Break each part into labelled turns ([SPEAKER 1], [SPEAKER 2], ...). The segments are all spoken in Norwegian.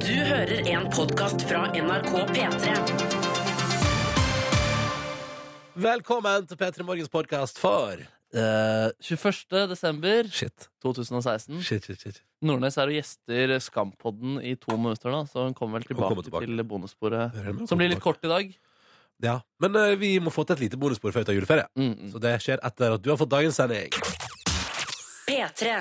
[SPEAKER 1] Du hører en podkast fra NRK P3.
[SPEAKER 2] Velkommen til P3 Morgens podkast for
[SPEAKER 3] Eh, 21. desember
[SPEAKER 2] Shit.
[SPEAKER 3] 2016.
[SPEAKER 2] Shit, shit, shit.
[SPEAKER 3] Nordnes er og gjester Skampodden i to minutter, da, så hun kommer vel tilbake,
[SPEAKER 2] kommer tilbake.
[SPEAKER 3] til bonussporet,
[SPEAKER 2] Hører med å
[SPEAKER 3] som
[SPEAKER 2] komme
[SPEAKER 3] blir litt
[SPEAKER 2] tilbake.
[SPEAKER 3] kort i dag.
[SPEAKER 2] Ja. Men eh, vi må få til et lite bonusspor før vi tar juleferie.
[SPEAKER 3] Mm, mm.
[SPEAKER 2] Så det skjer etter at du har fått dagens sending.
[SPEAKER 1] P3.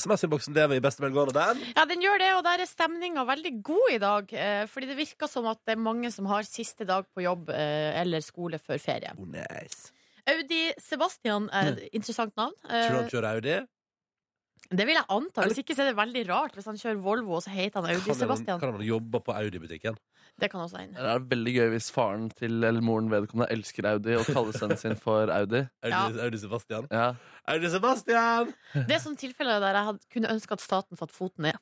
[SPEAKER 2] SMS-innboksen lever i beste velgående, den.
[SPEAKER 4] Ja, den gjør det, og der er stemninga veldig god i dag. Eh, fordi det virker som at det er mange som har siste dag på jobb eh, eller skole før ferie.
[SPEAKER 2] Oh, nice.
[SPEAKER 4] Audi Sebastian er et interessant navn.
[SPEAKER 2] Tror du han
[SPEAKER 4] Eh,
[SPEAKER 2] kjører Audi?
[SPEAKER 4] det vil jeg anta. Hvis ikke så er det veldig rart hvis han kjører Volvo og så heter han Audi
[SPEAKER 2] Kan han-
[SPEAKER 4] Sebastian.
[SPEAKER 2] Kan han jobbe på Audi-butikken?
[SPEAKER 4] Det kan også hende.
[SPEAKER 3] Det er veldig gøy hvis faren til eller moren vedkommende elsker Audi og kaller sønnen sin for Audi.
[SPEAKER 2] Audi, Audi Sebastian?
[SPEAKER 3] Ja.
[SPEAKER 2] Audi Sebastian!
[SPEAKER 4] Det er sånne tilfeller der jeg hadde, kunne ønske at staten satte foten ned.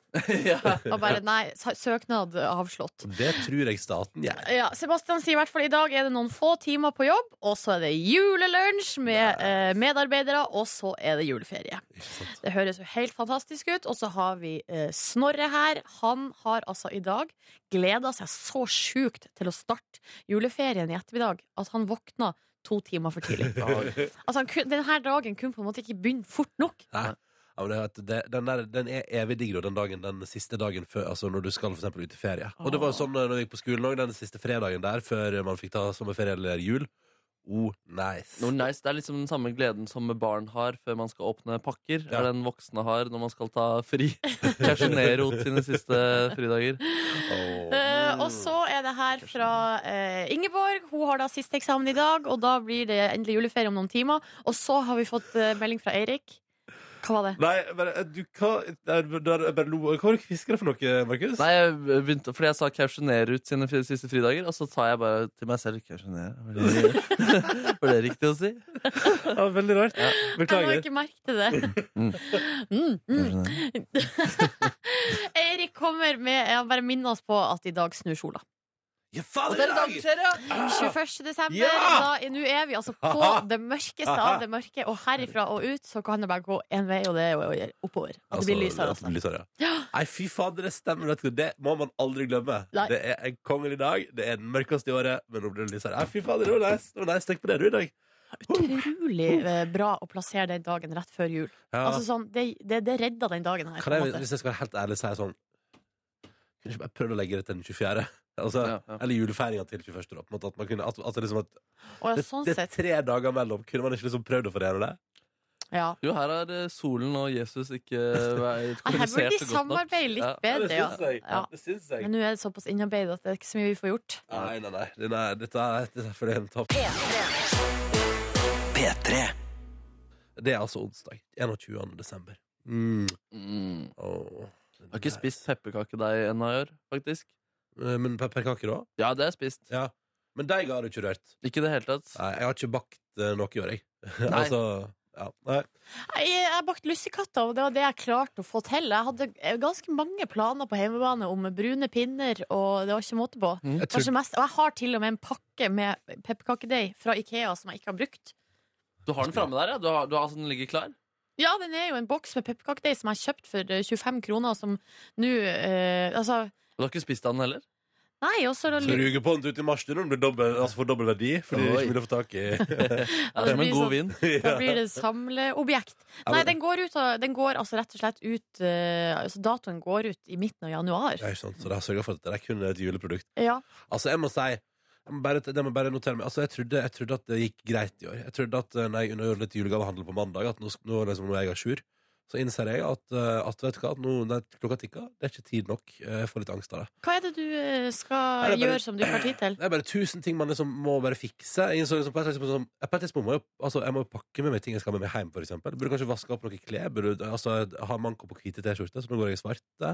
[SPEAKER 3] ja.
[SPEAKER 4] Og bare nei, sa- søknad avslått.
[SPEAKER 2] Det tror jeg staten gjør.
[SPEAKER 4] Ja, Sebastian sier i hvert fall i dag er det noen få timer på jobb, og så er det julelunsj med eh, medarbeidere, og så er det juleferie.
[SPEAKER 2] Ikke sant?
[SPEAKER 4] Det høres jo helt fantastisk ut. Og så har vi eh, Snorre her. Han har altså i dag gleda seg så sjukt til å starte juleferien i ettermiddag at han våkna to timer for tidlig. Altså, han kun, denne dagen kunne på en måte ikke begynne fort nok.
[SPEAKER 2] Nei. Ja, men det, vet du, det, den, der, den er evig digg, da, den dagen, den siste dagen før, altså når du skal for eksempel ut i ferie. Og det var jo sånn eh, når jeg gikk på skolen òg, den siste fredagen der, før man fikk ta sommerferie eller jul. Oh, nice.
[SPEAKER 3] Noe nice. Det er liksom den samme gleden som barn har før man skal åpne pakker.
[SPEAKER 2] Ja.
[SPEAKER 3] Er den voksne har når man skal ta fri. Casjonero til sine siste fridager.
[SPEAKER 2] Åh.
[SPEAKER 4] Eh, og så er det her fra eh, Ingeborg. Hun har da siste eksamen i dag, og da blir det endelig juleferie om noen timer. Og så har vi fått eh, melding fra Eirik. Hva var det?
[SPEAKER 2] Nei, men eh, du, hva der, der, bare lo. Hva var det du hvisker for noe, Markus?
[SPEAKER 3] Nei, jeg begynte, fordi jeg sa kausjonere ut sine fri- siste fridager, og så tar jeg bare til meg selv kausjonere. Var det, var det riktig å si?
[SPEAKER 2] Ja, veldig rart.
[SPEAKER 4] Jeg la
[SPEAKER 2] Beklager.
[SPEAKER 4] ikke merke til det.
[SPEAKER 3] Mm.
[SPEAKER 4] Mm, mm.
[SPEAKER 3] Kausjonere.
[SPEAKER 4] Eirik kommer med Han bare minner oss på at i dag snur sola.
[SPEAKER 2] Ja, faen, det er dag!
[SPEAKER 4] 21. desember.
[SPEAKER 2] Ja!
[SPEAKER 4] da- Nå er vi altså på det mørkeste av det mørke, og herifra og ut så kan det bare gå én vei, og det er jo oppover. At det blir lysere,
[SPEAKER 2] det
[SPEAKER 4] altså.
[SPEAKER 2] blir lysere, ja. Nei, fy fader, det stemmer. vet du. Det må man aldri glemme.
[SPEAKER 4] Nei.
[SPEAKER 2] Det er en kongelig dag. Det er den mørkeste i året, men nå blir det lysere. Nei, fy fader, det var nice. Det var nice. Tenk på det, du, i dag.
[SPEAKER 4] Utrolig eh, bra å plassere den dagen rett før jul.
[SPEAKER 2] Ja.
[SPEAKER 4] Altså sånn, Det, det, det redda den dagen her.
[SPEAKER 2] Kan
[SPEAKER 4] på en
[SPEAKER 2] jeg,
[SPEAKER 4] måte.
[SPEAKER 2] hvis jeg skal være helt ærlig, si sånn Kunne ikke bare prøvd å legge det til den 24. Altså,
[SPEAKER 3] Ja, ja.
[SPEAKER 2] Eller julefeiringa til 21. Da, på en måte, at man kunne, at, at det, liksom, at,
[SPEAKER 4] Og
[SPEAKER 2] det,
[SPEAKER 4] sånn
[SPEAKER 2] det er
[SPEAKER 4] sett,
[SPEAKER 2] tre dager mellom. Kunne man ikke liksom prøvd å forene det?
[SPEAKER 4] ja.
[SPEAKER 3] Jo, her har eh, solen og Jesus ikke eh, vært
[SPEAKER 4] Nei, Her burde
[SPEAKER 3] kommunisert så godt
[SPEAKER 4] de
[SPEAKER 3] nok.
[SPEAKER 4] samarbeide
[SPEAKER 3] Ja.
[SPEAKER 4] litt bedre, ja.
[SPEAKER 2] jeg.
[SPEAKER 4] ja.
[SPEAKER 2] Det syns jeg.
[SPEAKER 4] Men nå er det såpass innarbeidet at det er ikke så mye vi får gjort.
[SPEAKER 2] Nei, nei, nei. Det- nei dette er, dette er for det hele tatt. Det er altså onsdag. 21. desember. Mm.
[SPEAKER 3] Mm.
[SPEAKER 2] Åh.
[SPEAKER 3] Jeg har ikke spist pepperkakedeig ennå i år, faktisk.
[SPEAKER 2] Eh, Men pepperkaker òg?
[SPEAKER 3] Ja, det har jeg spist.
[SPEAKER 2] Ja. Men deig har du ikke rørt?
[SPEAKER 3] Ikke i det hele tatt.
[SPEAKER 2] Nei, jeg har ikke bakt eh, noe i år, jeg.
[SPEAKER 3] Nei.
[SPEAKER 2] altså, ja. nei.
[SPEAKER 4] Jeg, jeg bakte lussekatter, og det var det jeg klarte å få til. Jeg hadde eh, ganske mange planer på hjemmebane om brune pinner, og det var ikke måte på.
[SPEAKER 2] Jeg tror
[SPEAKER 4] Kanskje mest, og jeg har til og med en pakke med pepperkakedeig fra Ikea som jeg ikke har brukt.
[SPEAKER 3] Du har den framme der, ja? Du har, du har altså den ligger klar?
[SPEAKER 4] Ja, den er jo en boks med pepperkakedeig som jeg har kjøpt for eh, 25 kroner, som nå eh, Altså,
[SPEAKER 3] Du har ikke spist av den heller?
[SPEAKER 4] nei, og så er
[SPEAKER 2] Så
[SPEAKER 4] det litt
[SPEAKER 2] ruger på den ut i mars du, når den blir dobbel, altså får dobbel verdi fordi du
[SPEAKER 3] Oi.
[SPEAKER 2] ikke vil få tak i.
[SPEAKER 3] Ja, det er som
[SPEAKER 4] blir
[SPEAKER 3] en god
[SPEAKER 4] sånn-
[SPEAKER 3] vin.
[SPEAKER 4] Da blir det samleobjekt.
[SPEAKER 2] Ja,
[SPEAKER 4] Nei,
[SPEAKER 2] men-
[SPEAKER 4] den går, ut, av- den går altså rett og slett ut eh, altså Datoen går ut i midten av januar.
[SPEAKER 2] Ja, ikke sant? Så de har sørga for at det er kun et juleprodukt.
[SPEAKER 4] Ja.
[SPEAKER 2] Altså, jeg må si jeg må bare, det må jeg bare notere meg. Altså, jeg, trodde, jeg trodde at det gikk greit i år. Jeg trodde at eh, når jeg når jeg gjorde litt julegavehandel på mandag, at nå, sk- nå, liksom, nå er jeg à jour. Så innser jeg at, eh, at vet du hva, at nå, nei, klokka tikker. Det er ikke tid nok. Eh, Jeg får litt angst av det.
[SPEAKER 4] Hva er det du eh,
[SPEAKER 2] Nei,
[SPEAKER 4] skal
[SPEAKER 2] det er bare-
[SPEAKER 4] gjøre som du ikke har tid til?
[SPEAKER 2] Det er bare tusen ting man liksom må bare fikse. Jeg, innså liksom på et tidspunkt sånn- jeg- på et tidspunkt må jeg, altså, jeg må jo pakke med meg ting jeg skal ha med meg hjem, for eksempel. Burde kanskje vaske opp noen klær. Burde, altså, jeg har manko på hvite T-skjorter, så nå går jeg i svarte. Ja,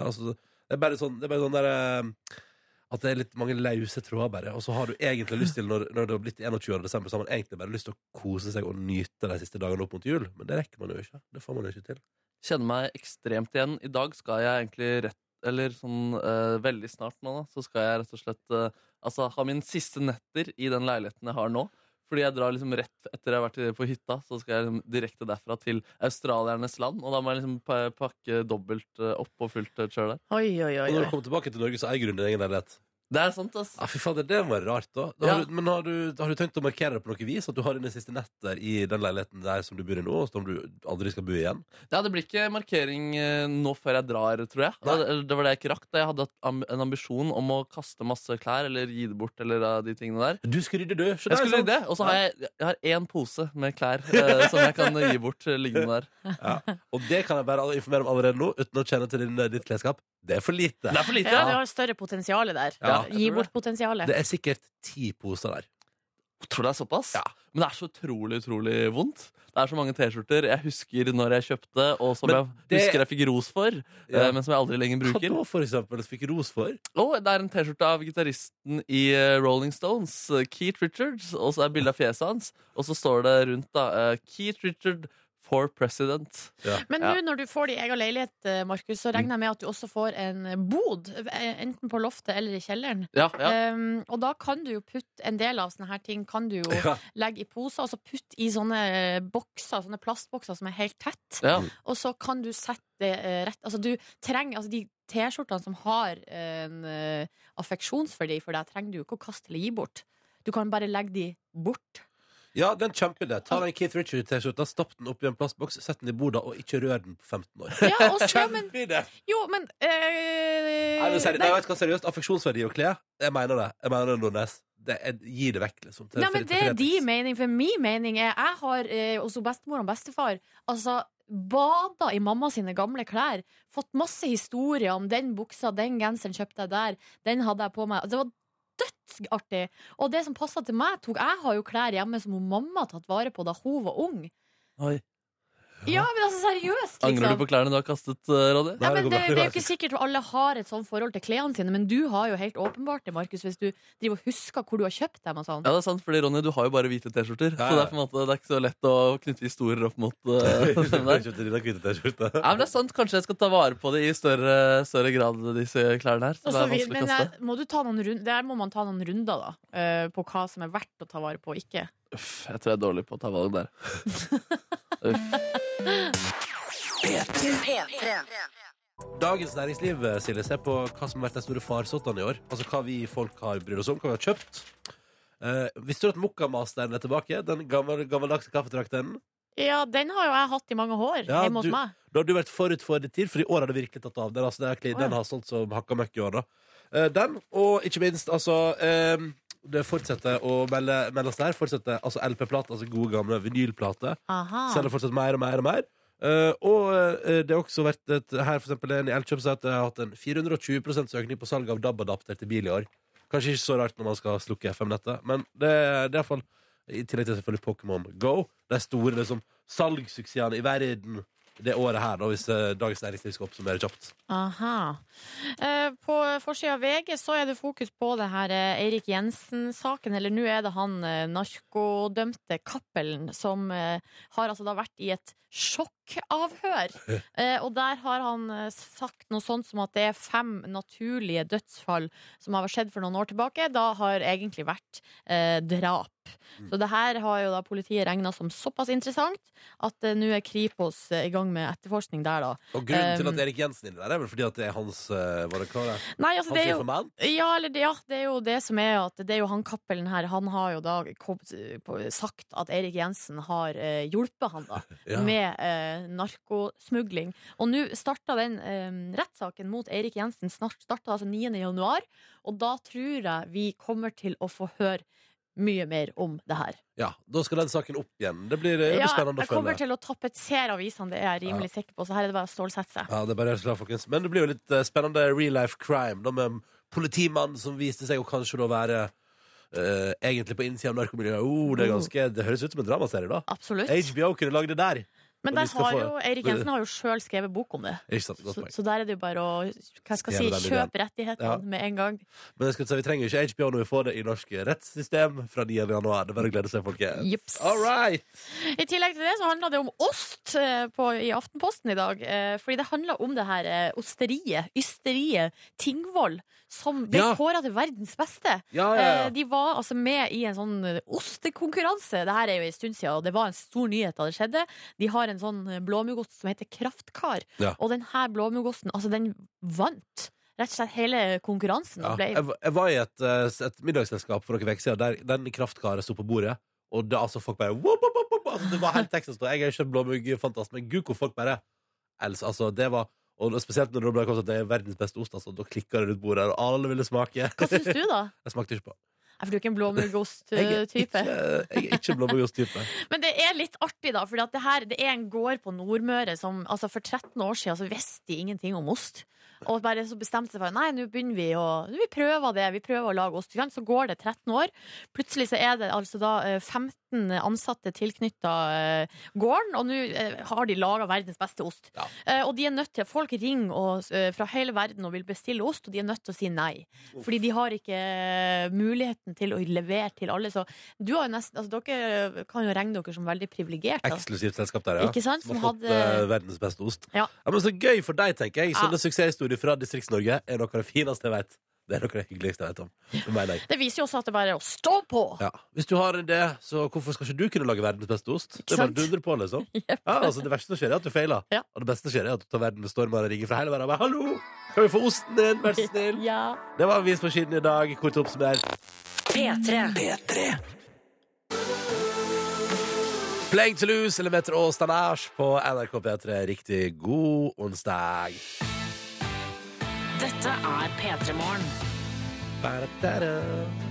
[SPEAKER 2] altså, det er bare sånn, det er bare sånn der, eh, at det er litt mange lause tråder, bare. Og så har du egentlig lyst til, når, når det har blitt 21. desember, så har man egentlig bare lyst til å kose seg og nyte de siste dagene opp mot jul. Men det rekker man jo ikke. Det får man jo ikke til.
[SPEAKER 3] Kjenner meg ekstremt igjen. I dag skal jeg egentlig rett Eller sånn eh, veldig snart nå, da, så skal jeg rett og slett eh, altså, ha mine siste netter i den leiligheten jeg har nå. Fordi jeg drar liksom rett etter jeg har vært i- på hytta, så skal jeg liksom direkte derfra til australiernes land. Og da må jeg liksom pa- pakke dobbelt eh, opp og fullt eh, kjør der.
[SPEAKER 4] Oi, oi, oi.
[SPEAKER 2] Og når du
[SPEAKER 4] oi.
[SPEAKER 2] kommer tilbake til Norge, så eier du din egen leilighet.
[SPEAKER 3] Det er sant, ass.
[SPEAKER 2] Ja, Ah, fy fader, det var rart, da. da har
[SPEAKER 3] Ja.
[SPEAKER 2] du, men har du, har du tenkt å markere det på noe vis? At du har dine siste netter i den leiligheten der som du bor i nå, og som du aldri skal bo i igjen?
[SPEAKER 3] Ja, det blir ikke markering eh, nå før jeg drar, tror jeg.
[SPEAKER 2] Nei.
[SPEAKER 3] Det, det var det jeg ikke rakk. Da jeg hadde hatt am- en ambisjon om å kaste masse klær eller gi det bort. eller eh, de tingene der.
[SPEAKER 2] Du skal rydde, du! Se der,
[SPEAKER 3] Jeg
[SPEAKER 2] sant?
[SPEAKER 3] skulle gjøre det, sånn- Og så har jeg, jeg har én pose med klær eh, som jeg kan gi bort eh, liggende der.
[SPEAKER 2] sånn? Og det kan jeg bare informere om allerede nå, uten å kjenne til din, eh, ditt klesskap. Det er for lite.
[SPEAKER 3] Det er for lite!
[SPEAKER 4] Ja, du har større potensial der.
[SPEAKER 2] Ja,
[SPEAKER 3] jeg
[SPEAKER 4] Gi
[SPEAKER 3] tror
[SPEAKER 4] bort
[SPEAKER 3] det.
[SPEAKER 4] potensialet.
[SPEAKER 2] Det er sikkert ti poser der.
[SPEAKER 3] Jeg tror det er såpass. Men det er så utrolig, utrolig vondt. Det er så mange T-skjorter jeg husker når jeg kjøpte, og som
[SPEAKER 2] Men
[SPEAKER 3] jeg
[SPEAKER 2] det-
[SPEAKER 3] husker jeg fikk ros for, eh, men som jeg aldri lenger
[SPEAKER 2] Hva
[SPEAKER 3] bruker.
[SPEAKER 2] da, for eksempel, fikk ros for?
[SPEAKER 3] Og det er en T-skjorte av gitaristen i eh, Rolling Stones, eh, Keith Richards. Og så er bilde av fjeset hans, og så står det rundt da eh, Keith Richard for president.
[SPEAKER 4] Men
[SPEAKER 3] Ja.
[SPEAKER 4] nå når du får din egen leilighet, eh, Markus, så regner jeg med at du også får en bod. eh, Enten på loftet eller i kjelleren.
[SPEAKER 3] Ja, ja.
[SPEAKER 4] Um, og da kan du jo putte en del av sånne her ting Kan du jo
[SPEAKER 2] Ja.
[SPEAKER 4] legge i poser, altså putte i sånne eh, bokser, sånne plastbokser som er helt tett.
[SPEAKER 3] ja.
[SPEAKER 4] Og så kan du sette det eh, rett Altså, du trenger altså, de T-skjortene som har en eh, affeksjon for deg, for deg, trenger du jo ikke å kaste eller gi bort. Du kan bare legge de bort.
[SPEAKER 2] Ja, den kjemper det. Ta den Keith Richard-T-skjorta, stapp den opp i en plastboks, sett den i bordet, og ikke rør den på 15 år.
[SPEAKER 4] Ja, og så, men,
[SPEAKER 2] Kjempeidé!
[SPEAKER 4] jo, men eh,
[SPEAKER 2] Nei, men seriøst, nei,
[SPEAKER 4] nei.
[SPEAKER 2] vet du hva, seriøst, affeksjonsverdi å kle, jeg mener det. Jeg mener det, Nordnes. Det, jeg gir det vekk, liksom. til-
[SPEAKER 3] eh,
[SPEAKER 4] Nei,
[SPEAKER 2] til-
[SPEAKER 4] men Det
[SPEAKER 2] til
[SPEAKER 4] er
[SPEAKER 2] Fredriks.
[SPEAKER 4] din mening, for min mening er Jeg har eh, også bestemor og bestefar Altså bada i mamma sine gamle klær. Fått masse historier om den buksa, den genseren kjøpte jeg der, den hadde jeg på meg. Det var dødsartig. Og det som passa til meg, tok Jeg har jo klær hjemme som hun mamma tatt vare på da hun var ung.
[SPEAKER 3] Oi.
[SPEAKER 4] Ja, men altså seriøst,
[SPEAKER 3] Angrer du
[SPEAKER 4] liksom.
[SPEAKER 3] på klærne du har kastet, eh, Ronny?
[SPEAKER 4] Nei,
[SPEAKER 2] Nei,
[SPEAKER 4] men
[SPEAKER 2] det går
[SPEAKER 4] det,
[SPEAKER 2] bra.
[SPEAKER 4] det er jo ikke sikkert alle har et sånt forhold til klærne sine, men du har jo helt åpenbart det, Markus, hvis du driver og husker hvor du har kjøpt dem og sånn.
[SPEAKER 3] Ja, det er sant, fordi Ronny, du har jo bare hvite
[SPEAKER 2] Ja,
[SPEAKER 3] T-skjorter. Så
[SPEAKER 2] ja.
[SPEAKER 3] det er, på en måte, det er ikke så lett å knytte historier opp mot eh,
[SPEAKER 2] Jeg
[SPEAKER 3] hvem det er.
[SPEAKER 2] kjøpte dine hvite T-skjorta.
[SPEAKER 3] Nei, men det er sant, Kanskje jeg skal ta vare på det i større, større grad, disse klærne her. Så
[SPEAKER 4] Og
[SPEAKER 3] det
[SPEAKER 4] så
[SPEAKER 3] er
[SPEAKER 4] vi-
[SPEAKER 3] vanskelig å
[SPEAKER 4] men
[SPEAKER 3] kaste.
[SPEAKER 4] jeg- må du ta noen rund, der må man ta noen runder da, eh, på hva som er verdt å ta vare på og ikke.
[SPEAKER 3] Uff, jeg tror jeg er dårlig på å ta valg der. Uff.
[SPEAKER 2] Dagens Næringsliv, Silje, se på hva som har vært de store farsottene i år. Altså hva vi folk har brydd oss om, hva vi har kjøpt. Eh, visste du at Mokkamasteren er tilbake? Den gammel, gammeldagse kaffetrakteren.
[SPEAKER 4] Ja, den har jo jeg hatt i mange år
[SPEAKER 2] Ja,
[SPEAKER 4] hjemme hos
[SPEAKER 2] du-
[SPEAKER 4] meg.
[SPEAKER 2] Da har du vært forut for din tid, for i år har det virkelig tatt av. Den, altså, den, har, kli-
[SPEAKER 4] Å, ja.
[SPEAKER 2] den har solgt som hakka møkk i år, da. Eh, den, og ikke minst, altså eh, Det fortsetter å melde, meldes der. Fortsetter altså LP-plate, altså gode gamle vinylplate.
[SPEAKER 4] Aha.
[SPEAKER 2] Selger fortsatt mer og mer og mer. Eh, og eh, det har også vært et, her for eksempel en i Elkjøp sier at det har hatt en 420 økning på salg av DAB-adapter til bil i år. Kanskje ikke så rart når man skal slukke FM-nettet, men det, det er iallfall I tillegg til selvfølgelig Pokémon Go. De store liksom, salgssuksessene i verden det året her, da, hvis eh, Dagens Næringsliv skal oppsummere kjapt.
[SPEAKER 4] Aha. Eh, På forsida av VG så er det fokus på det her eh, Eirik Jensen-saken, eller nå er det han eh, narkodømte Cappelen som eh, har altså da vært i et sjokkavhør. Eh, Og der har han eh, sagt noe sånt som at det er fem naturlige dødsfall som har skjedd for noen år tilbake, da har egentlig vært eh, drap. Så det her har jo da politiet regna som såpass interessant at eh, nå er Kripos eh, i gang med etterforskning der, da.
[SPEAKER 2] Og grunnen til
[SPEAKER 4] Um,
[SPEAKER 2] at Erik Jensen er inne der, er vel fordi at det er hans eh, Var det hva det er?
[SPEAKER 4] Nei, altså,
[SPEAKER 2] Hans
[SPEAKER 4] det er jo
[SPEAKER 2] informant?
[SPEAKER 4] Ja, eller det, ja, det er jo det som er at det er jo han Cappelen her, han har jo da kom, på, sagt at Erik Jensen har eh, hjulpet han da
[SPEAKER 2] Ja.
[SPEAKER 4] med eh, narkosmugling. Og nå starta den eh, rettssaken mot Erik Jensen snart starta altså 9. januar, og da tror jeg vi kommer til å få høre mye mer om det her.
[SPEAKER 2] ja. Da skal den saken opp igjen. Det blir, det blir
[SPEAKER 4] Ja,
[SPEAKER 2] spennende
[SPEAKER 4] jeg
[SPEAKER 2] å følge.
[SPEAKER 4] kommer til å tapetsere avisene, det er jeg rimelig sikker på, så her er det bare å stålsette seg.
[SPEAKER 2] Ja, det er bare å gjøre seg klar, folkens. Men det blir jo litt eh, spennende real life crime, da, med en politimann som viste seg å kanskje da være eh, egentlig på innsida av narkomiljøet. Oh, det, er ganske, det høres ut som en dramaserie, da.
[SPEAKER 4] Absolutt.
[SPEAKER 2] HBO kunne lagd det der.
[SPEAKER 4] Men
[SPEAKER 2] Men
[SPEAKER 4] der
[SPEAKER 2] vi skal
[SPEAKER 4] har
[SPEAKER 2] få-
[SPEAKER 4] jo, Eirik Jensen har jo sjøl skrevet bok om det.
[SPEAKER 2] Ikke sant? Godt
[SPEAKER 4] Så,
[SPEAKER 2] poeng.
[SPEAKER 4] så der er det jo bare å hva skal
[SPEAKER 2] Stjele
[SPEAKER 4] jeg
[SPEAKER 2] den
[SPEAKER 4] si,
[SPEAKER 2] ideen.
[SPEAKER 4] kjøpe rettighetene
[SPEAKER 2] Ja.
[SPEAKER 4] med en gang.
[SPEAKER 2] Men jeg skulle si, vi trenger jo ikke HBO når vi får det i norsk rettssystem fra 9. januar. Det er bare å glede seg, folkens.
[SPEAKER 4] Jups.
[SPEAKER 2] All right!
[SPEAKER 4] I tillegg til det så handla det om ost eh, på, i Aftenposten i dag. eh, Fordi det handla om det her eh, osteriet, ysteriet, Tingvoll, som ble
[SPEAKER 2] Ja.
[SPEAKER 4] kåra til verdens beste.
[SPEAKER 2] Ja, ja,
[SPEAKER 4] Eh,
[SPEAKER 2] ja.
[SPEAKER 4] De var altså med i en sånn eh, ostekonkurranse. Det her er jo en stund siden, og det var en stor nyhet da det skjedde. De har en sånn eh, blåmuggost som heter Kraftkar,
[SPEAKER 2] Ja.
[SPEAKER 4] og den her blåmuggosten, altså den vant. Rett og slett hele konkurransen.
[SPEAKER 2] Ja.
[SPEAKER 4] og Ble,
[SPEAKER 2] Jeg, var- jeg var i et, eh, et middagsselskap for noen uker siden der den kraftkaret sto på bordet. Og det, altså, folk bare wop, wop, wop, wop. altså, Det var helt Texas. da. Jeg er ikke en blåmuggfantast, men gud, hvor folk bare altså, altså, det var og det- Spesielt når det ble kommet at det er verdens beste ost. Altså, da klikka det rundt bordet, og alle ville smake.
[SPEAKER 4] hva syns du, da?
[SPEAKER 2] Jeg smakte ikke på.
[SPEAKER 4] Jeg er du ikke
[SPEAKER 2] Jeg er
[SPEAKER 4] en blåmuggost-type?
[SPEAKER 2] ikke, jeg er ikke blåmuggost-type.
[SPEAKER 4] Men det er litt artig, da. For det, her- det er en gård på Nordmøre som altså for 13 år siden så visste de ingenting om ost. Og bare så bestemte seg for nei, nå begynner vi å Vi prøver det, vi prøver å lage ost. Ikke sant? Så går det 13 år. Plutselig så er det altså da eh, 15 ansatte tilknytta gården, og nå eh, har de laga verdens beste ost.
[SPEAKER 2] Ja.
[SPEAKER 4] Eh, Og de er nødt til Folk ringer og, eh, fra hele verden og vil bestille ost, og de er nødt til å si nei. Fordi de har ikke eh, muligheten til å levere til alle. Så du har jo nesten, altså dere kan jo regne dere som veldig privilegerte. altså. da.
[SPEAKER 2] Eksklusivt selskap der, ja.
[SPEAKER 4] Ikke sant?
[SPEAKER 2] Som
[SPEAKER 4] Som
[SPEAKER 2] har fått
[SPEAKER 4] hadde-
[SPEAKER 2] eh, verdens beste ost.
[SPEAKER 4] Ja.
[SPEAKER 2] men Så gøy for deg, tenker jeg.
[SPEAKER 4] Ja.
[SPEAKER 2] Sånne suksesshistorier fra Distrikts-Norge er noe av det fineste jeg vet. Det er noe av det hyggeligste jeg vet om. Det mener jeg.
[SPEAKER 4] Det viser jo også at det bare er å stå på!
[SPEAKER 2] Ja. Hvis du har en idé, så hvorfor skal ikke du kunne lage verdens beste ost? Det er bare
[SPEAKER 4] sant?
[SPEAKER 2] å dundre på, liksom. Ja, altså, det verste som skjer, er at du feiler.
[SPEAKER 4] Ja.
[SPEAKER 2] Og det beste som skjer, er at du tar verden med storm og ringer fra hele verden og bare 'Hallo! Kan vi få osten din, vær så snill?'
[SPEAKER 4] Ja.
[SPEAKER 2] Det var avis på siden i dag. Kort oppsummert.
[SPEAKER 1] P3.
[SPEAKER 2] Playing to lose eller Metro og Stanage på NRK P3. Riktig god onsdag.
[SPEAKER 1] Dette er P3 Morgen.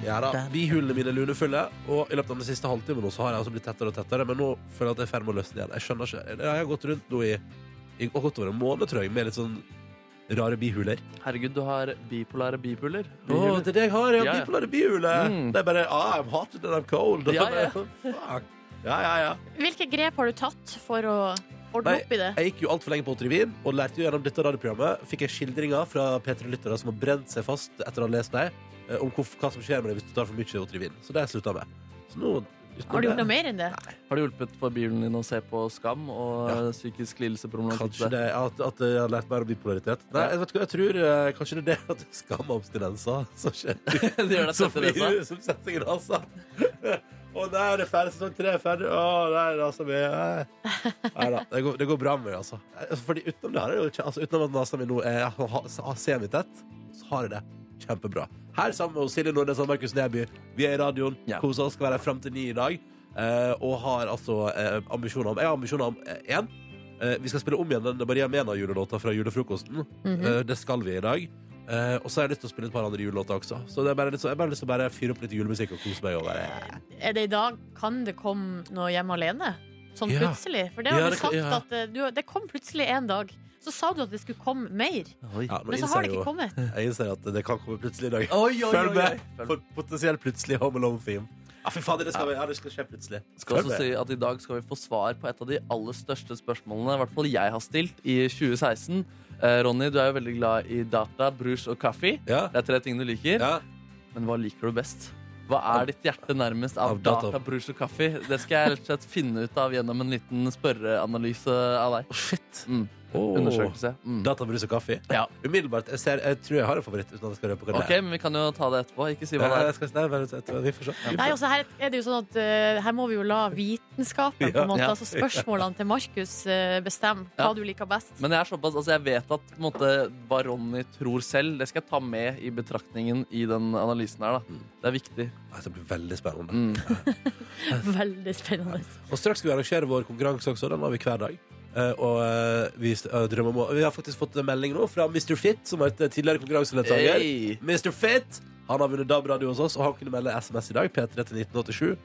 [SPEAKER 2] Ja da, bihulene mine er lunefulle, og i løpet av den siste halvtimen nå så har jeg altså blitt tettere og tettere, men nå føler jeg at jeg er i ferd med å løsne igjen. Jeg skjønner ikke. Jeg har gått rundt nå i, i godt over en måned, tror jeg, med litt sånn rare bihuler.
[SPEAKER 3] Herregud, du har bipolare bipuler.
[SPEAKER 2] Å, det er det jeg har, ja.
[SPEAKER 3] Ja, ja.
[SPEAKER 2] Bipolare bihule.
[SPEAKER 3] Mm.
[SPEAKER 2] Det er bare ah, I'm hot and I'm cold.
[SPEAKER 3] Ja, ja.
[SPEAKER 2] Fuck. Ja, ja, ja.
[SPEAKER 4] Hvilke grep har du tatt for å ordne
[SPEAKER 2] Nei,
[SPEAKER 4] opp i det?
[SPEAKER 2] Jeg gikk jo altfor lenge på Åtrivin, og lærte jo gjennom dette radioprogrammet. Fikk jeg skildringer fra P3-lyttere som har brent seg fast etter å ha lest deg, eh, om hvorf- hva som skjer med deg hvis du tar for mye Åtrivin. Så det har jeg slutta med. Så nå, utenom
[SPEAKER 4] Har du gjort
[SPEAKER 2] det-
[SPEAKER 4] noe mer enn det?
[SPEAKER 3] Har det hjulpet for bihulen din å se på skam og
[SPEAKER 2] Ja.
[SPEAKER 3] eh, psykisk lidelseproblematikk?
[SPEAKER 2] Kanskje det, at, at jeg har lært mer om bipolaritet. Nei,
[SPEAKER 3] Ja.
[SPEAKER 2] jeg, vet ikke, hva, jeg tror eh, kanskje det er det at det er skam og abstinenser som skjer.
[SPEAKER 3] det gjør deg
[SPEAKER 2] Som
[SPEAKER 3] tett i nesa.
[SPEAKER 2] blir- som setter seg i nesa. Å nei, det er ferdig. Sesong tre er ferdig. Å nei, nesa mi eh. Nei da. Det går, det går bra med meg, altså. Eh, Fordi utenom det har jeg jo ikke Altså utenom at nesa mi nå er ha- ha- semitett, så har jeg det kjempebra. Her sammen med Silje Nordnes og Markus Neby. Vi er i radioen.
[SPEAKER 3] Ja.
[SPEAKER 2] Koser oss. Skal være her frem til ni i dag. Eh, og har altså eh, ambisjoner om Jeg har ambisjoner om eh, én. Eh, vi skal spille om igjen den Maria Mena-julelåta fra julefrokosten.
[SPEAKER 4] Mhm.
[SPEAKER 2] Eh, Det skal vi i dag. Eh, og så har jeg lyst til å spille et par andre julelåter også. Så det er bare litt, så, jeg har bare lyst til å bare fyre opp litt julemusikk og kose meg. eh, Og bare,
[SPEAKER 4] Er det i dag kan det komme noe hjemme alene? Sånn
[SPEAKER 2] Ja.
[SPEAKER 4] plutselig? For det har
[SPEAKER 2] Ja,
[SPEAKER 4] du
[SPEAKER 2] det kan-
[SPEAKER 4] sagt
[SPEAKER 2] ja.
[SPEAKER 4] at eh, du, det kom plutselig en dag. Så sa du at det skulle komme mer,
[SPEAKER 3] Oi.
[SPEAKER 2] ja, nå
[SPEAKER 4] men så
[SPEAKER 2] innser
[SPEAKER 4] har
[SPEAKER 2] jeg
[SPEAKER 4] det
[SPEAKER 2] jo-
[SPEAKER 4] ikke kommet.
[SPEAKER 2] Jeg innser at det kan komme plutselig i dag.
[SPEAKER 3] Oi, oi,
[SPEAKER 2] Følg
[SPEAKER 3] oi, oi.
[SPEAKER 2] med for potensielt plutselig Home Alone-film. Ja, fy fader, det skal, vi- ja, det skal skje plutselig.
[SPEAKER 3] Skal
[SPEAKER 2] Følg med.
[SPEAKER 3] også si at I dag skal vi få svar på et av de aller største spørsmålene i hvert fall jeg har stilt i 2016. Eh, Ronny, du er jo veldig glad i data, brus og kaffe.
[SPEAKER 2] Ja.
[SPEAKER 3] Det er tre ting du liker.
[SPEAKER 2] Ja.
[SPEAKER 3] Men hva liker du best? Hva er ditt hjerte nærmest av,
[SPEAKER 2] Av data.
[SPEAKER 3] data. brus og kaffe? Det skal jeg rett og slett finne ut av gjennom en liten spørreanalyse av deg.
[SPEAKER 2] Shit.
[SPEAKER 3] Mm.
[SPEAKER 2] Åh.
[SPEAKER 3] Undersøkelse. Mm.
[SPEAKER 2] Databrus og kaffe.
[SPEAKER 3] Ja.
[SPEAKER 2] Umiddelbart. Jeg, ser, jeg tror jeg har en favoritt. Uten at jeg skal røpe hva
[SPEAKER 3] Ok,
[SPEAKER 2] det er.
[SPEAKER 3] men vi kan jo ta det etterpå. Ikke si hva det
[SPEAKER 2] Nei,
[SPEAKER 3] er.
[SPEAKER 2] jeg skal, nei, bare, vi får se. Vi
[SPEAKER 4] Nei,
[SPEAKER 2] får se.
[SPEAKER 4] også her er det jo sånn at eh, her må vi jo la vitenskapen, på
[SPEAKER 2] Ja.
[SPEAKER 4] en måte,
[SPEAKER 3] Ja.
[SPEAKER 4] altså spørsmålene til Markus, eh, bestemme hva
[SPEAKER 3] Ja.
[SPEAKER 4] du liker best.
[SPEAKER 3] Men jeg er såpass, altså jeg vet at på en måte, hva Ronny tror selv, det skal jeg ta med i betraktningen i den analysen her. da.
[SPEAKER 2] Mm.
[SPEAKER 3] Det er viktig.
[SPEAKER 2] Nei, Det blir veldig spennende.
[SPEAKER 3] Mm.
[SPEAKER 4] Veldig spennende.
[SPEAKER 2] Og straks skal vi arrangere vår konkurranse også. Den har vi hver dag. Eh, og eh, vi, st- eh, drømmer om å, vi har faktisk fått en melding nå fra Mr. Fit, som har vært eh, tidligere konkurransedeltaker.
[SPEAKER 3] Hey.
[SPEAKER 2] Mr. Fit han har vunnet DAB-radio hos oss, og han kunne melde SMS i dag P3 til 1987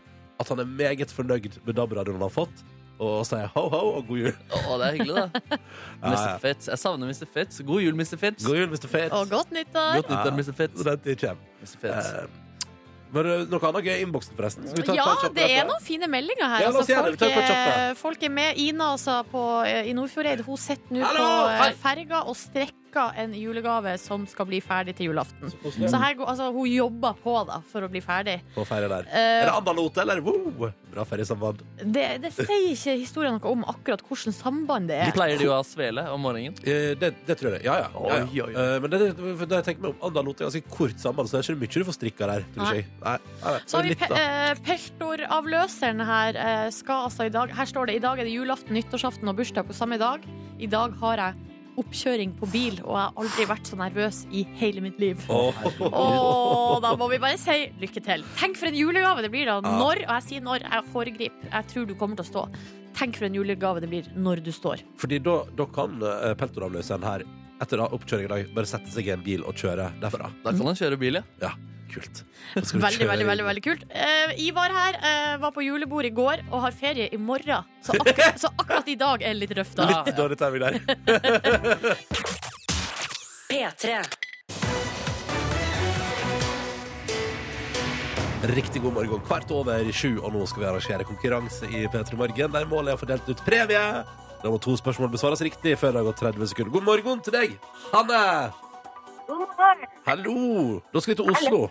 [SPEAKER 2] at han er meget fornøyd med DAB-radioen han har fått, og sier ho, ho og god jul.
[SPEAKER 3] Å, det er hyggelig, da.
[SPEAKER 2] Ja, ja.
[SPEAKER 3] Mr. Fitz. Jeg savner Mr. Fitz. God jul, Mr. Fitz.
[SPEAKER 2] God jul, Mr. Fit.
[SPEAKER 4] Og godt nyttår!
[SPEAKER 3] Godt nyttår, Mr. Fitz.
[SPEAKER 2] Så den tid kommer.
[SPEAKER 3] Mr. Fitz.
[SPEAKER 2] Eh, Var det noe annet gøy i innboksen, forresten? Skal vi ta- ta en
[SPEAKER 4] Ja,
[SPEAKER 2] kjapp
[SPEAKER 4] det er
[SPEAKER 2] rett på
[SPEAKER 4] noen fine meldinger her.
[SPEAKER 2] Ja, la oss
[SPEAKER 4] altså,
[SPEAKER 2] gjøre det.
[SPEAKER 4] folk,
[SPEAKER 2] Vi tar et kort kjapt
[SPEAKER 4] er,
[SPEAKER 2] her.
[SPEAKER 4] folk er med. Ina altså, på, i Nordfjordeid hun sitter nå
[SPEAKER 2] Hallo,
[SPEAKER 4] på eh,
[SPEAKER 2] hei.
[SPEAKER 4] ferga og strekker en julegave som skal bli ferdig til julaften.
[SPEAKER 2] Så koselig.
[SPEAKER 4] Så her går, altså, hun jobber på da, for å bli ferdig.
[SPEAKER 2] På ferie der. Er
[SPEAKER 4] Eh,
[SPEAKER 2] det Andalote, eller? Wow! Bra feriesamband.
[SPEAKER 4] det, det sier ikke historien noe om akkurat hvordan samband det
[SPEAKER 3] De
[SPEAKER 4] er.
[SPEAKER 3] pleier de jo å ha svele om morgenen.
[SPEAKER 2] Eh, Det, det tror jeg det. Ja, ja. ja, ja.
[SPEAKER 3] Oi, oi,
[SPEAKER 2] Eh, Men det, det, for når jeg tenker meg om Andalote er ganske kort samband, så det er ikke mye du får strikka der. Tror ikke jeg. Nei. Nei, nei.
[SPEAKER 4] Så har vi
[SPEAKER 2] Litt,
[SPEAKER 4] pe
[SPEAKER 2] da.
[SPEAKER 4] eh, Peltoravløseren her. eh, skal altså i dag, her står det i dag er det julaften, nyttårsaften og bursdag på samme dag. I dag har jeg oppkjøring på bil, og jeg har aldri vært så nervøs i hele mitt liv.
[SPEAKER 2] Åh.
[SPEAKER 4] Og da må vi bare si lykke til. Tenk for en julegave det blir da.
[SPEAKER 2] Ja.
[SPEAKER 4] Når, og jeg sier når, jeg foregriper. Jeg tror du kommer til å stå. Tenk for en julegave det blir når du står.
[SPEAKER 2] Fordi da, da kan eh, peltoravløseren her etter da oppkjøring i dag bare sette seg i en bil og kjøre derfra.
[SPEAKER 3] Da kan han kjøre bil, ja.
[SPEAKER 2] Kult.
[SPEAKER 4] Veldig, veldig, veldig, veldig kult. Eh, Ivar her eh, var på julebord i går og har ferie i morgen. Så akkurat, så akkurat i dag er det litt røft, da.
[SPEAKER 2] Litt dårlig timing der.
[SPEAKER 1] P3.
[SPEAKER 2] Riktig god morgen. Kvart over sju, og nå skal vi arrangere konkurranse i P3 Morgen, der målet er å få delt ut premie. Da må to spørsmål besvares riktig før det har gått 30 sekunder. God morgen til deg, Hanne.
[SPEAKER 5] God morgen.
[SPEAKER 2] Hallo. Da skal vi til Oslo.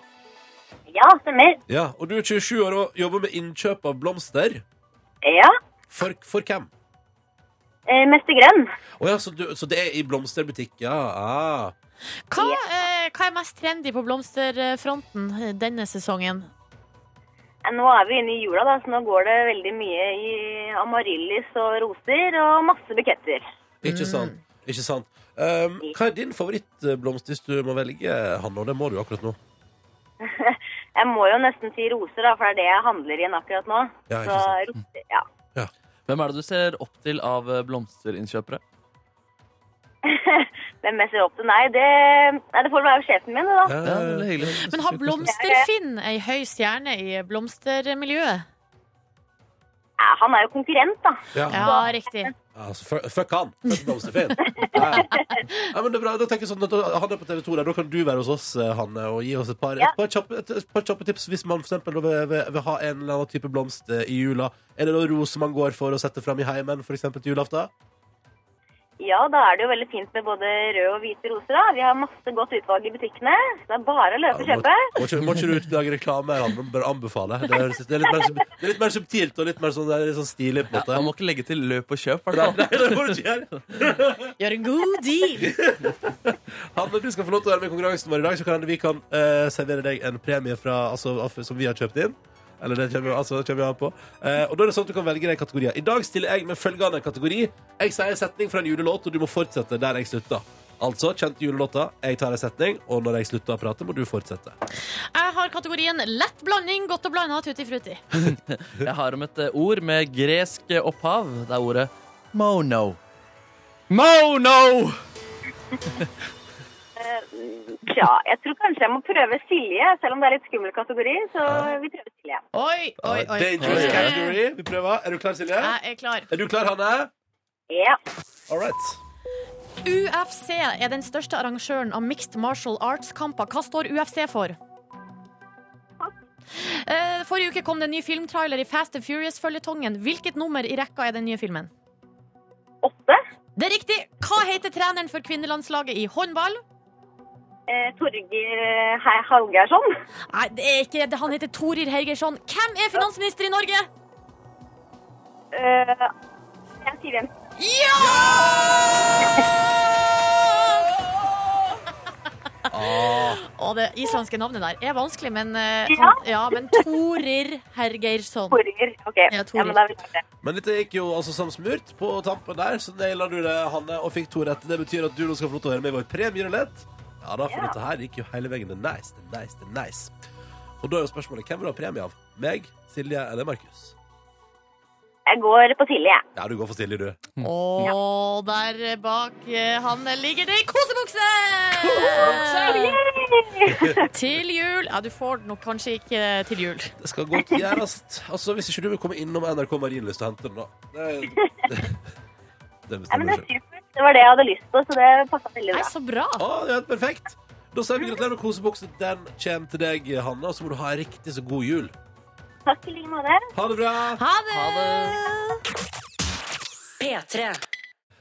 [SPEAKER 5] Ja, stemmer.
[SPEAKER 2] Ja, Og du er 27 år og jobber med innkjøp av blomster.
[SPEAKER 5] Ja.
[SPEAKER 2] For, for hvem?
[SPEAKER 5] Eh, Mester Grønn.
[SPEAKER 2] Å ja, så, du, så det er i blomsterbutikk, ja. Ah.
[SPEAKER 4] Hva, eh, hva er mest trendy på blomsterfronten denne sesongen?
[SPEAKER 5] Eh, Nå er vi inne i jula, da, så nå går det veldig mye i amaryllis og roser og masse buketter.
[SPEAKER 2] Ikke
[SPEAKER 5] Mm.
[SPEAKER 2] sant. Ikke sant. Um, hva er din favorittblomst hvis du må velge, Hanne? Og det må du akkurat nå.
[SPEAKER 5] Jeg må jo nesten si roser, da, for det er det jeg handler igjen akkurat nå.
[SPEAKER 2] Ja, ikke
[SPEAKER 5] så
[SPEAKER 2] sant.
[SPEAKER 5] roser, ja.
[SPEAKER 3] Hvem er det du ser opp til av eh, blomsterinnkjøpere?
[SPEAKER 5] Hvem jeg ser opp til? Nei, det, nei, det får være sjefen min, det, da.
[SPEAKER 3] Ja, det er hyggelig.
[SPEAKER 4] Men har Blomsterfinn ei høy stjerne i blomstermiljøet?
[SPEAKER 5] Eh, Han er jo konkurrent, da.
[SPEAKER 2] Ja.
[SPEAKER 4] Ja, riktig.
[SPEAKER 2] Altså, fuck, fuck han. Fuck Blomsterfinn. Ja. Ja, men det er bra. Da tenker jeg sånn at da- han er på TV 2 der. Da kan du være hos oss, eh, Hanne, og gi oss et par,
[SPEAKER 5] Ja.
[SPEAKER 2] et par, kjappe, et, et par kjappe tips hvis man for eksempel da vil, vil, vil ha en eller annen type blomst eh, i jula. Er det da roser man går for å sette fram i heimen, for eksempel til julaften?
[SPEAKER 5] Ja, da er det jo veldig fint med både røde og hvite roser. da. Vi har masse godt utvalg i butikkene. så Det er bare å
[SPEAKER 2] Ja,
[SPEAKER 5] løpe og
[SPEAKER 2] må,
[SPEAKER 5] kjøpe.
[SPEAKER 2] må, ikke, må ikke du ut og lage reklame? Hanne, men bare anbefale. Det, høres- det, er litt mer, sub- det er litt mer subtilt og litt mer sånn, det er litt sånn stilig. på en
[SPEAKER 3] Ja,
[SPEAKER 2] måte.
[SPEAKER 3] man må ikke legge til løp og kjøp.
[SPEAKER 2] Nei,
[SPEAKER 3] hvertfall.
[SPEAKER 2] nei, det må du ikke gjøre.
[SPEAKER 4] Gjør en god deal!
[SPEAKER 2] Hanne, du skal få lov til å være med i konkurransen vår i dag, så kan vi kan eh, servere deg en premie fra, altså, av- som vi har kjøpt inn. Eller det kommer, altså, kommer jeg an på. Eh, og da er det sånn at du kan velge deg kategorier. I dag stiller jeg med følgende kategori. Jeg sier en setning fra en julelåt, og du må fortsette der jeg slutta. Altså, kjente julelåter, jeg tar en setning, og når jeg slutter å prate, må du fortsette.
[SPEAKER 4] Jeg har kategorien lett blanding, godt og blanda, tutti frutti.
[SPEAKER 3] Jeg har om et eh, ord med gresk eh, opphav. Det er ordet mono. Mono!
[SPEAKER 5] Tja, jeg tror kanskje jeg må prøve Silje, selv om det er litt skummel kategori. Så vi prøver Silje.
[SPEAKER 4] Oi, oi, oi.
[SPEAKER 2] Dangerous category. Vi prøver. Er du klar, Silje?
[SPEAKER 4] Jeg er klar.
[SPEAKER 2] Er du klar, Hanne?
[SPEAKER 5] Ja.
[SPEAKER 2] All right.
[SPEAKER 4] UFC er den største arrangøren av mixed martial arts-kamper. Hva står UFC for? Eh, Forrige uke kom det en ny filmtrailer i Fast and Furious-føljetongen. Hvilket nummer i rekka er den nye filmen?
[SPEAKER 5] Åtte.
[SPEAKER 4] Det er riktig! Hva heter treneren for kvinnelandslaget i håndball?
[SPEAKER 5] Eh, Torgeir eh, Hallgeirsson.
[SPEAKER 4] Nei, det er ikke det. Han heter Torir Heigersson. Hvem er finansminister i Norge?
[SPEAKER 5] Eh, jeg sier igjen.
[SPEAKER 4] Ja! Og det islandske navnet der er vanskelig, men, eh,
[SPEAKER 5] Ja.
[SPEAKER 4] han, ja, men Torir Hergeirsson.
[SPEAKER 5] Torgeir. OK.
[SPEAKER 4] Ja,
[SPEAKER 5] Ja,
[SPEAKER 4] Torgeir.
[SPEAKER 5] men da er vi klare.
[SPEAKER 2] Men dette gikk jo altså som smurt på tampen der, så naila du det, Hanne, og fikk to rette. Det betyr at du nå skal få lov til å være med i vår premierulett. Ja da, for
[SPEAKER 5] Ja.
[SPEAKER 2] dette her gikk jo hele veien. Det er nice, det er nice, det er nice. Og da er jo spørsmålet hvem vil du ha premie av? Meg, Silje eller Markus?
[SPEAKER 5] Jeg går på Silje, jeg.
[SPEAKER 2] Ja, du går for Silje, du.
[SPEAKER 4] Og der bak eh, han ligger det i kosebukse! Til jul. Ja, du får den nok kanskje ikke eh, til jul.
[SPEAKER 2] Det skal godt gjøres. Altså, hvis ikke du vil komme innom NRK Marienlyst og hente den, da. Det, det
[SPEAKER 5] Ja, men
[SPEAKER 2] bestemmer
[SPEAKER 5] det
[SPEAKER 2] du selv.
[SPEAKER 5] er supert. Det var det jeg hadde lyst på, så det passa
[SPEAKER 4] Nei,
[SPEAKER 5] veldig bra.
[SPEAKER 4] så bra.
[SPEAKER 2] Å, det er helt perfekt. Da sier vi gratulerer med koseboksen. Den kommer til deg, Hanna. Så må du ha en riktig så god jul.
[SPEAKER 5] Takk i like måte.
[SPEAKER 2] Ha det bra!
[SPEAKER 4] Ha det! Altså,
[SPEAKER 3] Ha det!
[SPEAKER 1] P3.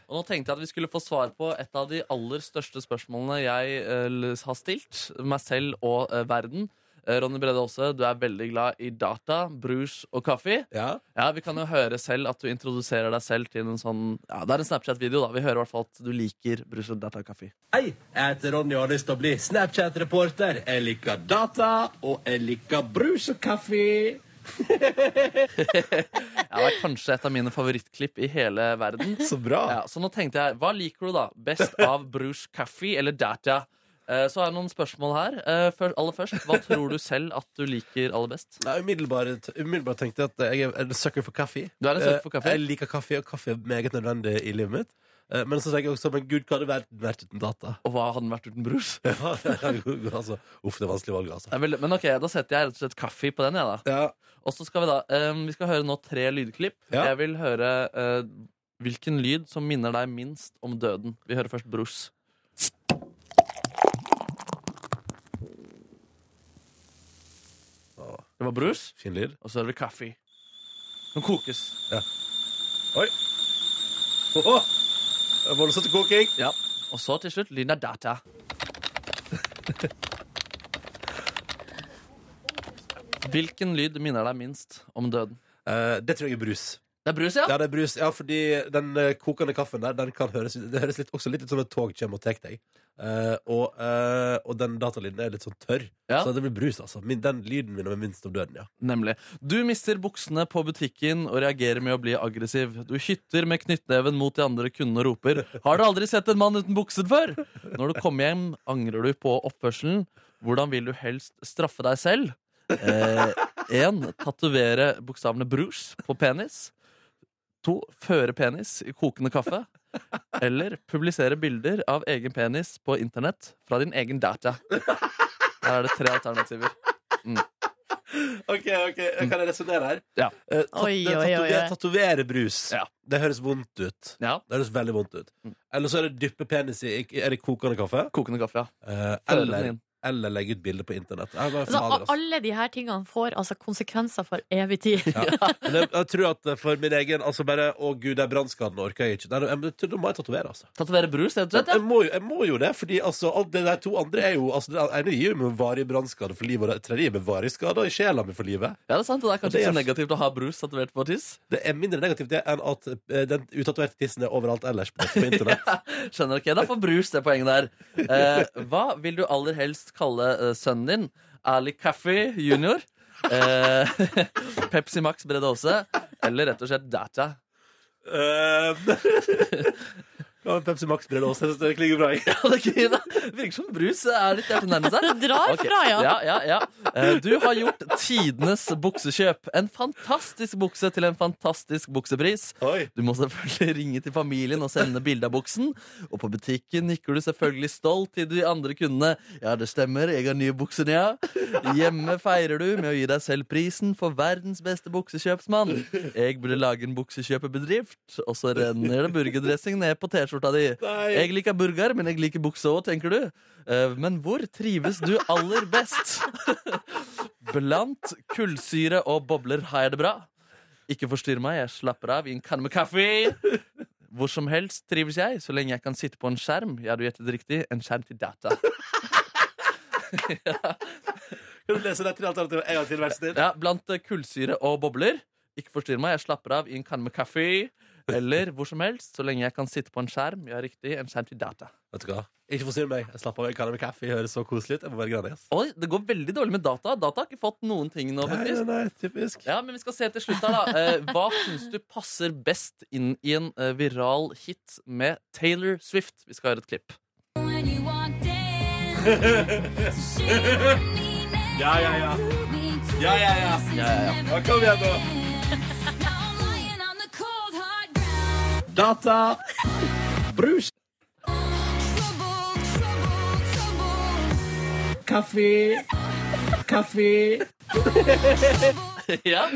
[SPEAKER 3] Og nå tenkte jeg at vi skulle få svar på et av de aller største spørsmålene jeg eh, l- har stilt, meg selv og eh, verden. Eh, Ronny Brede Aase, du er veldig glad i data, brus og kaffe.
[SPEAKER 2] Ja.
[SPEAKER 3] Ja, Vi kan jo høre selv at du introduserer deg selv til en sånn Ja, Det er en Snapchat-video, da. Vi hører i hvert fall at du liker brus og data og kaffe.
[SPEAKER 6] Hei, jeg heter Ronny og har lyst til å bli Snapchat-reporter. Jeg liker data, og jeg liker brus og kaffe.
[SPEAKER 3] Ja, Det er kanskje et av mine favorittklipp i hele verden.
[SPEAKER 6] Så bra.
[SPEAKER 3] Ja, så nå tenkte jeg, hva liker du da? Best av brus, kaffe eller data? Eh, Så har jeg noen spørsmål her. Eh, før- Aller først, hva tror du selv at du liker aller best?
[SPEAKER 2] Nei, umiddelbart, umiddelbart tenkte jeg at jeg er en sucker for kaffe.
[SPEAKER 3] Du er en sucker for kaffe?
[SPEAKER 2] Eh, Jeg liker kaffe, og kaffe er meget nødvendig i livet mitt. Eh, Men så tenker jeg også men gud, hva hadde verden vært uten data?
[SPEAKER 3] Og hva hadde den vært uten brus?
[SPEAKER 2] Ja, altså, uff, det er vanskelig valg, altså.
[SPEAKER 3] Det er veldig- Men ok, da setter jeg rett og slett kaffe på den, jeg da.
[SPEAKER 2] Ja,
[SPEAKER 3] Og så skal vi da, eh, vi skal høre nå tre lydklipp.
[SPEAKER 2] Ja.
[SPEAKER 3] Jeg vil høre eh, hvilken lyd som minner deg minst om døden. Vi hører først brus. Det var brus,
[SPEAKER 2] fin lyd.
[SPEAKER 3] og så hører vi kaffe. Den kokes.
[SPEAKER 2] Oi! Åh, åh. Det er Voldsomt koking.
[SPEAKER 3] Ja, og så til slutt lyden av data. Hvilken lyd minner deg minst om døden?
[SPEAKER 2] Eh, det tror jeg er brus.
[SPEAKER 3] Det er brus, ja.
[SPEAKER 2] Ja, det er brus. Ja, fordi den eh, kokende kaffen der, den kan høres, det høres litt, også litt ut som et tog kommer og tar deg. Eh, og, eh, og den datalyden er litt sånn tørr.
[SPEAKER 3] Ja.
[SPEAKER 2] Så det blir brus, altså. Min, den lyden min er minst om døden, ja.
[SPEAKER 3] Nemlig. Du mister buksene på butikken og reagerer med å bli aggressiv. Du hytter med knyttneven mot de andre kundene og roper 'Har du aldri sett en mann uten bukser før?' Når du kommer hjem, angrer du på oppførselen. Hvordan vil du helst straffe deg selv? Eh, en, tatovere bokstavene 'brus' på penis. To, føre penis i kokende kaffe. Eller publisere bilder av egen penis på internett fra din egen data. Der er det tre alternativer.
[SPEAKER 2] Ok, ok, Kan jeg resonnere her?
[SPEAKER 3] Ja.
[SPEAKER 2] Eh, tat-
[SPEAKER 4] Oi, oi, oi, oi.
[SPEAKER 2] tatover- Tatovere brus. Mm.
[SPEAKER 3] Ja.
[SPEAKER 2] Det høres vondt ut.
[SPEAKER 3] Ja,
[SPEAKER 2] Det høres veldig vondt ut. Eller så er det dyppe penis i Er det kokende kaffe?
[SPEAKER 3] Kokende kaffe, ja.
[SPEAKER 2] Eh,
[SPEAKER 3] Føre den
[SPEAKER 2] eller,
[SPEAKER 3] inn.
[SPEAKER 2] eller legge ut bilde på internett. Jeg, bare,
[SPEAKER 4] Altså,
[SPEAKER 2] fader,
[SPEAKER 4] a-
[SPEAKER 2] altså.
[SPEAKER 4] alle de her tingene får altså konsekvenser for evig tid.
[SPEAKER 2] Ja. Men jeg, jeg tror at eh, for min egen Altså bare Å, gud, den brannskaden orker jeg ikke. Nei, jeg, jeg, tror- da må jeg tatovere, altså.
[SPEAKER 3] Tatovere brus, rett og slett.
[SPEAKER 2] Jeg må, jo, jeg må jo det, fordi altså, alt det der to andre er jo altså, Det ene gir jo meg varig brannskade for livet, og det tredje gir meg varig skade i sjela mi for livet.
[SPEAKER 3] Ja, det er sant, og det er kanskje
[SPEAKER 2] Det er-
[SPEAKER 3] ikke så negativt å ha brus tatovert på tiss.
[SPEAKER 2] Det er mindre negativt det enn at eh, den utatoverte tissen er overalt ellers på, på internett.
[SPEAKER 3] Skjønner ikke, da får brus det poenget der. Eh, hva vil du aller helst kalle eh, sønnen din? Ali Kaffi junior? Eh, Pepsi Max Brede Aase? Eller rett og slett Data?
[SPEAKER 2] Ja, Eh, Pepsi Max-brille også, så det klinger bra.
[SPEAKER 3] Ja, det er gøy, da. Virker som brus er litt hjertet nærmest der.
[SPEAKER 4] Det drar
[SPEAKER 3] Ok.
[SPEAKER 4] fra, ja.
[SPEAKER 3] Ja, ja, ja. Eh, Du har gjort tidenes buksekjøp. En fantastisk bukse til en fantastisk buksepris.
[SPEAKER 2] Oi.
[SPEAKER 3] Du må selvfølgelig ringe til familien og sende bilde av buksen. Og på butikken nikker du selvfølgelig stolt til de andre kundene. Ja, det stemmer, jeg har nye bukser, ja. Hjemme feirer du med å gi deg selv prisen for verdens beste buksekjøpsmann. Jeg burde lage en buksekjøpebedrift, og så renner det burgerdressing ned på T-skjorta di. Jeg liker burger, men jeg liker bukse òg, tenker du. Eh, Men hvor trives du aller best? Blant kullsyre og bobler har jeg det bra. Ikke forstyrr meg, jeg slapper av i en kanne med kaffe. Hvor som helst trives jeg, så lenge jeg kan sitte på en skjerm. Ja, du gjettet riktig. En skjerm til data.
[SPEAKER 2] Kan du lese de tre alternativene en gang til, vær så snill?
[SPEAKER 3] Ja, Blant eh, kullsyre og bobler. Ikke forstyrr meg, jeg slapper av i en kanne med kaffe. Eller hvor som helst, så lenge jeg kan sitte på en skjerm. Ja, riktig. En skjerm til data.
[SPEAKER 2] Vet du hva? Ikke forstyrr meg. Jeg slapper av. Jeg kan ha med kaffe. Jeg høres så koselig ut. Jeg må være grann, ass.
[SPEAKER 3] Oi, det går veldig dårlig med data. Data har ikke fått noen ting nå,
[SPEAKER 2] Nei,
[SPEAKER 3] faktisk.
[SPEAKER 2] nei, nei, typisk.
[SPEAKER 3] Ja, men vi skal se til slutt her, da. Eh, Hva syns du passer best inn i en eh, viral hit med Taylor Swift? Vi skal høre et klipp.
[SPEAKER 7] When you walked in, she had me naked.
[SPEAKER 6] Ja, ja, ja.
[SPEAKER 7] Threw me to
[SPEAKER 6] Ja, ja, ja.
[SPEAKER 7] pieces
[SPEAKER 3] Ja, ja, ja.
[SPEAKER 7] and
[SPEAKER 6] Ja, kom igjen, da.
[SPEAKER 7] everything. Now I'm lying on the cold, hard ground.
[SPEAKER 6] Data, brus,
[SPEAKER 7] Trouble, trouble, trouble.
[SPEAKER 6] kaffe, kaffe.
[SPEAKER 3] Ja,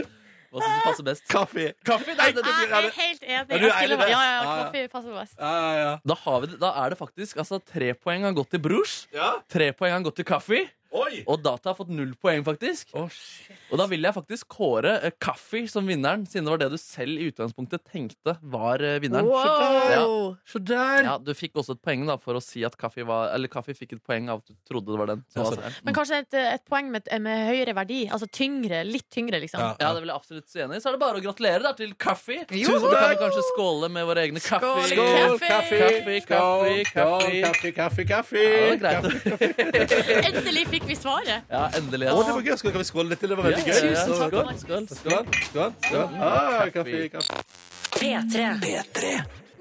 [SPEAKER 3] Hva syns du passer best?
[SPEAKER 2] Kaffe!
[SPEAKER 3] Kaffe? Nei, det,
[SPEAKER 4] Jeg er helt enig.
[SPEAKER 2] Er du
[SPEAKER 4] Jeg stiller
[SPEAKER 2] ærlig
[SPEAKER 4] meg.
[SPEAKER 2] der?
[SPEAKER 4] Ja, ja,
[SPEAKER 2] Ja, ja.
[SPEAKER 4] kaffe passer best.
[SPEAKER 2] Ja, ja, ja.
[SPEAKER 3] da, har vi det, da er det faktisk altså, tre poeng har gått til brors.
[SPEAKER 2] Ja.
[SPEAKER 3] Tre poeng har gått til kaffe.
[SPEAKER 2] Oi!
[SPEAKER 3] Og data har fått null poeng, faktisk. Og da vil jeg faktisk kåre eh, kaffe som vinneren, siden det var det du selv i utgangspunktet tenkte var eh, vinneren. Ja.
[SPEAKER 4] Wow.
[SPEAKER 2] Så der!
[SPEAKER 3] Ja, Du fikk også et poeng da for å si at kaffe, var, eller kaffe fikk et poeng av at du trodde det var den.
[SPEAKER 2] Ja,
[SPEAKER 3] som var
[SPEAKER 2] sånn.
[SPEAKER 3] seieren.
[SPEAKER 4] Men kanskje et, et poeng med, med høyere verdi. Altså tyngre. Litt tyngre, liksom.
[SPEAKER 2] Ja.
[SPEAKER 3] Ja, det vil jeg absolutt si enig i. Så er det bare å gratulere da, til kaffe.
[SPEAKER 4] Jo!
[SPEAKER 3] Så kan vi kanskje skåle med våre egne kaffe.
[SPEAKER 4] Skål,
[SPEAKER 2] Skål,
[SPEAKER 4] Kaffe!
[SPEAKER 2] kaffe!
[SPEAKER 3] Kaffe, kaffe,
[SPEAKER 2] Skål,
[SPEAKER 3] kaffe.
[SPEAKER 2] kaffe, kaffe, kaffe!
[SPEAKER 3] Ja, det var greit.
[SPEAKER 4] Endelig fikk vi svaret!
[SPEAKER 3] Ja, endelig.
[SPEAKER 2] Å, det
[SPEAKER 3] Altså.
[SPEAKER 2] var gøy! Skal kan vi skåle litt til? Det var veldig
[SPEAKER 3] Ja,
[SPEAKER 2] gøy.
[SPEAKER 3] ja,
[SPEAKER 2] Så-
[SPEAKER 3] ja.
[SPEAKER 2] Skål,
[SPEAKER 3] Skål, skål, skål.
[SPEAKER 2] skål, skål. skål. Ah, kaffe, kaffe.
[SPEAKER 1] P3.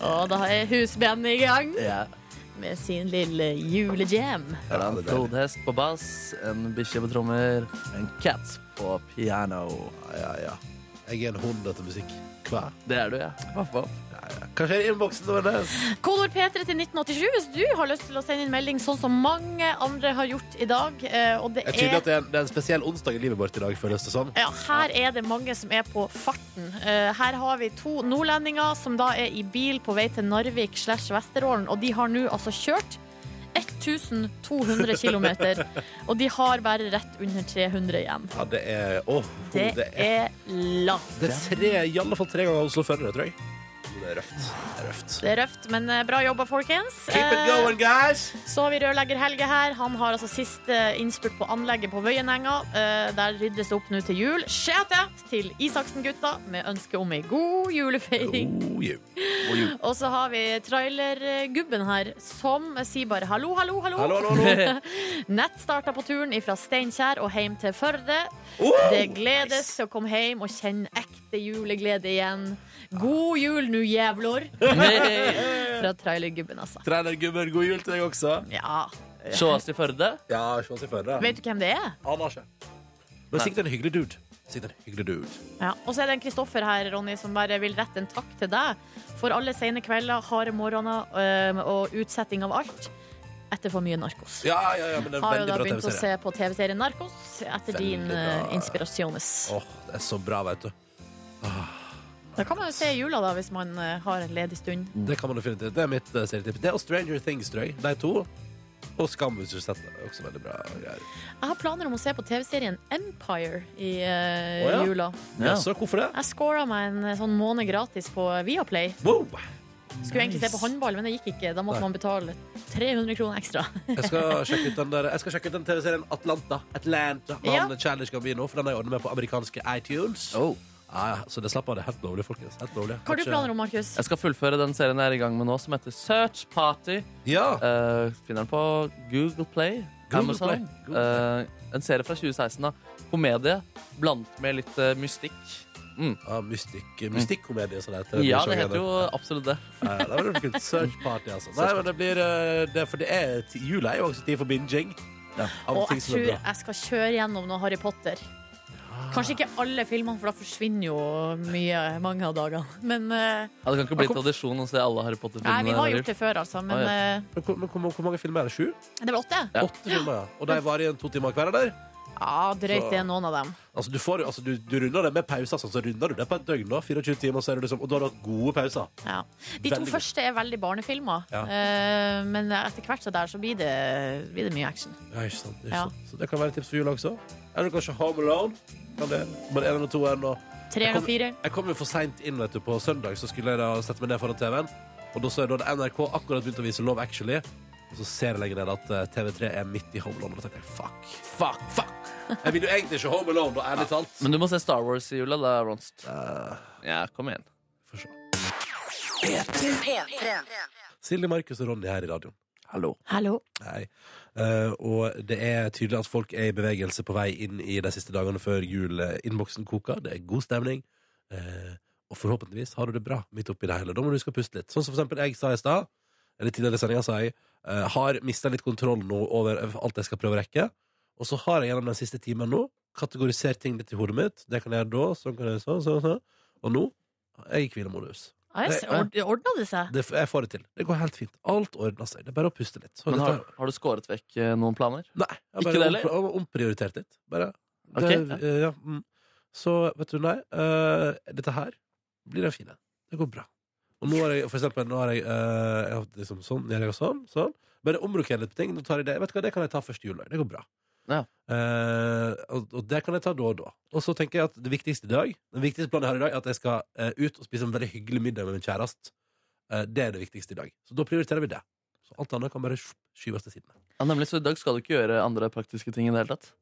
[SPEAKER 4] Og da er husbandet i gang
[SPEAKER 3] Ja.
[SPEAKER 4] med sin lille julejam.
[SPEAKER 3] Det er en flodhest på bass, en bikkje på trommer, en cat på piano.
[SPEAKER 2] Ja, ja. Jeg er en hund etter musikk. Hva?
[SPEAKER 3] Det er du, ja. Vaff, vaff.
[SPEAKER 2] Hva skjer i innboksen? Nordnes?
[SPEAKER 4] Kodord P3 til 1987 hvis du har lyst til å sende inn melding, sånn som mange andre har gjort i dag. eh, Og det
[SPEAKER 2] Det er tydelig
[SPEAKER 4] er
[SPEAKER 2] at det er, en, det er en spesiell onsdag i livet vårt i dag, føles det som.
[SPEAKER 4] ja, her er det mange som er på farten. Eh, Her har vi to nordlendinger som da er i bil på vei til Narvik slash Vesterålen, og de har nå altså kjørt 1200 km. Og de har bare rett under 300 igjen.
[SPEAKER 2] Ja, det er Åh,
[SPEAKER 4] Det
[SPEAKER 2] det er
[SPEAKER 4] er langt.
[SPEAKER 2] Det er tre, i alle fall tre ganger Oslo Førre, tror jeg. Det er røft. Det er røft.
[SPEAKER 4] Det er røft, men eh, bra jobba, folkens.
[SPEAKER 2] Keep it
[SPEAKER 4] Eh,
[SPEAKER 2] going, guys!
[SPEAKER 4] Så har vi rørlegger Helge her. Han har altså siste innspurt på anlegget på Vøyenenga. Eh, Der ryddes det opp nå til jul. Shout out til Isaksen-gutta med ønske om ei god julefeiring.
[SPEAKER 2] Oh, you.
[SPEAKER 4] Og så har vi trailergubben her som sier bare hallo, hallo, hallo.
[SPEAKER 2] Hallo, hallo, hallo.
[SPEAKER 4] Nett starta på turen fra Steinkjer og hjem til Førde.
[SPEAKER 2] Oh!
[SPEAKER 4] Det gledes til å komme hjem og kjenne ekte juleglede igjen. God jul nu, jævlor!
[SPEAKER 3] Hey.
[SPEAKER 4] Fra trailergubben, altså.
[SPEAKER 2] Trenergubber, god jul til deg også.
[SPEAKER 4] Ja.
[SPEAKER 3] Sjås i Førde.
[SPEAKER 2] Ja, se oss i Førre.
[SPEAKER 4] Vet du hvem det er?
[SPEAKER 2] Aner ikke. Men sikkert en hyggelig dude. Sikkert en hyggelig dude.
[SPEAKER 4] Ja, og så er det en Kristoffer her, Ronny, som bare vil rette en takk til deg for alle sene kvelder, harde morgener øhm, og utsetting av alt etter for mye narkos.
[SPEAKER 2] Ja, ja, ja, men det er
[SPEAKER 4] Har jo
[SPEAKER 2] veldig
[SPEAKER 4] da
[SPEAKER 2] bra
[SPEAKER 4] begynt å se
[SPEAKER 2] TV-serie.
[SPEAKER 4] på TV-serien Narkos etter
[SPEAKER 2] Veldig
[SPEAKER 4] din uh,
[SPEAKER 2] bra.
[SPEAKER 4] inspirasjones.
[SPEAKER 2] Åh, det er så bra, vet du.
[SPEAKER 4] Da kan man jo se i jula, da, hvis man øh, har en ledig stund.
[SPEAKER 2] Det kan man definitivt. Det er mitt eh, serietips. Det og Stranger Things, tror jeg. De to. Og Skam, hvis du har sett det. Det er Også veldig bra greier.
[SPEAKER 4] Jeg har planer om å se på TV-serien Empire i øh,
[SPEAKER 2] Å, ja.
[SPEAKER 4] jula.
[SPEAKER 2] Ja. så hvorfor det?
[SPEAKER 4] Jeg scora meg en øh, sånn måned gratis på Viaplay.
[SPEAKER 2] Wow!
[SPEAKER 4] Skulle egentlig se på håndball, men det gikk ikke. Da måtte
[SPEAKER 2] Nei.
[SPEAKER 4] man betale 300 kroner ekstra.
[SPEAKER 2] Jeg skal sjekke ut den der Jeg skal sjekke ut den TV-serien Atlanta. Atlanta med
[SPEAKER 4] Ja.
[SPEAKER 2] han Challenge Gambino, for den har jeg ordnet med på amerikanske iTunes.
[SPEAKER 3] Oh.
[SPEAKER 2] Ja, ja, så det slapp av. Det er helt lovlig, folkens. Helt lovlig.
[SPEAKER 4] Hva har du planer om, Markus?
[SPEAKER 3] Jeg skal fullføre den serien jeg er i gang med nå, som heter Search Party.
[SPEAKER 2] Ja.
[SPEAKER 3] Eh, finner den på Google Play.
[SPEAKER 2] Google
[SPEAKER 3] Amazon.
[SPEAKER 2] Play, Google
[SPEAKER 3] Eh, en serie fra 2016. da Komedie blandet med litt eh, mystikk.
[SPEAKER 2] ja mystikk, mystikkomedie, som det heter.
[SPEAKER 3] Ja, det heter jo absolutt det.
[SPEAKER 2] Ja, ja, det var kult. Search party, altså. Nei, men det blir eh, det, For det er ti- jula er jo også tid for binging. Av
[SPEAKER 4] Og
[SPEAKER 2] ting
[SPEAKER 4] jeg
[SPEAKER 2] som
[SPEAKER 4] tror
[SPEAKER 2] er bra.
[SPEAKER 4] jeg skal kjøre gjennom noe Harry Potter. Kanskje ikke alle filmene, for da forsvinner jo mye mange av dagene. Men eh,
[SPEAKER 3] Ja, det kan ikke bli tradisjon å se alle Harry Potter-filmene.
[SPEAKER 4] nei, vi har
[SPEAKER 3] eller?
[SPEAKER 4] gjort det før, altså. Men
[SPEAKER 3] Ah,
[SPEAKER 4] eh,
[SPEAKER 2] Men hvor, men hvor, hvor mange filmer er det? Sju?
[SPEAKER 4] det var åtte.
[SPEAKER 3] Ja.
[SPEAKER 2] Åtte filmer, ja. Og de varer igjen to timer hver? eller?
[SPEAKER 4] Ja, drøyt det er noen av dem.
[SPEAKER 2] Altså, du, får, jo- altså, du, du runder det med pauser, sånn, så runder du det på et døgn. nå, 24 timer, så er det liksom, Og da har du hatt gode pauser.
[SPEAKER 4] Ja. De to
[SPEAKER 2] Veldig godt.
[SPEAKER 4] første er veldig barnefilmer,
[SPEAKER 2] Ja.
[SPEAKER 4] Eh, men etter hvert så der så blir det, blir det mye action.
[SPEAKER 2] Ja, ikke sant, ikke
[SPEAKER 4] Ja.
[SPEAKER 2] sant. Så det kan være et tips for jula også. Eller kanskje Home Alone. Kan det, Både en eller to en, og
[SPEAKER 4] Tre
[SPEAKER 2] Jeg
[SPEAKER 4] eller
[SPEAKER 2] kom-
[SPEAKER 4] fire.
[SPEAKER 2] Jeg kom jo for seint inn vet du, på søndag, så skulle jeg da sette meg ned foran TV-en. Og da så jeg da hadde NRK akkurat begynt å vise Love Actually. Og så ser jeg lenger ned at eh, TV3 er midt i Home Alone. Og da tenker jeg fuck, fuck, fuck. Jeg vil jo egentlig ikke Home Alone, da, ærlig talt.
[SPEAKER 3] Men du må se Star Wars i jula, da, Ronst. Ja, kom igjen.
[SPEAKER 2] Får se.
[SPEAKER 1] P3.
[SPEAKER 2] Silje, Markus og Ronny her i radioen.
[SPEAKER 3] Hallo.
[SPEAKER 4] Hallo.
[SPEAKER 2] Nei. Eh, og det er tydelig at folk er i bevegelse på vei inn i de siste dagene før jul. Eh, Innboksen koker, det er god stemning. Eh, og forhåpentligvis har du det bra midt oppi det hele. Da må du huske å puste litt. Sånn som for eksempel jeg sa i stad, eller tidligere i sendinga sa jeg, eh, har mista litt kontroll nå over alt jeg skal prøve å rekke. Og så har jeg gjennom den siste timen nå kategorisert ting litt i hodet mitt. Det kan jeg gjøre da, sånn kan jeg gjøre sånn, sånn, sånn. Og nå Jeg er i hvilemodus.
[SPEAKER 4] Ja, jeg ser- ord- Ordna det seg?
[SPEAKER 2] Det, jeg får det til. Det går helt fint. Alt ordner seg. Det er bare å puste litt. Sånn Så
[SPEAKER 3] Men
[SPEAKER 2] dette-
[SPEAKER 3] har, har du skåret vekk eh, noen planer?
[SPEAKER 2] Nei, jeg
[SPEAKER 3] Ikke
[SPEAKER 2] bare
[SPEAKER 3] det heller?
[SPEAKER 2] om- om- omprioritert litt. Bare. Det,
[SPEAKER 3] Ok,
[SPEAKER 2] eh, ja, mm. Så vet du, nei. eh, dette her blir en fin en. Det går bra. Og nå har jeg for eksempel nå har jeg, eh, jeg har hatt liksom sånn, jeg har sånn, sånn. Bare omrokere litt på ting. Nå tar jeg det. Vet du hva, det kan jeg ta første juledag. Det går bra.
[SPEAKER 3] Ja.
[SPEAKER 2] Eh, og, og det kan jeg ta da og da. Og så tenker jeg at det viktigste i dag Den viktigste planen jeg har i dag, er at jeg skal eh, ut og spise en veldig hyggelig middag med min kjæreste. Eh, det er det viktigste i dag. Så da prioriterer vi det. Så alt annet kan bare skyves til siden.
[SPEAKER 3] Ja, nemlig, så i dag skal du ikke gjøre andre praktiske ting i det hele tatt?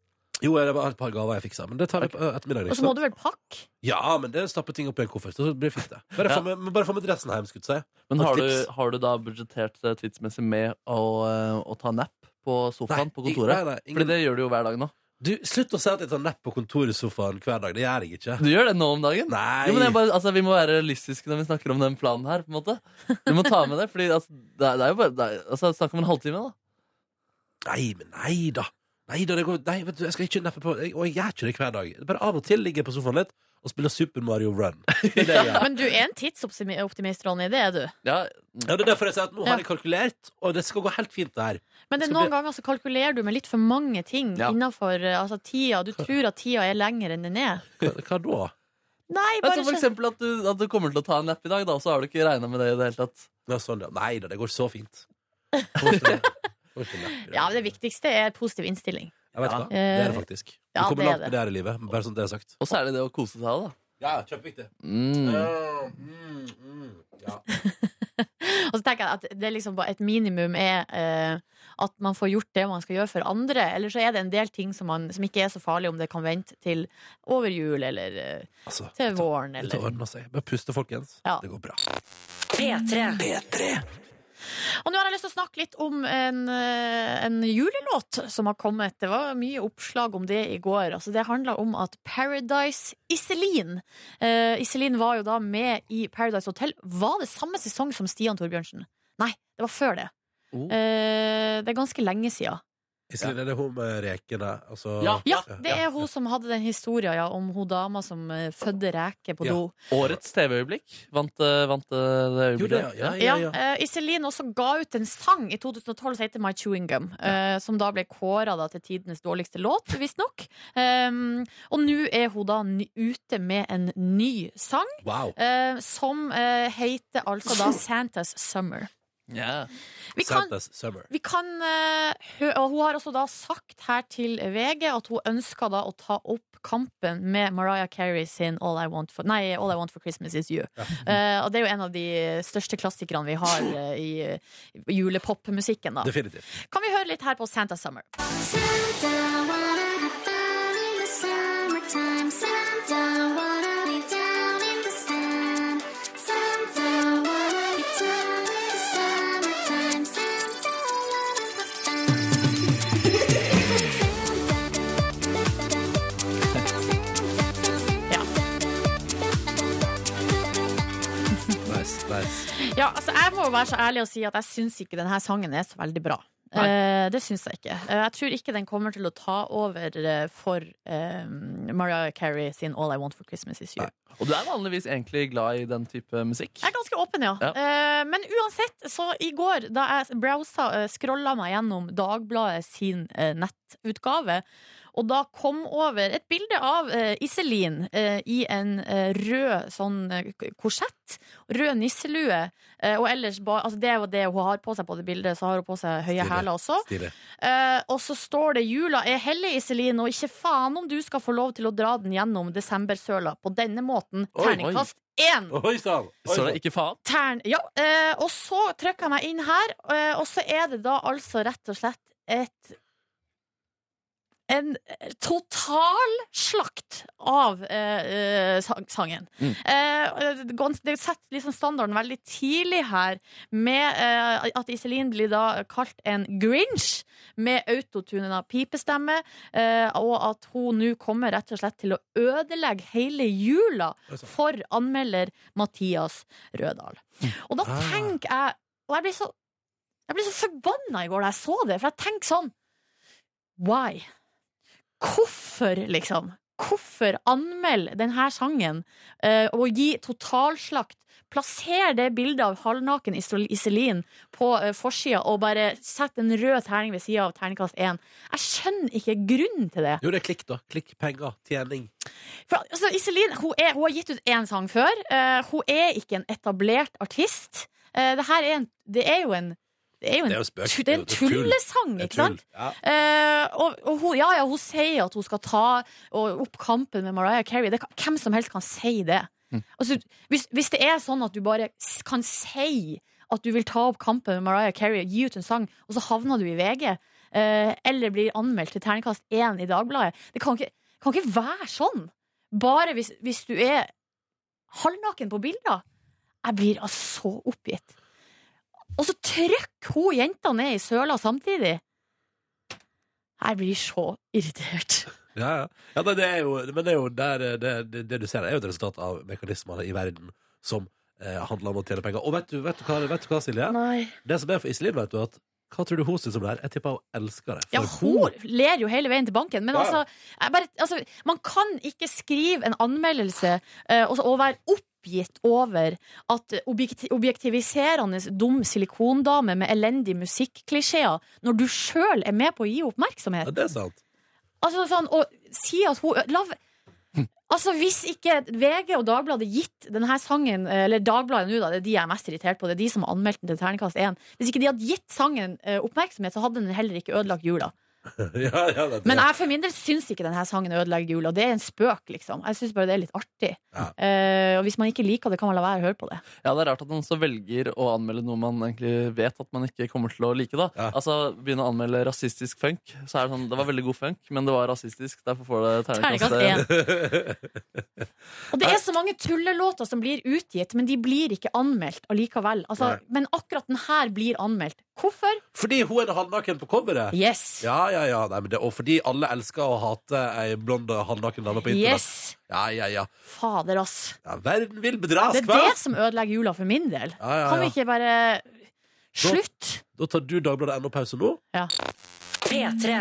[SPEAKER 2] Jo, det var et par gaver jeg fiksa, men det tar jeg på eh, ettermiddagen.
[SPEAKER 4] Og
[SPEAKER 2] ikke
[SPEAKER 4] så må
[SPEAKER 2] sant?
[SPEAKER 4] du vel pakke?
[SPEAKER 2] liksom. Ja, men det stapper ting opp i en koffert, så blir det fint, det. Bare
[SPEAKER 3] Ja.
[SPEAKER 2] få med, men bare få med dressen hjem, skulle jeg si.
[SPEAKER 3] Men
[SPEAKER 2] Og
[SPEAKER 3] har du,
[SPEAKER 2] tips.
[SPEAKER 3] har du da budsjettert det tidsmessig med å, eh, å ta napp på sofaen på
[SPEAKER 2] Nei,
[SPEAKER 3] kontoret?
[SPEAKER 2] nei, ingen...
[SPEAKER 3] Fordi det gjør du jo hver dag nå.
[SPEAKER 2] Du, slutt å si at jeg tar nepp på kontorsofaen hver dag. Det gjør jeg ikke.
[SPEAKER 3] Du gjør det nå om dagen?
[SPEAKER 2] Nei!
[SPEAKER 3] Jo, men jeg bare, altså, vi må være realistiske når vi snakker om den planen her. på en måte Du må ta med det. Fordi altså, det, er, det er jo bare det er, altså, Snakk om en halvtime, da.
[SPEAKER 2] Nei, men nei da. Nei da, det går Nei, vet du, jeg skal ikke neppe på jeg, Og jeg gjør ikke det hver dag. Bare av og til ligger jeg på sofaen litt og spiller Super Mario Run. Det er det jeg gjør.
[SPEAKER 4] Men du er en tidsoptimist, Ronny. Det er du.
[SPEAKER 3] Ja,
[SPEAKER 2] Ja, det er derfor jeg sier at nå har jeg kalkulert, og det skal gå helt fint, det her.
[SPEAKER 4] Men det er
[SPEAKER 2] Så
[SPEAKER 4] noen
[SPEAKER 2] blir-
[SPEAKER 4] ganger så kalkulerer du med litt for mange ting
[SPEAKER 3] Ja.
[SPEAKER 4] innenfor eh, altså, tida. Du tror at tida er lenger enn den er.
[SPEAKER 2] Hva, hva da?
[SPEAKER 4] Nei,
[SPEAKER 3] Ja,
[SPEAKER 4] bare
[SPEAKER 3] så Altså, for
[SPEAKER 4] skjønner.
[SPEAKER 3] eksempel at du, at du kommer til å ta en napp i dag, da, og så har du ikke regna med det i det hele tatt.
[SPEAKER 2] Ja, sånn, ja. Nei da, det går så fint. Får ikke nepp i dag.
[SPEAKER 4] Ja, men det viktigste er positiv innstilling.
[SPEAKER 2] Jeg vet
[SPEAKER 3] Ja.
[SPEAKER 2] hva, det er det faktisk. Du
[SPEAKER 4] Eh, Ja,
[SPEAKER 2] kommer
[SPEAKER 4] det er
[SPEAKER 2] langt med det her i livet. Bare sånn det er sagt.
[SPEAKER 3] Og så er det det å kose seg, da.
[SPEAKER 2] Ja, kjempeviktig.
[SPEAKER 3] Mm.
[SPEAKER 4] Mm, Og så tenker jeg at det er liksom bare et minimum er eh, at man får gjort det man skal gjøre for andre. Eller så er det en del ting som, man, som ikke er så farlig om det kan vente til over jul eller eh,
[SPEAKER 2] Altså,
[SPEAKER 4] til våren.
[SPEAKER 2] dette
[SPEAKER 4] Eller.
[SPEAKER 2] ordner seg. altså? Bare puste, folkens.
[SPEAKER 4] Ja.
[SPEAKER 2] Det går bra.
[SPEAKER 1] P3.
[SPEAKER 4] Og nå har jeg lyst til å snakke litt om en, eh, en julelåt som har kommet. Det var mye oppslag om det i går. Altså, det handla om at Paradise Iselin eh, Iselin var jo da med i Paradise Hotel. Var det samme sesong som Stian Torbjørnsen? Nei, det var før det.
[SPEAKER 3] Oh.
[SPEAKER 4] Eh, det er ganske lenge sia.
[SPEAKER 2] Iselin, er det hun med rekene? Altså,
[SPEAKER 3] Ja.
[SPEAKER 4] Ja, det er hun som hadde den historien ja, om hun dama som eh, fødde reker på
[SPEAKER 2] Ja.
[SPEAKER 4] do.
[SPEAKER 3] Årets TV-øyeblikk vant, eh, vant eh, det
[SPEAKER 2] Jo, det,
[SPEAKER 3] øyeblikket.
[SPEAKER 2] ja, ja,
[SPEAKER 4] Ja,
[SPEAKER 2] ja, ja.
[SPEAKER 4] eh, Iselin også ga ut en sang i 2012 som heter My Chewing Gum, eh, som da ble kåra til tidenes dårligste låt, visstnok. Um, og nå er hun da ny- ute med en ny sang,
[SPEAKER 2] Wow.
[SPEAKER 4] eh, som eh, heter altså da Santas Summer.
[SPEAKER 3] Ja.
[SPEAKER 4] Vi kan,
[SPEAKER 2] Santas Summer.
[SPEAKER 4] vi kan eh, hø og Hun har også da sagt her til VG at hun ønsker da å ta opp kampen med Mariah Carey sin All I Want for, nei, All I Want for Christmas Is You. Eh, og det er jo en av de største klassikerne vi har eh, i eh, julepopmusikken. da.
[SPEAKER 2] Definitivt.
[SPEAKER 4] Kan vi høre litt her på Santa Summer?
[SPEAKER 7] Santa, wanna have fun in the summertime. Santa, wanna be down in the sand. Santa, wanna be down in the summertime. Santa, wanna have fun.
[SPEAKER 2] Nice, nice.
[SPEAKER 4] Ja, altså Jeg må jo være så ærlig og si at jeg syns ikke denne sangen er så veldig bra. Eh, det syns jeg ikke. Eh, jeg tror ikke den kommer til å ta over eh, for eh, Mariah Carey sin All I Want for Christmas Is You.
[SPEAKER 3] Og du er vanligvis egentlig glad i den type musikk?
[SPEAKER 4] Jeg er ganske åpen, ja.
[SPEAKER 3] Ja.
[SPEAKER 4] Eh, men uansett, så i går da jeg browsa, uh, scrolla meg gjennom Dagbladet sin eh, nettutgave, og da kom over et bilde av eh, Iselin eh, i en eh, rød sånn eh, k- korsett, rød nisselue, eh, og ellers ba, altså det er jo det hun har på seg på det bildet, så har hun på seg høye
[SPEAKER 2] Stilig.
[SPEAKER 4] hæler også.
[SPEAKER 2] Stilig.
[SPEAKER 4] Eh, og så står det 'Jula er hellig, Iselin, og ikke faen om du skal få lov til å dra den gjennom desembersøla på denne måten'.
[SPEAKER 3] Oi, oi.
[SPEAKER 4] Terningkast én!
[SPEAKER 2] Oi sann! Oi,
[SPEAKER 3] Så
[SPEAKER 2] sann.
[SPEAKER 3] det er ikke faen?
[SPEAKER 4] Tern, ja, eh, og så trykker jeg meg inn her, eh, og så er det da altså rett og slett et en eh, total slakt av eh, eh, sang- sangen.
[SPEAKER 3] Mm.
[SPEAKER 4] Eh, det går- det setter liksom standarden veldig tidlig her, med eh, at Iselin blir da kalt en grinch, med autotunen av pipestemme, eh, og at hun nå kommer rett og slett til å ødelegge hele jula
[SPEAKER 2] Oi, sann.
[SPEAKER 4] for anmelder Mathias Rødahl. Og da
[SPEAKER 2] Ah.
[SPEAKER 4] tenker jeg Og jeg ble så, jeg ble så forbanna i går da jeg så det, for jeg tenker sånn Why? Hvorfor, liksom? Hvorfor anmeld denne sangen eh, og gi totalslakt? Plasser det bildet av halvnaken Isol- Iselin på uh, forsida og bare sett en rød terning ved sida av terningkast 1. Jeg skjønner ikke grunnen til det.
[SPEAKER 2] Jo, det er klikk, da. Klikk, penger, tjening.
[SPEAKER 4] For, altså, Iselin hun, er, hun har gitt ut én sang før. Eh, hun er ikke en etablert artist. Eh, det her er en Det er jo en det er jo en,
[SPEAKER 2] Det er jo spøk.
[SPEAKER 4] tu- det er en
[SPEAKER 2] Det er jo tull.
[SPEAKER 4] tullesang,
[SPEAKER 2] Det er
[SPEAKER 4] ikke sant?
[SPEAKER 2] tull. Ja.
[SPEAKER 4] Eh, og og hun, ja, ja, hun sier at hun skal ta og, opp kampen med Mariah Carey. Det, kan- hvem som helst kan si det. Altså, hvis, hvis det er sånn at du bare s- kan si at du vil ta opp kampen med Mariah Carey, gi ut en sang, og så havner du i VG, eh, eller blir anmeldt til terningkast 1 i Dagbladet Det kan ikke, kan ikke være sånn! Bare hvis, hvis du er halvnaken på bilder. Jeg blir altså så oppgitt. Og så trykker hun jenta ned i søla samtidig. Jeg blir så irritert.
[SPEAKER 2] Ja, ja. ja nei, det er jo, men det er jo der, eh, det, det, det du ser, er jo et resultat av mekanismene i verden som eh, handler om å tjene penger. Og vet du, vet du, hva, vet du hva, Silje?
[SPEAKER 4] Nei.
[SPEAKER 2] Det som er for Iselin, vet du, at hva tror du hun syns om det her? Jeg tipper hun elsker det.
[SPEAKER 4] Ja,
[SPEAKER 2] For
[SPEAKER 4] hun ler jo hele veien til banken, men
[SPEAKER 2] Ja, ja.
[SPEAKER 4] altså, jeg bare, altså Man kan ikke skrive en anmeldelse eh, og, så- og være oppgitt over at objekti- objektiviserende dum silikondame med elendig musikklisjeer, når du sjøl er med på å gi oppmerksomhet.
[SPEAKER 2] Ja, det er sant.
[SPEAKER 4] Altså sånn, og si at hun la, Altså Hvis ikke VG og Dagbladet gitt denne sangen Eller Dagbladet nå, da, det er de jeg er mest irritert på. Det er de som har anmeldt den til terningkast 1. Hvis ikke de hadde gitt sangen eh, oppmerksomhet, så hadde den heller ikke ødelagt jula.
[SPEAKER 2] ja, ja, det,
[SPEAKER 4] Men jeg for min del syns ikke denne sangen ødelegger jula. Det er en spøk, liksom. Jeg syns bare det er litt artig.
[SPEAKER 2] Ja.
[SPEAKER 4] Eh, og hvis man ikke liker det, kan man la være å høre på det.
[SPEAKER 3] Ja, Det er rart at man også velger å anmelde noe man egentlig vet at man ikke kommer til å like. da
[SPEAKER 2] Ja.
[SPEAKER 3] Altså, Begynne å anmelde rasistisk funk. Så er Det sånn, det var veldig god funk, men det var rasistisk. Derfor får det
[SPEAKER 4] Terningkast
[SPEAKER 3] terningkast
[SPEAKER 4] 1. Og det er så mange tullelåter som blir utgitt, men de blir ikke anmeldt allikevel. Altså,
[SPEAKER 2] Nei.
[SPEAKER 4] men akkurat den her blir anmeldt. Hvorfor?
[SPEAKER 2] Fordi hun er halvnaken på coveret!
[SPEAKER 4] Yes.
[SPEAKER 2] Ja, ja, ja. Nei, men det, og fordi alle elsker å hate ei blond og halvnaken dame på internett.
[SPEAKER 4] yes.
[SPEAKER 2] Ja, ja, ja,
[SPEAKER 4] Fader, ass.
[SPEAKER 2] ja. Verden vil bedras,
[SPEAKER 4] Det er det som ødelegger jula for min del.
[SPEAKER 2] Ja, ja,
[SPEAKER 4] Kan vi
[SPEAKER 2] ja.
[SPEAKER 4] ikke bare Slutt!
[SPEAKER 2] Da tar du Dagbladet NO pause nå.
[SPEAKER 1] P3.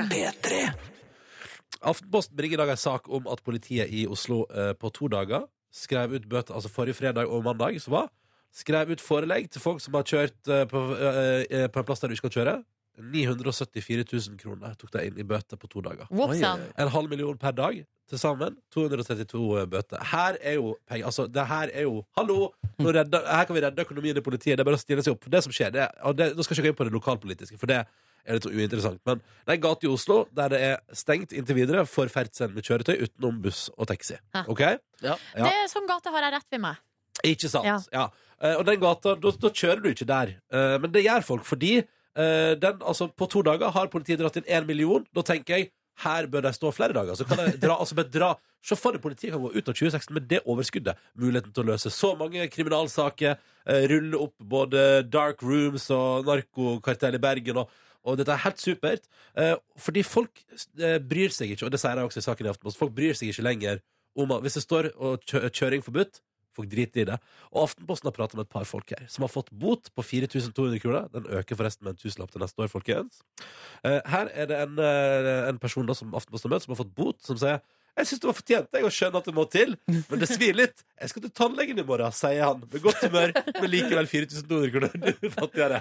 [SPEAKER 2] Aftenposten bringer i dag en sak om at politiet i Oslo eh, på to dager skrev ut bøter, altså forrige fredag og mandag, som var, skrev ut forelegg til folk som har kjørt eh, på, eh, eh, på en plass der du ikke skal kjøre. 974 000 kroner tok de inn i bøter på to dager.
[SPEAKER 4] Whoopsan.
[SPEAKER 2] En halv million per dag, til sammen 232 eh, bøter. Her er jo penger, altså det her er jo, hallo, nå redder, her kan vi redde økonomien i politiet, det er bare å stille seg opp. Det som skjer, det, og det, nå skal jeg ikke gå inn på det lokalpolitiske, for det er litt uinteressant, men det er en gate i Oslo der det er stengt inntil videre for ferdsel med kjøretøy utenom buss og taxi.
[SPEAKER 4] Ja.
[SPEAKER 2] Ok? Ja.
[SPEAKER 4] Det er sånn gate har jeg rett ved meg.
[SPEAKER 2] Ikke sant? Ja.
[SPEAKER 4] Ja.
[SPEAKER 2] Eh, og den gata, da, da kjører du ikke der. Eh, men det gjør folk, fordi eh, den, altså, på to dager har politiet dratt inn én million. Da tenker jeg her bør de stå flere dager. Så kan de dra, altså, bare dra. Se for deg politiet kan gå ut av 2016 med det overskuddet. Muligheten til å løse så mange kriminalsaker. eh, rulle opp både dark rooms og narkokartell i Bergen. og og dette er helt supert, eh, fordi folk eh, bryr seg ikke, og det sier de også i saken i Aftenposten, folk bryr seg ikke lenger om at hvis det står og kjø kjøring forbudt, folk driter i det. Og Aftenposten har pratet med et par folk her, som har fått bot på 4200 kroner. Den øker forresten med en tusenlapp til neste år, folkens. Eh, her er det en, eh, en person da som Aftenposten har møtt, som har fått bot, som sier jeg syns det var fortjent, jeg, og skjønner at det må til, men det svir litt. Jeg skal til tannlegen i morgen, sier han med godt humør, men likevel 4200 kroner fattigere.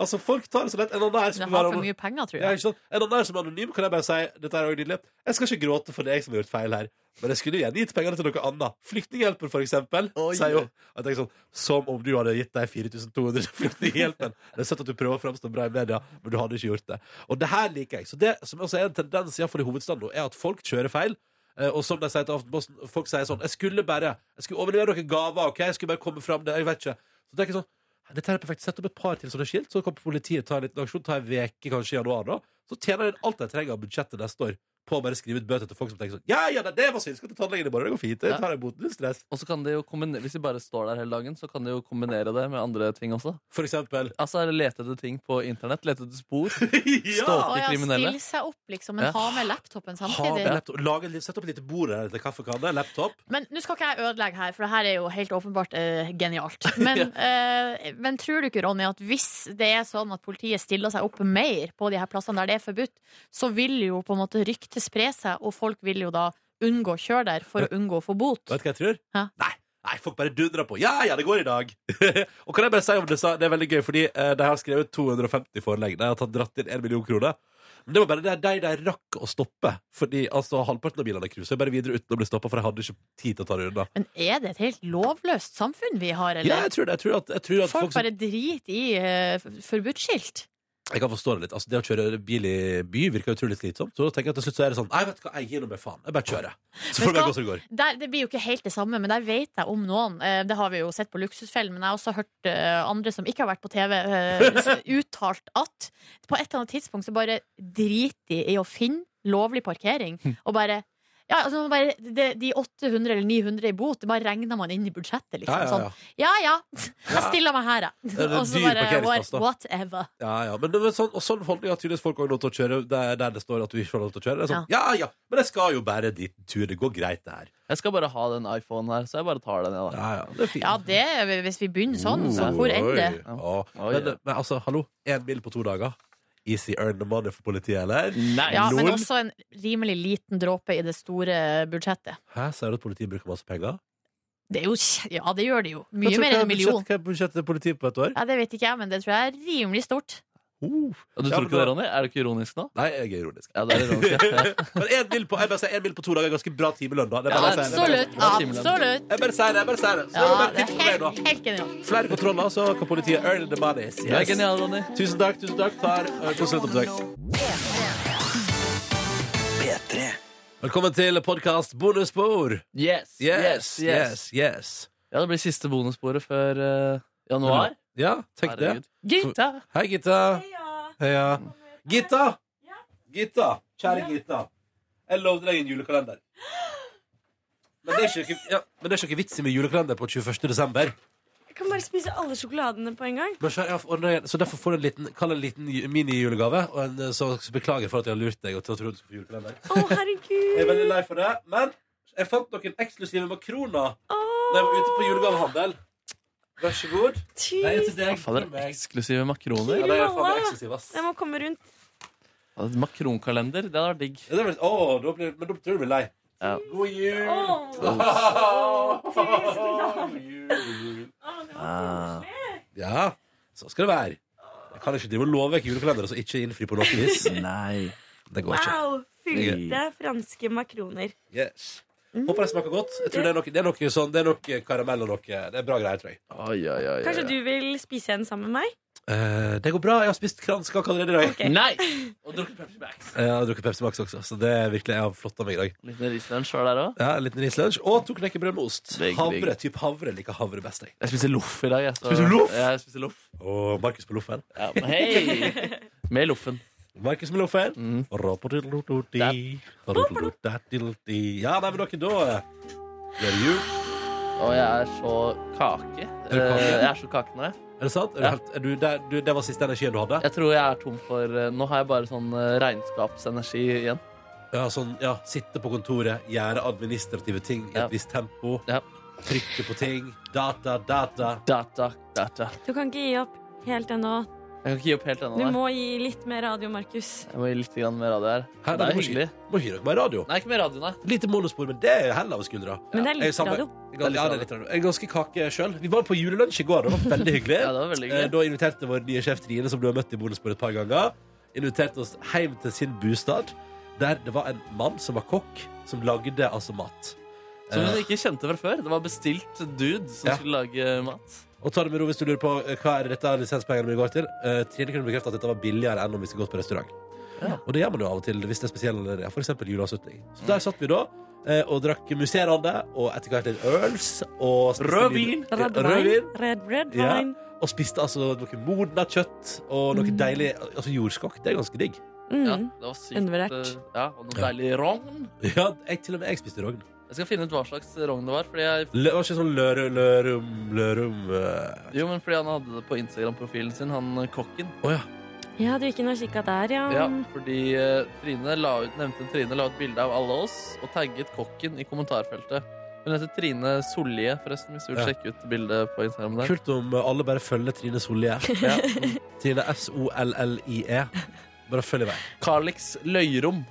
[SPEAKER 2] Altså, folk tar det så lett. En annen her
[SPEAKER 4] Det
[SPEAKER 2] som
[SPEAKER 4] har
[SPEAKER 2] bare-
[SPEAKER 4] for mye penger,
[SPEAKER 2] ja,
[SPEAKER 4] tror jeg.
[SPEAKER 2] ikke sant? En annen som er anonym, kan jeg bare si Dette er også nydelig Jeg skal ikke gråte for det er jeg som har gjort feil her Men jeg skulle gjerne gitt pengene til noe annet Flyktninghjelpen for eksempel
[SPEAKER 3] Oi.
[SPEAKER 2] Sier jo jeg tenker sånn, Som om du hadde gitt deg 4200 til flyktninghjelpen Det er søtt at du prøver å fremstå bra i media Men du hadde ikke gjort det Og det her liker jeg Så det som også er en tendens i hvert fall i hovedstaden nå Er at folk kjører feil Eh, og som de sier til Aftenposten, folk sier sånn Jeg skulle bare, jeg skulle overlevere noen gaver Ok, jeg skulle bare komme frem det, jeg vet ikke Så det er ikke sånn, dette er perfekt, sett opp et par til sånne skilt Så kan politiet ta en liten aksjon, ta en veke kanskje i januar da Så tjener de alt de trenger av budsjettet neste år På å bare skrive ut bøter til folk som tenker sånn Ja, ja, nei, det var synd, skal til tannlegen i morgen, det går fint Jeg tar en boten, null stress
[SPEAKER 3] Og så kan det jo kombinere, Hvis de bare står der hele dagen, så kan de jo kombinere det med andre ting også.
[SPEAKER 2] For eksempel
[SPEAKER 3] Altså lete etter ting på internett. Lete etter spor.
[SPEAKER 2] Ja!
[SPEAKER 3] Stå-
[SPEAKER 4] Å ja,
[SPEAKER 3] kriminelle.
[SPEAKER 4] Stille seg opp, liksom, men
[SPEAKER 3] Ja.
[SPEAKER 4] ha med laptopen
[SPEAKER 2] Ha med
[SPEAKER 4] samtidig.
[SPEAKER 2] laptop, lag en, sett opp et lite bord her til kaffekanne, laptop
[SPEAKER 4] Men nå skal ikke jeg ødelegge her, for det her er jo helt åpenbart eh, genialt. Men, eh, men tror du ikke, Ronny, at hvis det er sånn at politiet stiller seg opp mer på de her plassene der det er forbudt, så vil jo på en måte ryktet spre seg, og folk vil jo da unngå å kjøre der for å unngå å få bot.
[SPEAKER 2] Vet du hva jeg tror?
[SPEAKER 4] Hæ?
[SPEAKER 2] Nei, nei, folk bare dundrer på. Ja, ja, det går i dag! og kan jeg bare si om disse, det er veldig gøy, fordi eh, de har skrevet 250 forelegg. De har tatt dratt inn 1 million kroner. Men det var bare de de rakk å stoppe. Fordi altså, halvparten av bilene cruiser bare videre uten å bli stoppa, for de hadde ikke tid til å ta det unna.
[SPEAKER 4] Men er det et helt lovløst samfunn vi har,
[SPEAKER 2] Ja,
[SPEAKER 4] eller?
[SPEAKER 2] jeg tror det. Jeg tror at, jeg tror at
[SPEAKER 4] Folk
[SPEAKER 2] som-
[SPEAKER 4] bare driter i eh, forbudt skilt.
[SPEAKER 2] Jeg kan forstå det litt. Altså, det å kjøre bil i by virker utrolig slitsomt. Så da tenker jeg til slutt så er det sånn Nei, vet du hva, jeg gir nå meg faen. Jeg bare kjører. Så får det bare
[SPEAKER 4] Vet
[SPEAKER 2] gå som det går.
[SPEAKER 4] Der, det blir jo ikke helt det samme, men der vet jeg om noen. Eh, Det har vi jo sett på Luksusfellen, men jeg har også hørt eh, andre som ikke har vært på TV, eh, s- uttalt at på et eller annet tidspunkt så bare driter de i å finne lovlig parkering,
[SPEAKER 2] Hm.
[SPEAKER 4] og bare ja, altså bare, det, De 800 eller 900 i bot, det bare regner man inn i
[SPEAKER 2] Ja,
[SPEAKER 4] budsjettet. liksom
[SPEAKER 2] ja, ja.
[SPEAKER 4] Sånn, ja, ja, jeg stiller meg her, jeg.
[SPEAKER 2] er
[SPEAKER 4] Og så
[SPEAKER 2] dyr
[SPEAKER 4] bare
[SPEAKER 2] parkeringsplass, da.
[SPEAKER 4] whatever.
[SPEAKER 2] ja, ja. Men det, men sånn, og sånn holdning har tydeligvis folk òg lov til å kjøre der, der det står at du ikke får lov til å kjøre. Det er sånn, ja. ja men jeg skal jo bare en liten tur. Det går greit, det her.
[SPEAKER 3] Jeg skal bare ha den iPhonen her, så jeg bare tar den. Jeg, da.
[SPEAKER 2] Ja, ja, det er fint.
[SPEAKER 4] Ja, det, hvis vi begynner sånn, så
[SPEAKER 2] Oh,
[SPEAKER 4] hvor enn det?
[SPEAKER 2] oi. Ja.
[SPEAKER 3] Oi,
[SPEAKER 2] Men,
[SPEAKER 3] ja.
[SPEAKER 2] men altså, hallo. Én bil på to dager. Easy earn the money for politiet, eller?
[SPEAKER 3] Nei,
[SPEAKER 4] Ja, men
[SPEAKER 2] Lol.
[SPEAKER 4] også en rimelig liten dråpe i det store budsjettet.
[SPEAKER 2] Hæ, sier du at politiet bruker masse penger?
[SPEAKER 4] Det er jo, kje- ja, det gjør det jo.
[SPEAKER 2] Hva
[SPEAKER 4] Mye
[SPEAKER 2] tror- hva
[SPEAKER 4] mer enn
[SPEAKER 2] er
[SPEAKER 4] en million.
[SPEAKER 2] budsjettet- Hva er budsjettet til politiet på et år?
[SPEAKER 4] Ja, det vet ikke jeg, men det tror jeg er rimelig stort.
[SPEAKER 2] Uh.
[SPEAKER 3] Og du
[SPEAKER 2] Ja, men
[SPEAKER 3] tror ikke det,
[SPEAKER 2] da-
[SPEAKER 3] Ronny? Er du ikke ironisk nå?
[SPEAKER 2] Nei, jeg er ironisk.
[SPEAKER 3] Ja, det er ironisk. ja.
[SPEAKER 2] Men en mil på, jeg bare sier, en mil på to dager er ganske bra timelønn, da. Det er
[SPEAKER 3] Ja,
[SPEAKER 2] bare å si det.
[SPEAKER 4] Absolutt.
[SPEAKER 3] bra timelønn.
[SPEAKER 4] Absolutt.
[SPEAKER 2] Jeg bare sier det. jeg bare sier det. Så
[SPEAKER 4] Ja,
[SPEAKER 2] bare
[SPEAKER 4] det
[SPEAKER 2] tips
[SPEAKER 4] er
[SPEAKER 2] for deg,
[SPEAKER 4] helt, helt genialt.
[SPEAKER 2] da. Flere kontroller, så kan politiet earn the money. Yes.
[SPEAKER 3] Du er genial, Ronny.
[SPEAKER 2] Tusen takk, tusen takk. Tar eh, konsulentoppdrag. Velkommen til podkast bonusbord.
[SPEAKER 3] Yes,
[SPEAKER 2] Yes, yes, yes.
[SPEAKER 3] Ja, det blir siste bonussporet før eh, januar.
[SPEAKER 2] Ja, tenk det.
[SPEAKER 3] Herregud. Gitta!
[SPEAKER 2] Hei, Gitta. Heia. Gitta! Gitta, kjære Gitta. Jeg lovde deg en julekalender. Men det er ikke, noe- ja, men det er ikke noe vits i med julekalender på 21. desember.
[SPEAKER 8] Jeg kan bare spise alle sjokoladene på en gang.
[SPEAKER 2] Men så, ja, og når jeg- så derfor får du en liten, kall det en liten ju- mini-julegave, og en eh, så, så beklager for at jeg har lurt deg og til å tro du skal få julekalender.
[SPEAKER 8] Å,
[SPEAKER 2] Jeg er
[SPEAKER 8] herregud.
[SPEAKER 2] veldig lei for det, men jeg fant noen eksklusive makroner
[SPEAKER 8] Å,
[SPEAKER 2] da jeg var ute på julegavehandel. Vær så god. Det er
[SPEAKER 8] tusen
[SPEAKER 2] til deg.
[SPEAKER 3] Fader,
[SPEAKER 2] til meg.
[SPEAKER 3] eksklusive makroner.
[SPEAKER 2] Ja, det er faen meg eksklusiv, ass.
[SPEAKER 8] Jeg må komme rundt.
[SPEAKER 3] Ja, Makronkalender, det hadde vært digg.
[SPEAKER 2] Ja, det blir, å, da blir, men da tror jeg du blir lei.
[SPEAKER 3] Ja.
[SPEAKER 2] God jul!
[SPEAKER 8] Å,
[SPEAKER 2] God jul.
[SPEAKER 8] det
[SPEAKER 3] Ah,
[SPEAKER 8] var koselig.
[SPEAKER 2] Ja, så skal det være. Jeg kan ikke drive og love vekk julekalender og så ikke innfri på noe vis.
[SPEAKER 3] Nei.
[SPEAKER 2] Det går ikke.
[SPEAKER 8] Wow! Fylte franske makroner.
[SPEAKER 2] Yes. Håper det smaker godt. Jeg tror det er noe, det er noe sånn, det er noe karamell og noe Det er bra greier, tror jeg.
[SPEAKER 3] Oi, oi, oi, oi.
[SPEAKER 8] Kanskje du vil spise en sammen med meg?
[SPEAKER 2] Eh, det går bra. Jeg har spist kranskake allerede i dag. Eh,
[SPEAKER 8] Ok.
[SPEAKER 3] Nei! Og drukket Pepsi Max.
[SPEAKER 2] Jeg har drukket Pepsi Max også, så det er virkelig jeg har flotta meg i dag.
[SPEAKER 3] Liten Riesland sjøl der òg.
[SPEAKER 2] Ja, en liten rislunsj og to knekkebrød med ost.
[SPEAKER 3] Digg, digg.
[SPEAKER 2] Havre. Typ havre liker havre best, jeg.
[SPEAKER 3] Jeg spiser loff i dag. Jeg, så-
[SPEAKER 2] Spiser du loff?
[SPEAKER 3] Ja, jeg spiser loff.
[SPEAKER 2] Og Markus på loffen.
[SPEAKER 3] Ja, men hei! Med loffen.
[SPEAKER 2] Markus med loffen.
[SPEAKER 3] Mm.
[SPEAKER 2] Rapadiddlododi. Rapadiddlododi. Ja, nei, men dere, da blir det jul.
[SPEAKER 3] Og jeg er så kake.
[SPEAKER 2] Er du kake?
[SPEAKER 3] Eh, Jeg er så kake nå, jeg.
[SPEAKER 2] Er det sant? Er du
[SPEAKER 3] Ja.
[SPEAKER 2] helt, er du, der, du, det var siste energien du hadde?
[SPEAKER 3] Jeg tror jeg er tom for eh, Nå har jeg bare sånn eh, regnskapsenergi igjen.
[SPEAKER 2] Ja, sånn, ja, Sitte på kontoret, gjøre administrative ting i et
[SPEAKER 3] Ja.
[SPEAKER 2] visst tempo.
[SPEAKER 3] Ja.
[SPEAKER 2] Trykke på ting. Data, data.
[SPEAKER 3] Data, data.
[SPEAKER 8] Du kan ikke gi opp helt ennå.
[SPEAKER 3] Jeg kan ikke gi opp helt ennå.
[SPEAKER 8] Du
[SPEAKER 3] nei.
[SPEAKER 8] må gi litt mer radio, Markus.
[SPEAKER 3] Jeg må gi litt grann mer radio her.
[SPEAKER 2] Hæ,
[SPEAKER 3] det
[SPEAKER 2] nei,
[SPEAKER 3] er
[SPEAKER 2] du må ikke-
[SPEAKER 3] hyggelig.
[SPEAKER 2] Må hyre dere meg i radio.
[SPEAKER 3] Nei, ikke mer radio, nei.
[SPEAKER 2] Lite monospor, men det er heller over skuldra.
[SPEAKER 8] Men det er
[SPEAKER 2] Jeg
[SPEAKER 8] litt
[SPEAKER 2] samme-
[SPEAKER 8] radio.
[SPEAKER 2] Jeg er- Ja, det er litt rart. Jeg er ganske kake sjøl. Vi var på julelunsj i går. Det var veldig hyggelig.
[SPEAKER 3] Ja, det var veldig
[SPEAKER 2] Eh,
[SPEAKER 3] hyggelig.
[SPEAKER 2] Da inviterte vår nye sjef Trine, som du har møtt i bonusbordet et par ganger, inviterte oss hjem til sin bostad, der det var en mann som var kokk, som lagde altså mat. Eh,
[SPEAKER 3] Som hun ikke kjente fra før. Det var bestilt dude som
[SPEAKER 2] Ja.
[SPEAKER 3] skulle lage mat.
[SPEAKER 2] Og ta det med ro hvis du lurer på eh, hva er det dette lisenspengene mine går til. Eh, Trine kunne bekrefte at dette var billigere enn om vi skulle gått på restaurant. Og det gjør man jo av og til hvis det er spesielle anledninger, for eksempel juleavslutning. Så der satt vi da. eh, Og drakk musserende og etter hvert litt øls. Og spiste nydelig-
[SPEAKER 3] Rød vin.
[SPEAKER 8] Red
[SPEAKER 2] Rødvin.
[SPEAKER 8] wine. Red, red
[SPEAKER 2] Ja.
[SPEAKER 8] wine.
[SPEAKER 2] Og spiste altså noe modna kjøtt og noe deilig altså jordskokk. Det er ganske digg.
[SPEAKER 3] Ja,
[SPEAKER 8] Mm.
[SPEAKER 3] det var sykt.
[SPEAKER 8] Undervurdert.
[SPEAKER 3] eh, Ja, og noe
[SPEAKER 2] Ja.
[SPEAKER 3] deilig rogn.
[SPEAKER 2] Ja, jeg, til og med jeg spiste rogn.
[SPEAKER 3] Jeg skal finne ut hva slags rogn det var. Fordi jeg,
[SPEAKER 2] Lø, var ikke sånn lørum, lørum, lørum eh.
[SPEAKER 3] jo, men fordi han hadde det på Instagram-profilen sin, han eh, kokken.
[SPEAKER 2] Å ja.
[SPEAKER 8] Ja, du gikk inn og kikka der, ja.
[SPEAKER 3] Ja, fordi eh, Trine la ut, nevnte Trine la ut bilde av alle oss og tagget kokken i kommentarfeltet. Hun heter Trine Sollie, forresten, hvis du vil
[SPEAKER 2] Ja.
[SPEAKER 3] sjekke ut bildet på Instagram der.
[SPEAKER 2] Kult om eh, alle bare følger Trine Sollie.
[SPEAKER 3] Ja.
[SPEAKER 2] Trine S-O-L-L-I-E. E. Bare følg i vei.
[SPEAKER 3] Carlix Løyrom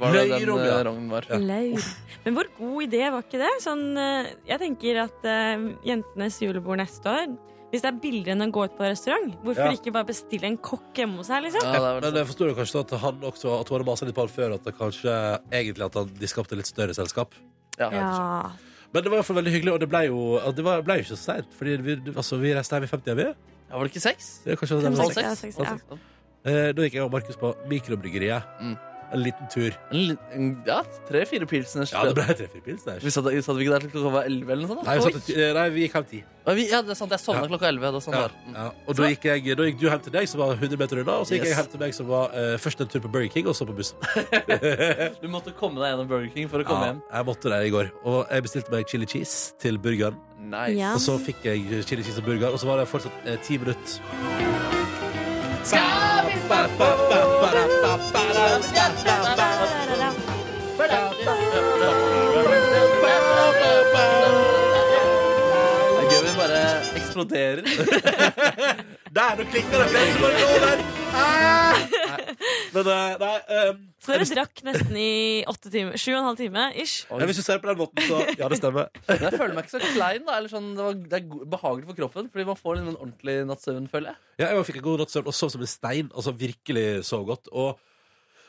[SPEAKER 3] var det den
[SPEAKER 2] Løyrom,
[SPEAKER 3] eh,
[SPEAKER 2] ja.
[SPEAKER 3] rognen var.
[SPEAKER 2] Ja.
[SPEAKER 8] Laur. Men hvor god idé var ikke det? Sånn, eh, jeg tenker at eh, jentenes julebord neste år Hvis det er billigere enn å gå ut på restaurant, hvorfor
[SPEAKER 2] Ja.
[SPEAKER 8] ikke bare bestille en kokk hjemme hos seg? liksom?
[SPEAKER 3] Ja, det er vel sånn.
[SPEAKER 2] Men
[SPEAKER 3] sant.
[SPEAKER 2] jeg forstår jo kanskje at han også At hun hadde masa litt på han før, at det kanskje egentlig at han, de skapte litt større selskap.
[SPEAKER 8] Ja.
[SPEAKER 2] Men det var i hvert fall veldig hyggelig, og det ble jo, at det var, ble jo ikke så seint. Fordi vi, altså, vi reiste hjem i 50 vi.
[SPEAKER 3] Ja, var det ikke seks?
[SPEAKER 2] Det er kanskje det
[SPEAKER 8] Fem,
[SPEAKER 2] var
[SPEAKER 8] seks,
[SPEAKER 2] seks.
[SPEAKER 8] ja, seks, ja.
[SPEAKER 3] Halv seks.
[SPEAKER 2] Eh, Da gikk jeg og Markus på mikrobryggeriet.
[SPEAKER 3] Mm.
[SPEAKER 2] En liten tur.
[SPEAKER 3] En liten- Ja, tre-fire pilsner.
[SPEAKER 2] Ja, det ble tre-fire pils der.
[SPEAKER 3] Vi satt, satt vi ikke der til klokka var elleve eller noe sånt? da?
[SPEAKER 2] Nei, vi, satt, eh, nei, vi gikk hjem ti.
[SPEAKER 3] Oi. Vi- Ja, det er sant, jeg sovna
[SPEAKER 2] Ja.
[SPEAKER 3] klokka elleve. det er sånn
[SPEAKER 2] Ja,
[SPEAKER 3] det er. Mm.
[SPEAKER 2] ja. Og da gikk, jeg, da gikk du hjem til deg, som var 100 meter unna, og så gikk
[SPEAKER 3] Yes.
[SPEAKER 2] jeg hjem til meg, som var eh, først en tur på Burger King, og så på bussen.
[SPEAKER 3] Du måtte komme deg gjennom Burger King for å
[SPEAKER 2] Ja,
[SPEAKER 3] komme hjem.
[SPEAKER 2] jeg måtte det i går. Og jeg bestilte meg chili cheese til burgeren.
[SPEAKER 3] Nice.
[SPEAKER 8] Ja.
[SPEAKER 2] Og så fikk jeg chili cheese og burger, og så var det fortsatt eh, ti minutter.
[SPEAKER 3] Det er gøy vi bare eksploderer.
[SPEAKER 2] Der, nå klikker det fleste bare over! Ah! Nei. Men eh, nei ehm,
[SPEAKER 8] Så dere drakk nesten i åtte timer, sju og en halv time ish.
[SPEAKER 2] nei, Hvis du ser på den måten, så Ja, det stemmer.
[SPEAKER 3] Men jeg føler meg ikke så klein. da eller sånn, det, var, det er go- behagelig for kroppen, fordi man får liksom en ordentlig natts søvn, føler jeg.
[SPEAKER 2] Ja, jeg fikk en god natts søvn og sov som en stein. Altså virkelig sov godt. Og,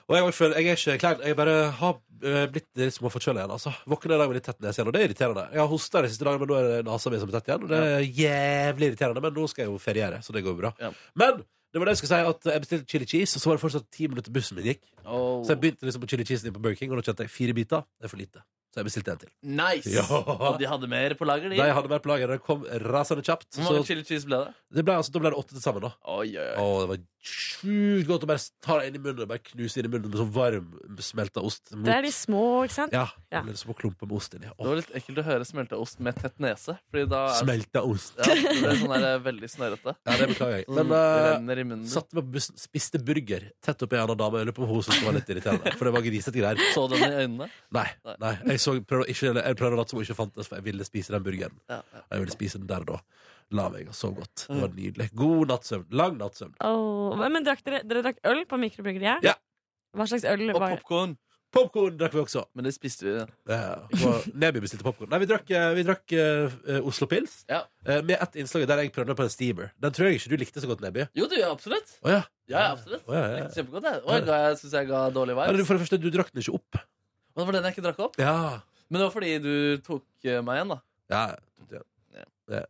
[SPEAKER 2] og jeg, føler, jeg er ikke klein. Jeg bare har eh, blitt litt småforkjøla igjen. Altså. Våkner i dag med litt tett nese igjen, og det er irriterende. Jeg har hosta de siste dagene, men nå er det nesa mi som er tett igjen. Og det er jævlig irriterende, men nå skal jeg jo feriere, så det går bra.
[SPEAKER 3] Ja.
[SPEAKER 2] Men det var det jeg skulle si, at jeg bestilte chili cheese, og så var det fortsatt ti minutter bussen min gikk.
[SPEAKER 3] Oh.
[SPEAKER 2] Så jeg begynte liksom på chili cheesen din på Burger King, og da kjente jeg fire biter. Det er for lite. Så jeg bestilte en til.
[SPEAKER 3] Nice!
[SPEAKER 2] Ja.
[SPEAKER 3] Og de hadde mer på lager, de.
[SPEAKER 2] Da jeg hadde mer plager, det kom rasende kjapt.
[SPEAKER 3] Hvor mange
[SPEAKER 2] Så
[SPEAKER 3] chili cheese ble det?
[SPEAKER 2] det ble, altså, da ble det åtte til sammen, da.
[SPEAKER 3] Oi, oi, oi.
[SPEAKER 2] Å, det var sjukt godt å bare ta det inn i munnen og bare knuse inn i munnen med sånn varm, smelta ost. mot-
[SPEAKER 8] Det er de små, ikke sant?
[SPEAKER 2] Ja.
[SPEAKER 8] Ja.
[SPEAKER 2] Det ble som å klumpe med ost inni.
[SPEAKER 3] Det var litt ekkelt å høre smelta ost med tett nese. Fordi da er
[SPEAKER 2] Smelta ost.
[SPEAKER 3] ja, det er sånn der veldig snørrete.
[SPEAKER 2] Ja, det beklager jeg.
[SPEAKER 3] Sånn,
[SPEAKER 2] Men
[SPEAKER 3] det
[SPEAKER 2] uh,
[SPEAKER 3] renner i munnen. din.
[SPEAKER 2] satte meg på bussen, spiste burger tett oppi en annen dame. Jeg lurer på om hun syntes det var litt irriterende, for det var grisete greier.
[SPEAKER 3] Så den i øynene?
[SPEAKER 2] Nei. nei Jeg, så, prøvde, å ikke, eller jeg prøvde å late som hun ikke fantes, for jeg ville spise den burgeren.
[SPEAKER 3] Ja,
[SPEAKER 2] Og jeg ville spise den der og da. La meg og sov godt. Det var nydelig. God nattsøvn. Lang nattsøvn.
[SPEAKER 8] Åh, men drakk dere, dere drakk øl på mikrobryggeriet?
[SPEAKER 2] Ja.
[SPEAKER 8] Hva slags øl
[SPEAKER 3] Og
[SPEAKER 8] var det?
[SPEAKER 3] popkorn.
[SPEAKER 2] Popkorn drakk vi også.
[SPEAKER 3] Men det spiste vi.
[SPEAKER 2] Ja, Eh, og Neby bestilte popkorn. Nei, vi drakk, eh, vi drakk eh, eh, Oslo Pils
[SPEAKER 3] Ja.
[SPEAKER 2] eh, med ett innslag der jeg prøvde på en steamer. Den tror jeg ikke du likte så godt, Neby.
[SPEAKER 3] Jo, det gjør jeg absolutt.
[SPEAKER 2] Å ja.
[SPEAKER 3] Ja, ja, absolutt.
[SPEAKER 2] Å, ja, ja, ja.
[SPEAKER 3] Likte Kjempegodt. Jeg, og jeg, ga- jeg syns jeg ga dårlig
[SPEAKER 2] Ja, du,
[SPEAKER 3] vibes.
[SPEAKER 2] for det første, du drakk den ikke opp.
[SPEAKER 3] Men det var den jeg ikke drakk opp.
[SPEAKER 2] Ja.
[SPEAKER 3] Men det var fordi du tok eh, meg igjen, da.
[SPEAKER 2] ja. ja. ja.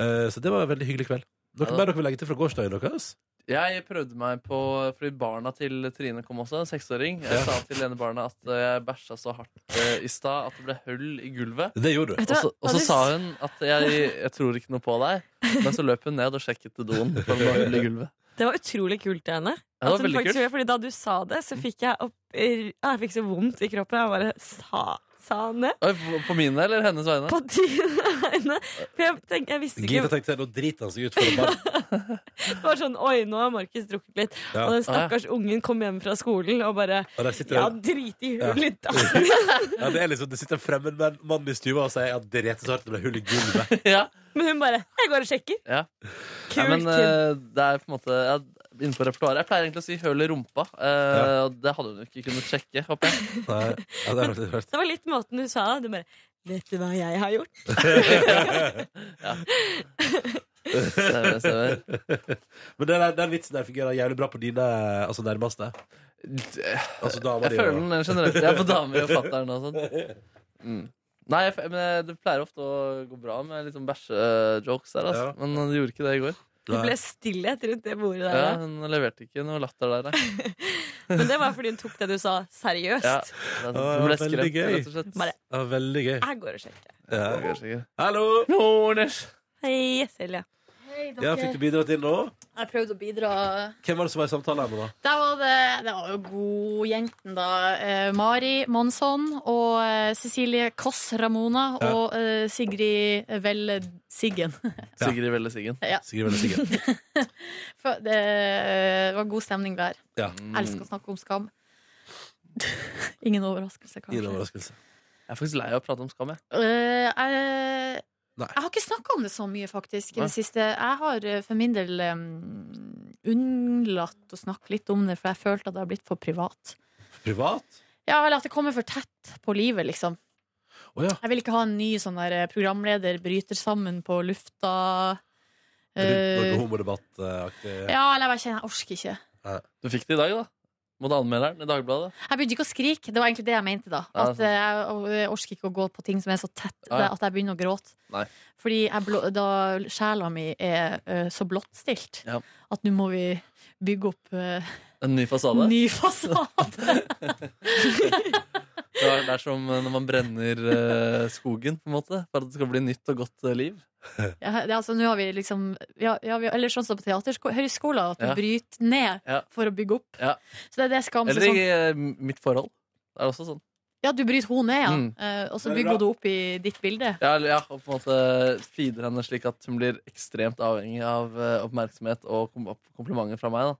[SPEAKER 2] Eh, så det var en veldig hyggelig kveld. Noe
[SPEAKER 3] Ja da.
[SPEAKER 2] mer dere vil legge til fra gårsdagen deres?
[SPEAKER 3] Jeg prøvde meg på Fordi barna til Trine kom også, en seksåring. Jeg
[SPEAKER 2] Ja.
[SPEAKER 3] sa til ene barna at eh, jeg bæsja så hardt eh, i stad at det ble hull i gulvet.
[SPEAKER 2] Det gjorde du.
[SPEAKER 8] Vet
[SPEAKER 3] Og
[SPEAKER 8] du hva-
[SPEAKER 3] så, og
[SPEAKER 8] hva
[SPEAKER 3] så
[SPEAKER 8] du
[SPEAKER 3] sa hun at jeg, jeg tror ikke noe på deg. Men så løp hun ned og sjekket til doen. For det var hull i gulvet.
[SPEAKER 8] Det var utrolig kult av henne.
[SPEAKER 3] Ja, det
[SPEAKER 8] At
[SPEAKER 3] var
[SPEAKER 8] hun
[SPEAKER 3] veldig
[SPEAKER 8] faktisk
[SPEAKER 3] kult. Mm.
[SPEAKER 8] gjorde- Fordi da du sa det, så fikk jeg opp Jeg fikk så vondt i kroppen. Jeg bare sa, sa han det?
[SPEAKER 3] Oi, på- På mine eller hennes vegne?
[SPEAKER 8] På dine øyne. For jeg, tenkte, jeg visste
[SPEAKER 2] Gita
[SPEAKER 8] ikke
[SPEAKER 2] tenkte nå driter han seg ut for en barn.
[SPEAKER 8] Det var sånn Oi, nå har Markus drukket litt.
[SPEAKER 2] Ja.
[SPEAKER 8] Og den
[SPEAKER 3] Ah, ja.
[SPEAKER 8] stakkars ungen kom hjem fra skolen og bare
[SPEAKER 2] Og der sitter
[SPEAKER 8] Ja,
[SPEAKER 2] det-
[SPEAKER 8] drit i
[SPEAKER 2] Ja.
[SPEAKER 8] hull litt, ass.
[SPEAKER 2] ja, det, er liksom, det sitter en fremmed mann- mann i stua og sier at det reter så hardt det ble hull i gulvet.
[SPEAKER 3] Ja.
[SPEAKER 8] Men hun bare Jeg går og sjekker.
[SPEAKER 3] Ja.
[SPEAKER 8] Kult.
[SPEAKER 3] Ja, men
[SPEAKER 8] kid.
[SPEAKER 3] eh, det er på en måte ja, Innenfor repertoaret. Jeg pleier egentlig å si 'høl i rumpa'. eh, og Det hadde hun ikke kunnet sjekke. håper jeg
[SPEAKER 2] Nei, ja, det er faktisk rart.
[SPEAKER 8] det var litt måten du sa det Du bare Vet du hva jeg har gjort?
[SPEAKER 3] Stemmer, stemmer.
[SPEAKER 2] Men den, der- den vitsen der fungerer jævlig bra på dine altså, nærmeste. Altså, damer,
[SPEAKER 3] Jeg
[SPEAKER 2] de
[SPEAKER 3] føler
[SPEAKER 2] og-
[SPEAKER 3] den generelt. Jeg er på damer og fatter'n og sånn. Mm. Nei, jeg, f- men jeg- det pleier ofte å gå bra med litt sånn bæsjejokes der, altså.
[SPEAKER 2] Ja.
[SPEAKER 3] Men det gjorde ikke det i går.
[SPEAKER 8] Det ble stillhet rundt det bordet der.
[SPEAKER 3] Ja, hun leverte ikke noe latter der. nei.
[SPEAKER 8] Men det var fordi hun tok det du sa, seriøst.
[SPEAKER 3] Ja. sånn,
[SPEAKER 2] det var
[SPEAKER 3] Hun ble
[SPEAKER 2] veldig
[SPEAKER 3] skremt,
[SPEAKER 2] gøy.
[SPEAKER 3] rett og slett.
[SPEAKER 8] Bare
[SPEAKER 2] Ja, veldig gøy.
[SPEAKER 4] Ah.
[SPEAKER 8] Jeg går og sjekker.
[SPEAKER 3] Ja,
[SPEAKER 2] Ja.
[SPEAKER 3] kanskje ikke.
[SPEAKER 2] Hallo!
[SPEAKER 3] Norders.
[SPEAKER 8] Hei, Silje.
[SPEAKER 4] Hei,
[SPEAKER 2] Ja, fikk du bidratt inn nå?
[SPEAKER 4] Jeg prøvde å bidra.
[SPEAKER 2] Hvem var det som var i samtale her nå, da?
[SPEAKER 4] Der var det, det var jo godjenten, da. Eh, Mari Monsson og eh, Cecilie Koss Ramona
[SPEAKER 2] Ja.
[SPEAKER 4] og eh, Sigrid Vel Siggen.
[SPEAKER 2] Ja.
[SPEAKER 3] Sigrid Velle Siggen.
[SPEAKER 2] Sigrid Velle Siggen.
[SPEAKER 4] For Det eh, var god stemning der.
[SPEAKER 2] Ja.
[SPEAKER 3] Mm.
[SPEAKER 4] Elsker å snakke om skam. Ingen overraskelse,
[SPEAKER 2] Ingen
[SPEAKER 4] kanskje.
[SPEAKER 2] overraskelse.
[SPEAKER 3] Jeg er faktisk lei av å prate om skam, jeg.
[SPEAKER 4] Eh, jeg,
[SPEAKER 2] Nei.
[SPEAKER 4] jeg har ikke snakka om det så mye, faktisk, i
[SPEAKER 3] Nei.
[SPEAKER 4] det siste. Jeg har eh, for min del eh, unnlatt å snakke litt om det, for jeg følte at det har blitt for privat.
[SPEAKER 2] Privat?
[SPEAKER 4] Ja, eller at det kommer for tett på livet, liksom.
[SPEAKER 2] Å ja.
[SPEAKER 4] Jeg vil ikke ha en ny sånn der eh, programleder bryter sammen på lufta.
[SPEAKER 2] Noe
[SPEAKER 4] Eh,
[SPEAKER 2] homodebattaktig.
[SPEAKER 4] ja, eller jeg bare kjenner jeg orker ikke.
[SPEAKER 3] Du fikk det i dag, da. Mot anmelderen i Dagbladet.
[SPEAKER 4] Jeg begynte ikke å skrike. Det var egentlig det jeg mente. da
[SPEAKER 3] Ja, sånn.
[SPEAKER 4] At eh, jeg jeg orker ikke å gå på ting som er så tett
[SPEAKER 3] Ja, ja.
[SPEAKER 4] at jeg begynner å gråte.
[SPEAKER 3] Nei.
[SPEAKER 4] Fordi jeg blå, da sjela mi er eh, så blottstilt
[SPEAKER 3] Ja.
[SPEAKER 4] at nå må vi bygge opp uh,
[SPEAKER 3] En ny fasade.
[SPEAKER 4] ny fasade.
[SPEAKER 3] Det er, det er som når man brenner eh, skogen, på en måte. For at det skal bli nytt og godt eh, liv.
[SPEAKER 4] ja, det, er altså, nå har vi liksom ja, ja, vi, Eller sånn som på teaterhøgskolen, at du
[SPEAKER 3] Ja.
[SPEAKER 4] bryter ned
[SPEAKER 3] Ja.
[SPEAKER 4] for å bygge opp.
[SPEAKER 3] Ja.
[SPEAKER 4] Så det er det skam.
[SPEAKER 3] Eller
[SPEAKER 4] så
[SPEAKER 3] i
[SPEAKER 4] Sånn,
[SPEAKER 3] eh, mitt forhold. Det er også sånn.
[SPEAKER 4] ja, du bryter henne ned, ja.
[SPEAKER 3] Mm.
[SPEAKER 4] Eh, og så
[SPEAKER 6] Det er
[SPEAKER 4] bygger
[SPEAKER 6] bra.
[SPEAKER 4] hun det opp i ditt bilde.
[SPEAKER 3] Ja, eller- ja, og på en måte feeder henne slik at hun blir ekstremt avhengig av eh, oppmerksomhet og kom komplimenter fra meg. da.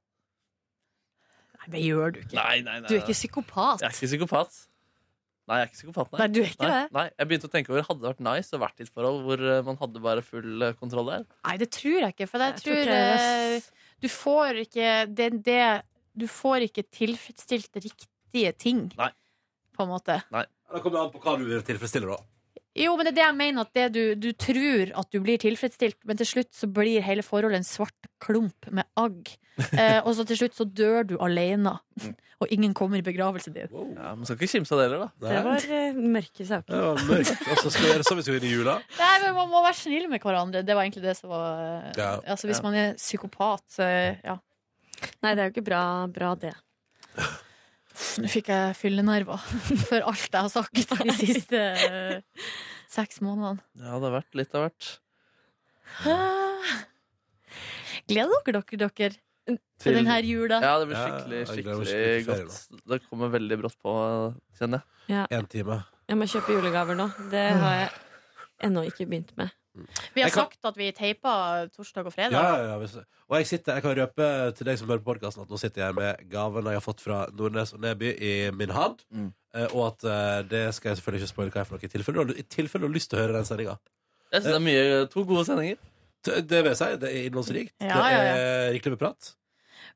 [SPEAKER 4] Nei, det gjør du ikke.
[SPEAKER 3] Nei, nei, nei.
[SPEAKER 4] Du er ikke psykopat.
[SPEAKER 3] Jeg er ikke psykopat. Nei, jeg er ikke psykopat, nei.
[SPEAKER 4] Nei, du er ikke
[SPEAKER 3] nei,
[SPEAKER 4] det.
[SPEAKER 3] nei. Jeg begynte å tenke over, hadde det vært nice å vært i et forhold hvor eh, man hadde bare full eh, kontroll der?
[SPEAKER 4] Nei, det tror jeg ikke. For jeg,
[SPEAKER 8] Jeg tror
[SPEAKER 4] tror,
[SPEAKER 8] ikke det,
[SPEAKER 4] eh,
[SPEAKER 8] ass.
[SPEAKER 4] du får ikke det, det Du får ikke tilfredsstilt riktige ting.
[SPEAKER 3] Nei.
[SPEAKER 4] På en måte.
[SPEAKER 2] Da kommer det an på hva du vil tilfredsstille, da.
[SPEAKER 4] Jo, men det er det jeg mener. At det du, du tror at du blir tilfredsstilt, men til slutt så blir hele forholdet en svart klump med agg. Eh, og så til slutt så dør du alene. Og ingen kommer i begravelsen din.
[SPEAKER 2] Wow.
[SPEAKER 3] Ja, Man skal ikke kimse av det heller, da.
[SPEAKER 8] Det
[SPEAKER 2] Nei.
[SPEAKER 8] var eh, mørke saker.
[SPEAKER 2] Det var mørkt. Og så skal vi gjøre sånn vi skal inn i jula.
[SPEAKER 4] Nei, men Man må være snill med hverandre. Det var egentlig det som var eh,
[SPEAKER 2] Ja.
[SPEAKER 4] Altså Hvis
[SPEAKER 3] Ja.
[SPEAKER 4] man er psykopat, så eh, ja.
[SPEAKER 8] Nei, det er jo ikke bra, bra det.
[SPEAKER 4] Nå fikk jeg fyllenerver for alt jeg har sagt de siste eh, seks månedene.
[SPEAKER 3] Ja, det har vært litt av hvert.
[SPEAKER 4] Ah. Gleder dere dere, dere til
[SPEAKER 3] Til-
[SPEAKER 4] denne jula?
[SPEAKER 3] Ja, det blir
[SPEAKER 2] Ja,
[SPEAKER 3] skikkelig,
[SPEAKER 2] jeg gleder meg
[SPEAKER 3] skikkelig
[SPEAKER 2] skikkelig til ferie,
[SPEAKER 3] godt. Det kommer veldig brått på, kjenner jeg.
[SPEAKER 2] Én time.
[SPEAKER 8] Jeg må kjøpe julegaver nå. Det har jeg ennå ikke begynt med.
[SPEAKER 4] Vi har
[SPEAKER 2] Jeg kan-
[SPEAKER 4] sagt at vi teiper torsdag og fredag.
[SPEAKER 2] Ja, ja, ja, hvis- og jeg sitter, jeg kan røpe til deg som hører på podcasten at nå sitter jeg med gavene jeg har fått fra Nordnes og Neby i min hand.
[SPEAKER 3] Mm.
[SPEAKER 2] Eh, Og at eh, det skal jeg selvfølgelig ikke spoile hva er for noe, i tilfelle du har- i tilfelle du har lyst til å høre den sendinga.
[SPEAKER 3] Jeg synes det er mye, To gode sendinger.
[SPEAKER 2] Det det vil jeg si. Det er innholdsrikt.
[SPEAKER 4] Ja, ja, ja.
[SPEAKER 2] Det er rikelig med prat.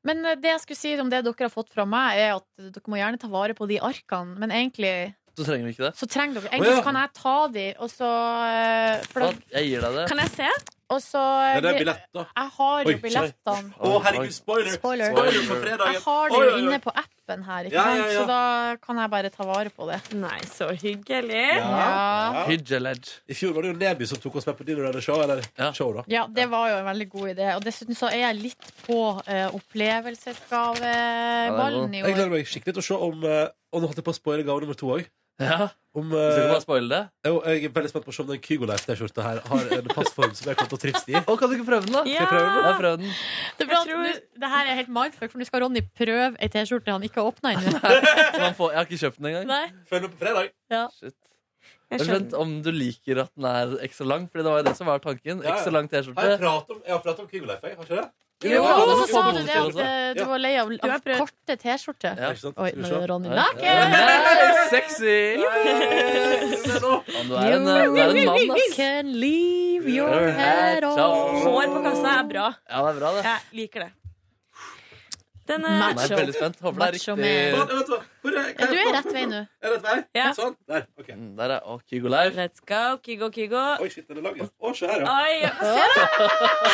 [SPEAKER 4] Men eh, det jeg skulle si om det dere har fått fra meg, er at dere må gjerne ta vare på de arkene. Men egentlig
[SPEAKER 3] Så trenger vi ikke det.
[SPEAKER 4] så trenger dere Egentlig
[SPEAKER 2] Å, ja.
[SPEAKER 4] så kan jeg ta de, og så eh, for da-
[SPEAKER 3] Da- Jeg gir deg det.
[SPEAKER 8] Kan jeg se?
[SPEAKER 4] Og så eh,
[SPEAKER 2] Ja, det er billett, da.
[SPEAKER 4] Jeg har
[SPEAKER 2] Oi,
[SPEAKER 4] jo billettene.
[SPEAKER 2] Å, herregud, spoiler!
[SPEAKER 4] Spoiler.
[SPEAKER 2] Spoiler for fredagen.
[SPEAKER 4] Jeg har det
[SPEAKER 2] Oi,
[SPEAKER 4] jo
[SPEAKER 2] oi, oi.
[SPEAKER 4] inne på appen her, ikke
[SPEAKER 2] Ja,
[SPEAKER 4] sant?
[SPEAKER 2] ja, ja.
[SPEAKER 4] så da kan jeg bare ta vare på det.
[SPEAKER 8] Nei, så hyggelig.
[SPEAKER 4] Ja.
[SPEAKER 3] Hyggeledge.
[SPEAKER 2] I fjor var det jo Neby som tok oss med på Dinner and Show. Eller
[SPEAKER 3] Ja.
[SPEAKER 2] show, da.
[SPEAKER 4] Ja, det var jo en veldig god idé. Og dessuten så er jeg litt på eh,
[SPEAKER 3] Ja,
[SPEAKER 4] opplevelsesgaveballen i
[SPEAKER 2] Jeg gleder
[SPEAKER 4] år.
[SPEAKER 2] meg skikkelig til å se om eh, Og nå holdt jeg på å spoile gave nummer to òg.
[SPEAKER 3] Ja,
[SPEAKER 2] Om
[SPEAKER 3] så kan
[SPEAKER 2] eh,
[SPEAKER 3] jeg bare spoile det.
[SPEAKER 2] Jo, jeg er veldig spent på å se om den Kygo-leif-T-skjorta her har en passform som jeg kommer til å trives i.
[SPEAKER 3] Å, kan du ikke prøve den, da?
[SPEAKER 8] Ja!
[SPEAKER 3] Skal jeg prøve den? Jeg prøver den.
[SPEAKER 4] Det, er bra at
[SPEAKER 8] Jeg tror-
[SPEAKER 4] nå- det her er helt mindfuck, for nå skal Ronny prøve ei T-skjorte han ikke har åpna ennå.
[SPEAKER 3] Så man får, jeg har ikke kjøpt den engang.
[SPEAKER 4] Nei.
[SPEAKER 2] Følg med på fredag.
[SPEAKER 3] Shit. Jeg
[SPEAKER 8] Jeg
[SPEAKER 3] er spent
[SPEAKER 8] skjønner.
[SPEAKER 3] om du liker at den er ekstra lang, Fordi det var jo det som var tanken.
[SPEAKER 2] ja.
[SPEAKER 3] Ekstra lang
[SPEAKER 2] Har jeg
[SPEAKER 3] T-skjorte.
[SPEAKER 2] pratet om, jeg har pratet om Kygo-leif, jeg, har ikke det?
[SPEAKER 4] Jo,
[SPEAKER 3] Ja,
[SPEAKER 4] og
[SPEAKER 3] det
[SPEAKER 4] så
[SPEAKER 3] var
[SPEAKER 4] sa
[SPEAKER 3] på
[SPEAKER 4] du det
[SPEAKER 3] bonus
[SPEAKER 4] at eh, du
[SPEAKER 2] Ja.
[SPEAKER 4] var lei av,
[SPEAKER 8] Du har
[SPEAKER 4] av
[SPEAKER 8] prøv-
[SPEAKER 4] korte T-skjorter.
[SPEAKER 3] Ja.
[SPEAKER 2] Ikke sant?
[SPEAKER 4] Oi,
[SPEAKER 2] Skal vi
[SPEAKER 4] nå
[SPEAKER 2] se.
[SPEAKER 4] er Ronny
[SPEAKER 3] Ja.
[SPEAKER 4] naken!
[SPEAKER 3] Nei, sexy! Ja, Du er en, eh, du er en mann,
[SPEAKER 4] You
[SPEAKER 3] ass.
[SPEAKER 4] can leave your head on.
[SPEAKER 8] Hår på kassa er bra.
[SPEAKER 3] Ja, det er bra, det.
[SPEAKER 8] Jeg liker det. Den
[SPEAKER 3] Nei,
[SPEAKER 8] er
[SPEAKER 3] Jeg er veldig spent. Håper det er
[SPEAKER 4] Macho
[SPEAKER 3] riktig.
[SPEAKER 4] man.
[SPEAKER 2] Vent, vent, hvor er-
[SPEAKER 4] Ja,
[SPEAKER 2] kan
[SPEAKER 4] du
[SPEAKER 2] jeg
[SPEAKER 4] er
[SPEAKER 2] få-
[SPEAKER 4] rett vei nå.
[SPEAKER 2] Er det rett vei?
[SPEAKER 8] Ja.
[SPEAKER 2] Sånn? Der. ok
[SPEAKER 3] Mm, Der er å, Kygo Live.
[SPEAKER 8] Let's go, Kygo Kygo.
[SPEAKER 2] Oi, shit, den er lang, ja. Å, se her,
[SPEAKER 4] Ah.
[SPEAKER 2] ja.
[SPEAKER 8] Oi, få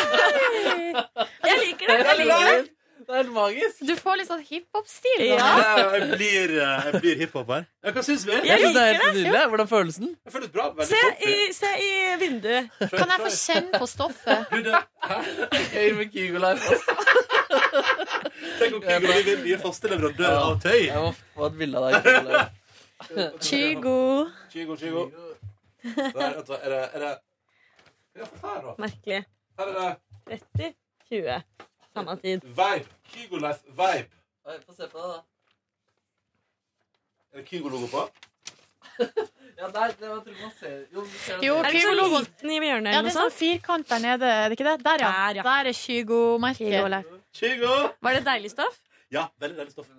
[SPEAKER 8] se da! Jeg liker det. Jeg liker det.
[SPEAKER 3] Det er helt magisk.
[SPEAKER 4] Du får litt sånn hiphop-stil.
[SPEAKER 8] Ja.
[SPEAKER 4] da.
[SPEAKER 2] Ja, Jeg blir, eh, jeg blir hiphopper. Ja, hva syns vi?
[SPEAKER 3] Jeg
[SPEAKER 8] Jeg
[SPEAKER 3] synes det er helt nydelig. Hvordan følelsen?
[SPEAKER 2] Jeg føler det bra. Veldig
[SPEAKER 8] Se
[SPEAKER 2] topp,
[SPEAKER 8] i,
[SPEAKER 2] ja.
[SPEAKER 8] se i vinduet.
[SPEAKER 4] Kan jeg få kjenne på stoffet?
[SPEAKER 2] Du, det-
[SPEAKER 3] Gøy med Kygo Live. ass.
[SPEAKER 2] Tenk om Kygo blir nye faste leverandør av tøy.
[SPEAKER 3] Jeg må få et bilde av deg. Kygo Live.
[SPEAKER 4] Kygo.
[SPEAKER 2] Kygo, Kygo. Der, vent, da, er det, er det Ja, her, da.
[SPEAKER 8] Merkelig.
[SPEAKER 2] Her er det
[SPEAKER 8] 30, 20. Samme tid.
[SPEAKER 2] Vibe. Kygo-leif Vibe.
[SPEAKER 3] Oi, Få se på det, da.
[SPEAKER 2] Er det Kygo-logo på?
[SPEAKER 3] Ja, der, det var, jeg tror man ser Jo, du ser det.
[SPEAKER 4] Jo,
[SPEAKER 8] Er det
[SPEAKER 4] Kygo
[SPEAKER 8] sånn
[SPEAKER 4] logoen.
[SPEAKER 8] liten i hjørnet
[SPEAKER 4] Ja, det
[SPEAKER 8] eller noe
[SPEAKER 4] er sånn
[SPEAKER 8] sånt?
[SPEAKER 4] firkant der nede. Er det ikke det? Der, ja.
[SPEAKER 8] Der, ja.
[SPEAKER 4] Der er Kygo-merket.
[SPEAKER 2] Kygo!
[SPEAKER 8] Var det deilig stoff?
[SPEAKER 2] Ja, veldig deilig stoff.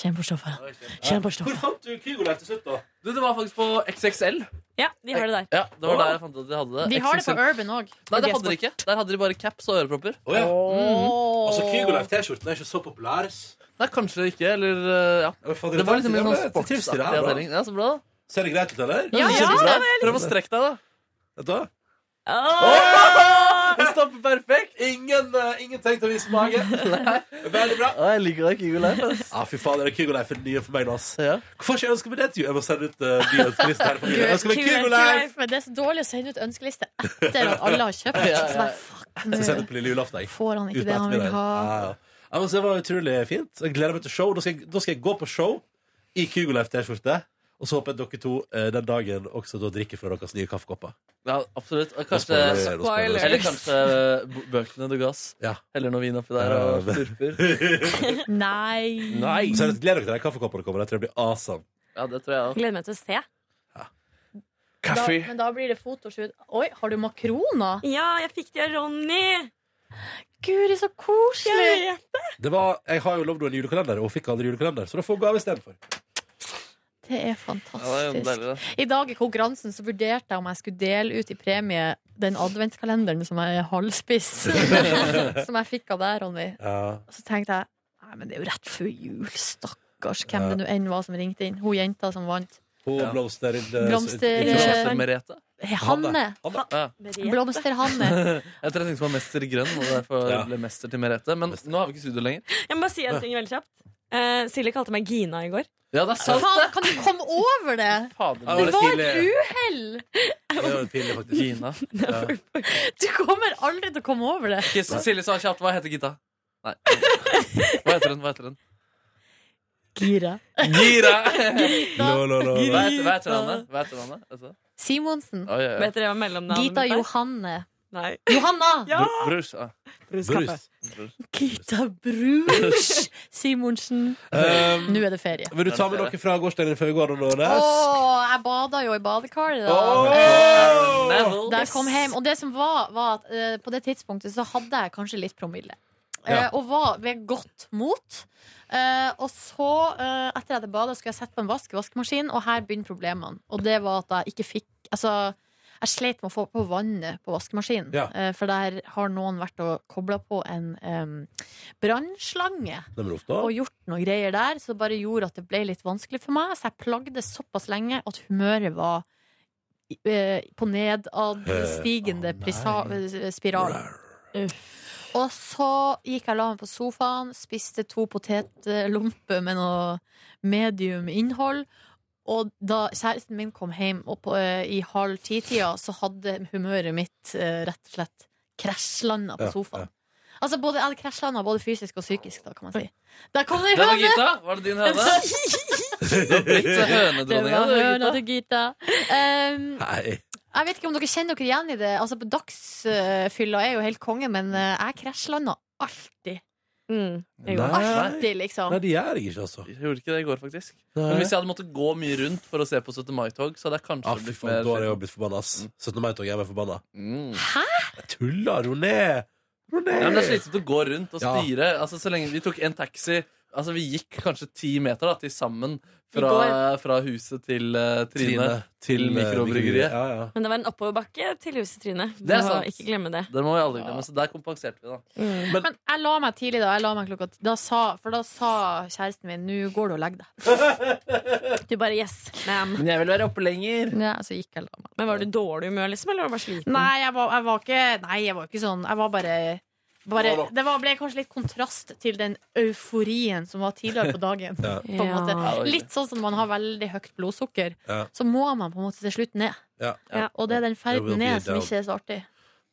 [SPEAKER 4] Kjenn på stoffet.
[SPEAKER 3] Oi, shit.
[SPEAKER 4] Kjenn på
[SPEAKER 2] Hvor
[SPEAKER 4] stoffet.
[SPEAKER 2] fant du Kygo-leif til slutt, da?
[SPEAKER 3] Du, det var faktisk på XXL.
[SPEAKER 8] Ja, de har det der.
[SPEAKER 3] Ja, det var der jeg fant ut at de hadde det.
[SPEAKER 4] De har det på
[SPEAKER 3] XXL.
[SPEAKER 4] Urban òg.
[SPEAKER 3] Nei, det hadde de ikke. Der hadde de bare caps og ørepropper.
[SPEAKER 2] Altså, Oh, Altså, Kygo-leif-T-skjorten er ikke så populær. ass.
[SPEAKER 3] Mm. Nei, kanskje ikke. Eller eh, ja. Det var liksom en sånn sportsaktig avdeling. Ja, så bra, da.
[SPEAKER 2] Ser det greit ut, eller?
[SPEAKER 4] Ja, ja,
[SPEAKER 3] Kjempebra. Prøv å strekke deg, da.
[SPEAKER 2] Vet du hva?
[SPEAKER 3] Åh! Det stopper perfekt.
[SPEAKER 2] Ingen, eh, ingen tenkt å vise mage. Veldig bra.
[SPEAKER 3] Å, jeg liker deg, Kygo Leif. ass.
[SPEAKER 2] Ja, fy faen, det er Kygo Leif nye for meg nå, ass.
[SPEAKER 3] Ja.
[SPEAKER 2] Hvorfor har ikke jeg ønsket meg det til jul? Jeg må sende ut uh, ny ønskeliste her. for jul. Jeg ønsker meg
[SPEAKER 4] Kygo
[SPEAKER 2] Kygo Leif!
[SPEAKER 4] Leif, Men det er så dårlig å sende ut ønskeliste etter at alle har kjøpt.
[SPEAKER 3] Ja, ja, ja.
[SPEAKER 4] Så bare, fuck,
[SPEAKER 2] Så sender
[SPEAKER 4] nå
[SPEAKER 2] jeg på lille julaften, jeg.
[SPEAKER 4] får han ikke
[SPEAKER 2] Uten
[SPEAKER 4] det han vil
[SPEAKER 2] ettermiddag. Ja,
[SPEAKER 4] ha.
[SPEAKER 2] ja. Ja, men så det var utrolig fint. Jeg gleder meg til show. Da skal jeg, da skal jeg gå på show i Kygo Leif T-skjorte. Og så håper jeg dere to eh, den dagen også da drikker fra deres nye kaffekopper.
[SPEAKER 3] ja, absolutt. Og
[SPEAKER 2] Nå spoiler jeg,
[SPEAKER 3] Kanskje,
[SPEAKER 2] nå spoiler jeg.
[SPEAKER 3] eller kanskje b- bøkene du ga oss.
[SPEAKER 2] Ja.
[SPEAKER 3] Heller noe vin oppi der og slurper.
[SPEAKER 4] Nei.
[SPEAKER 3] Nei.
[SPEAKER 2] Så jeg gleder dere til de kaffekoppene kommer. Jeg tror det blir awesome.
[SPEAKER 3] Ja, det tror jeg også.
[SPEAKER 8] Gleder meg til å se.
[SPEAKER 4] Da, men da blir det fotoshoot. Oi, har du makroner?
[SPEAKER 8] Ja, jeg fikk det av Ronny!
[SPEAKER 4] Guri, så koselig!
[SPEAKER 2] Det var, jeg har jo lovd henne en julekalender, og hun fikk aldri julekalender. Så da får hun gave istedenfor.
[SPEAKER 4] Det
[SPEAKER 3] Ja, det er
[SPEAKER 4] er
[SPEAKER 3] jo
[SPEAKER 4] fantastisk.
[SPEAKER 3] deilig, det.
[SPEAKER 4] I dag i konkurransen så vurderte jeg om jeg skulle dele ut i premie den adventskalenderen som er halvspiss. som jeg fikk av deg, Ronny.
[SPEAKER 2] Ja.
[SPEAKER 4] Og så tenkte jeg Nei, men det er jo rett før jul, stakkars. Hvem det nå enn var som ringte inn. Hun jenta som vant.
[SPEAKER 2] Hun
[SPEAKER 3] Ja.
[SPEAKER 2] blomster eh, i
[SPEAKER 4] Blomster-
[SPEAKER 2] i- i- i-
[SPEAKER 3] Blomster Merete.
[SPEAKER 4] Hei, Hanne.
[SPEAKER 2] Hanne.
[SPEAKER 3] Ja.
[SPEAKER 4] Blomster-Hanne.
[SPEAKER 3] Jeg tror jeg tenkte på Mester Grønn, og derfor
[SPEAKER 2] Ja.
[SPEAKER 3] ble Mester til Merete. Men nå har vi ikke studio lenger.
[SPEAKER 8] Jeg må bare si en ting veldig kjapt. Eh, Silje kalte meg Gina i går.
[SPEAKER 3] Ja, det er sant,
[SPEAKER 4] Faen,
[SPEAKER 3] det!
[SPEAKER 4] kan du komme over det?
[SPEAKER 3] Fader,
[SPEAKER 2] Ja,
[SPEAKER 3] det
[SPEAKER 2] var
[SPEAKER 4] Det var
[SPEAKER 2] tidlig.
[SPEAKER 4] et uhell!
[SPEAKER 2] Det var pinlig, faktisk.
[SPEAKER 3] var Gina.
[SPEAKER 4] Du kommer aldri til å komme over det.
[SPEAKER 3] Kiss, Silje sa kjapt hva heter Gita? Nei. Hva heter hun? Hva heter hun?
[SPEAKER 4] Gira.
[SPEAKER 3] Gira!
[SPEAKER 2] Lo, lo, lo, lo.
[SPEAKER 3] Hva heter, hva heter henne? Hva heter henne? Vet du det?
[SPEAKER 4] Simonsen.
[SPEAKER 3] Oi, oi, oi.
[SPEAKER 8] Vet dere hva mellomnavnet
[SPEAKER 4] Gita
[SPEAKER 8] mitt er?
[SPEAKER 4] Johanne.
[SPEAKER 8] Nei.
[SPEAKER 4] Johanna!
[SPEAKER 8] Ja!
[SPEAKER 3] Br- Brus. ah. Ja.
[SPEAKER 2] Brus.
[SPEAKER 4] Gita Brus Simonsen.
[SPEAKER 2] Um,
[SPEAKER 4] Nå er det ferie.
[SPEAKER 2] vil du ta med dere fra gårsdagen før vi går,
[SPEAKER 4] Å,
[SPEAKER 2] Nordnes?
[SPEAKER 4] jeg bada jo i badekar i dag.
[SPEAKER 3] Neville.
[SPEAKER 4] Da jeg kom hjem, og det som var, var at eh, på det tidspunktet så hadde jeg kanskje litt promille. Eh,
[SPEAKER 2] Ja.
[SPEAKER 4] og var ved godt mot. Eh, og så, eh, etter jeg hadde bada, skulle jeg sette på en vask, vaskemaskin, og her begynner problemene. Og det var at jeg ikke fikk Altså, jeg sleit med å få på vannet på vaskemaskinen.
[SPEAKER 2] Ja.
[SPEAKER 4] Eh, for der har noen vært og kobla på en em, brannslange
[SPEAKER 2] Det blir ofte.
[SPEAKER 4] og gjort noen greier der, så det bare gjorde at det ble litt vanskelig for meg. Så jeg plagde såpass lenge at humøret var i- eh, på nedadstigende
[SPEAKER 2] Eh, å
[SPEAKER 4] prisa- eh, spiral. Og så gikk jeg og la meg på sofaen, spiste to potetlomper med noe medium innhold. Og da kjæresten min kom hjem og på, eh, i halv ti-tida, så hadde humøret mitt eh, rett og slett krasjlanda
[SPEAKER 2] Ja,
[SPEAKER 4] på sofaen. Altså både, Jeg hadde krasjlanda både fysisk og psykisk, da, kan man si. Der kom det i
[SPEAKER 3] Det var
[SPEAKER 4] høne!
[SPEAKER 3] Gita! Var det din høne? Du har blitt så
[SPEAKER 4] Det
[SPEAKER 3] hønedronninga,
[SPEAKER 4] var
[SPEAKER 3] du,
[SPEAKER 4] høna
[SPEAKER 3] Gita.
[SPEAKER 4] til Gita. Um,
[SPEAKER 2] Nei.
[SPEAKER 4] jeg vet ikke om dere kjenner dere igjen i det. Altså på Dagsfylla er jo helt konge, men eh, jeg krasjlanda alltid.
[SPEAKER 8] Mm. Jeg går.
[SPEAKER 4] Alltid, liksom.
[SPEAKER 2] Nei, det gjør jeg ikke, altså.
[SPEAKER 3] Jeg gjorde ikke det i går, faktisk. Men hvis jeg hadde måttet gå mye rundt for å se på 17. mai-tog, så hadde jeg Mm. kanskje
[SPEAKER 2] Ah, fy
[SPEAKER 3] blitt
[SPEAKER 2] faen,
[SPEAKER 3] mer
[SPEAKER 2] da har jeg jo blitt forbanna, ass. 17. mai-tog gjør meg forbanna.
[SPEAKER 3] Mm.
[SPEAKER 2] Jeg tuller, ro ned! Ro ned!
[SPEAKER 3] Ja, men det er slitsomt å gå rundt og
[SPEAKER 2] Ja.
[SPEAKER 3] styre. Altså, så lenge Vi tok en taxi Altså, vi gikk kanskje ti meter da, til sammen fra, fra huset til eh, Trine. til
[SPEAKER 2] eh,
[SPEAKER 3] mikrobryggeriet.
[SPEAKER 2] Ja, ja.
[SPEAKER 8] Men det var en oppoverbakke til huset, Trine. Du
[SPEAKER 3] Det er
[SPEAKER 8] må
[SPEAKER 3] sant.
[SPEAKER 8] Ikke glemme det.
[SPEAKER 3] Det må vi aldri glemme, så der kompenserte vi, da.
[SPEAKER 4] Men jeg la meg tidlig, da. Jeg la meg klokka da sa, For da sa kjæresten min 'nå går du og legger deg'.
[SPEAKER 8] Du bare yes, ma'am.
[SPEAKER 3] Men jeg vil være oppe lenger.
[SPEAKER 4] Ja, så gikk jeg og la meg.
[SPEAKER 8] Men var du i dårlig humør, liksom? Eller var du bare sliten?
[SPEAKER 4] Nei, jeg var, jeg var ikke Nei, jeg var ikke sånn. Jeg var bare bare, det var, ble kanskje litt kontrast til den euforien som var tidligere på dagen.
[SPEAKER 2] Ja.
[SPEAKER 4] På en måte.
[SPEAKER 8] Ja.
[SPEAKER 4] Litt sånn som man har veldig høyt blodsukker.
[SPEAKER 2] Ja.
[SPEAKER 4] Så må man på en måte til slutt ned.
[SPEAKER 2] Ja.
[SPEAKER 8] Ja.
[SPEAKER 4] Og det er den
[SPEAKER 2] Det
[SPEAKER 4] ferden
[SPEAKER 2] blir
[SPEAKER 4] ned som
[SPEAKER 2] down.
[SPEAKER 4] ikke er så artig.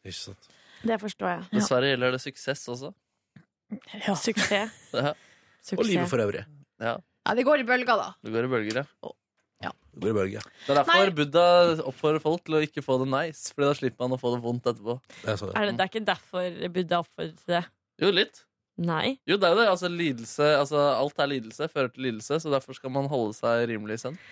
[SPEAKER 2] Ikke sant.
[SPEAKER 8] Det forstår jeg.
[SPEAKER 3] Dessverre gjelder det suksess også.
[SPEAKER 8] Suksess.
[SPEAKER 3] Ja.
[SPEAKER 2] Og livet
[SPEAKER 8] Suksess.
[SPEAKER 2] for øvrig.
[SPEAKER 4] Ja, det går i bølger, da.
[SPEAKER 3] Du går i bølger, ja.
[SPEAKER 2] Det går i bølger.
[SPEAKER 3] Det er derfor
[SPEAKER 4] Nei.
[SPEAKER 3] Buddha oppfordrer folk til å ikke få det nice, Fordi da slipper man å få det vondt etterpå.
[SPEAKER 2] Det er sånn.
[SPEAKER 8] Er det, det er ikke derfor Buddha oppfordret til det.
[SPEAKER 3] Jo, litt.
[SPEAKER 8] Nei.
[SPEAKER 3] Jo, det er jo det. Altså, lidelse, altså, alt er lidelse, fører til lidelse, så derfor skal man holde seg rimelig i send.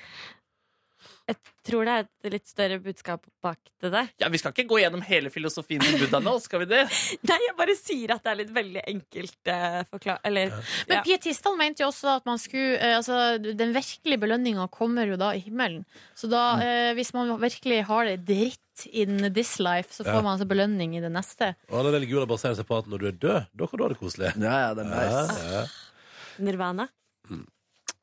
[SPEAKER 8] Tror det er et litt større budskap bak det der.
[SPEAKER 3] Ja, Vi skal ikke gå gjennom hele filosofien til Buddha nå, skal vi det?
[SPEAKER 8] Nei, jeg bare sier at det er litt veldig enkelt eh, forklar... Eller
[SPEAKER 4] Men
[SPEAKER 8] Ja.
[SPEAKER 4] pietistene mente jo også at man skulle eh, Altså, den virkelige belønninga kommer jo da i himmelen. Så da,
[SPEAKER 2] Mm.
[SPEAKER 4] eh, hvis man virkelig har det dritt in this life, så får
[SPEAKER 2] Ja.
[SPEAKER 4] man altså belønning i det neste.
[SPEAKER 2] Og alle religioner baserer seg på at når du er død, da kan du ha det koselig.
[SPEAKER 3] Ja, ja, det
[SPEAKER 2] Ja, ja.
[SPEAKER 8] Nirvana.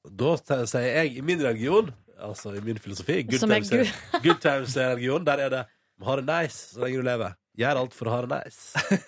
[SPEAKER 2] Da te- sier jeg i min religion, altså i min filosofi Good
[SPEAKER 4] Som er
[SPEAKER 2] times er good times er religion. Der er det ha det nice så lenge du lever. Gjør alt for å ha det nice.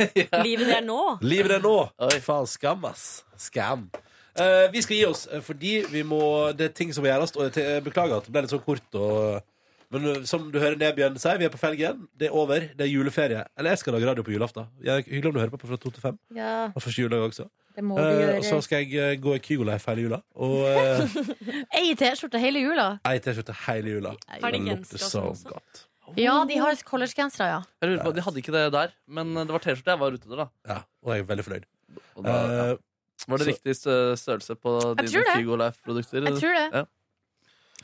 [SPEAKER 8] Livet det er nå.
[SPEAKER 2] Livet er nå.
[SPEAKER 3] Oi.
[SPEAKER 2] Faen, skam, ass. Skam. Eh, vi skal gi oss, eh, fordi vi må, det er ting som må gjøres. Og jeg te- jeg beklager at det ble litt sånn kort. Og, men eh, som du hører Nebjørn sier, vi er på felgen. Det er over. Det er juleferie. Eller jeg skal lage radio på julaften. Jeg- Hyggelig om du hører på på fra to til fem.
[SPEAKER 4] Ja,
[SPEAKER 2] Og første juledag også.
[SPEAKER 4] det må vi
[SPEAKER 2] Eh, og så
[SPEAKER 4] gjøre.
[SPEAKER 2] skal jeg eh, gå i Kygo-leif hele jula. Og eh,
[SPEAKER 4] Ei T-skjorte hele jula.
[SPEAKER 2] ei T-skjorte hele jula.
[SPEAKER 8] Har de
[SPEAKER 2] Det lukter
[SPEAKER 8] genser og sånn
[SPEAKER 2] så
[SPEAKER 8] også?
[SPEAKER 2] godt.
[SPEAKER 4] Ja, de
[SPEAKER 2] Oh.
[SPEAKER 4] har collegegensere, ja.
[SPEAKER 3] Jeg lurer på, De hadde ikke det der, men det var T-skjorte jeg var ute etter. da.
[SPEAKER 2] Ja, og jeg er veldig fornøyd.
[SPEAKER 3] Og da ja.
[SPEAKER 2] Eh,
[SPEAKER 3] Var det
[SPEAKER 2] så-
[SPEAKER 3] riktig stø- størrelse på
[SPEAKER 4] Jeg tror
[SPEAKER 3] dine
[SPEAKER 4] det.
[SPEAKER 3] Kygo Life-produkter?
[SPEAKER 2] Eh,
[SPEAKER 4] Jeg tror
[SPEAKER 3] Ja.
[SPEAKER 4] det.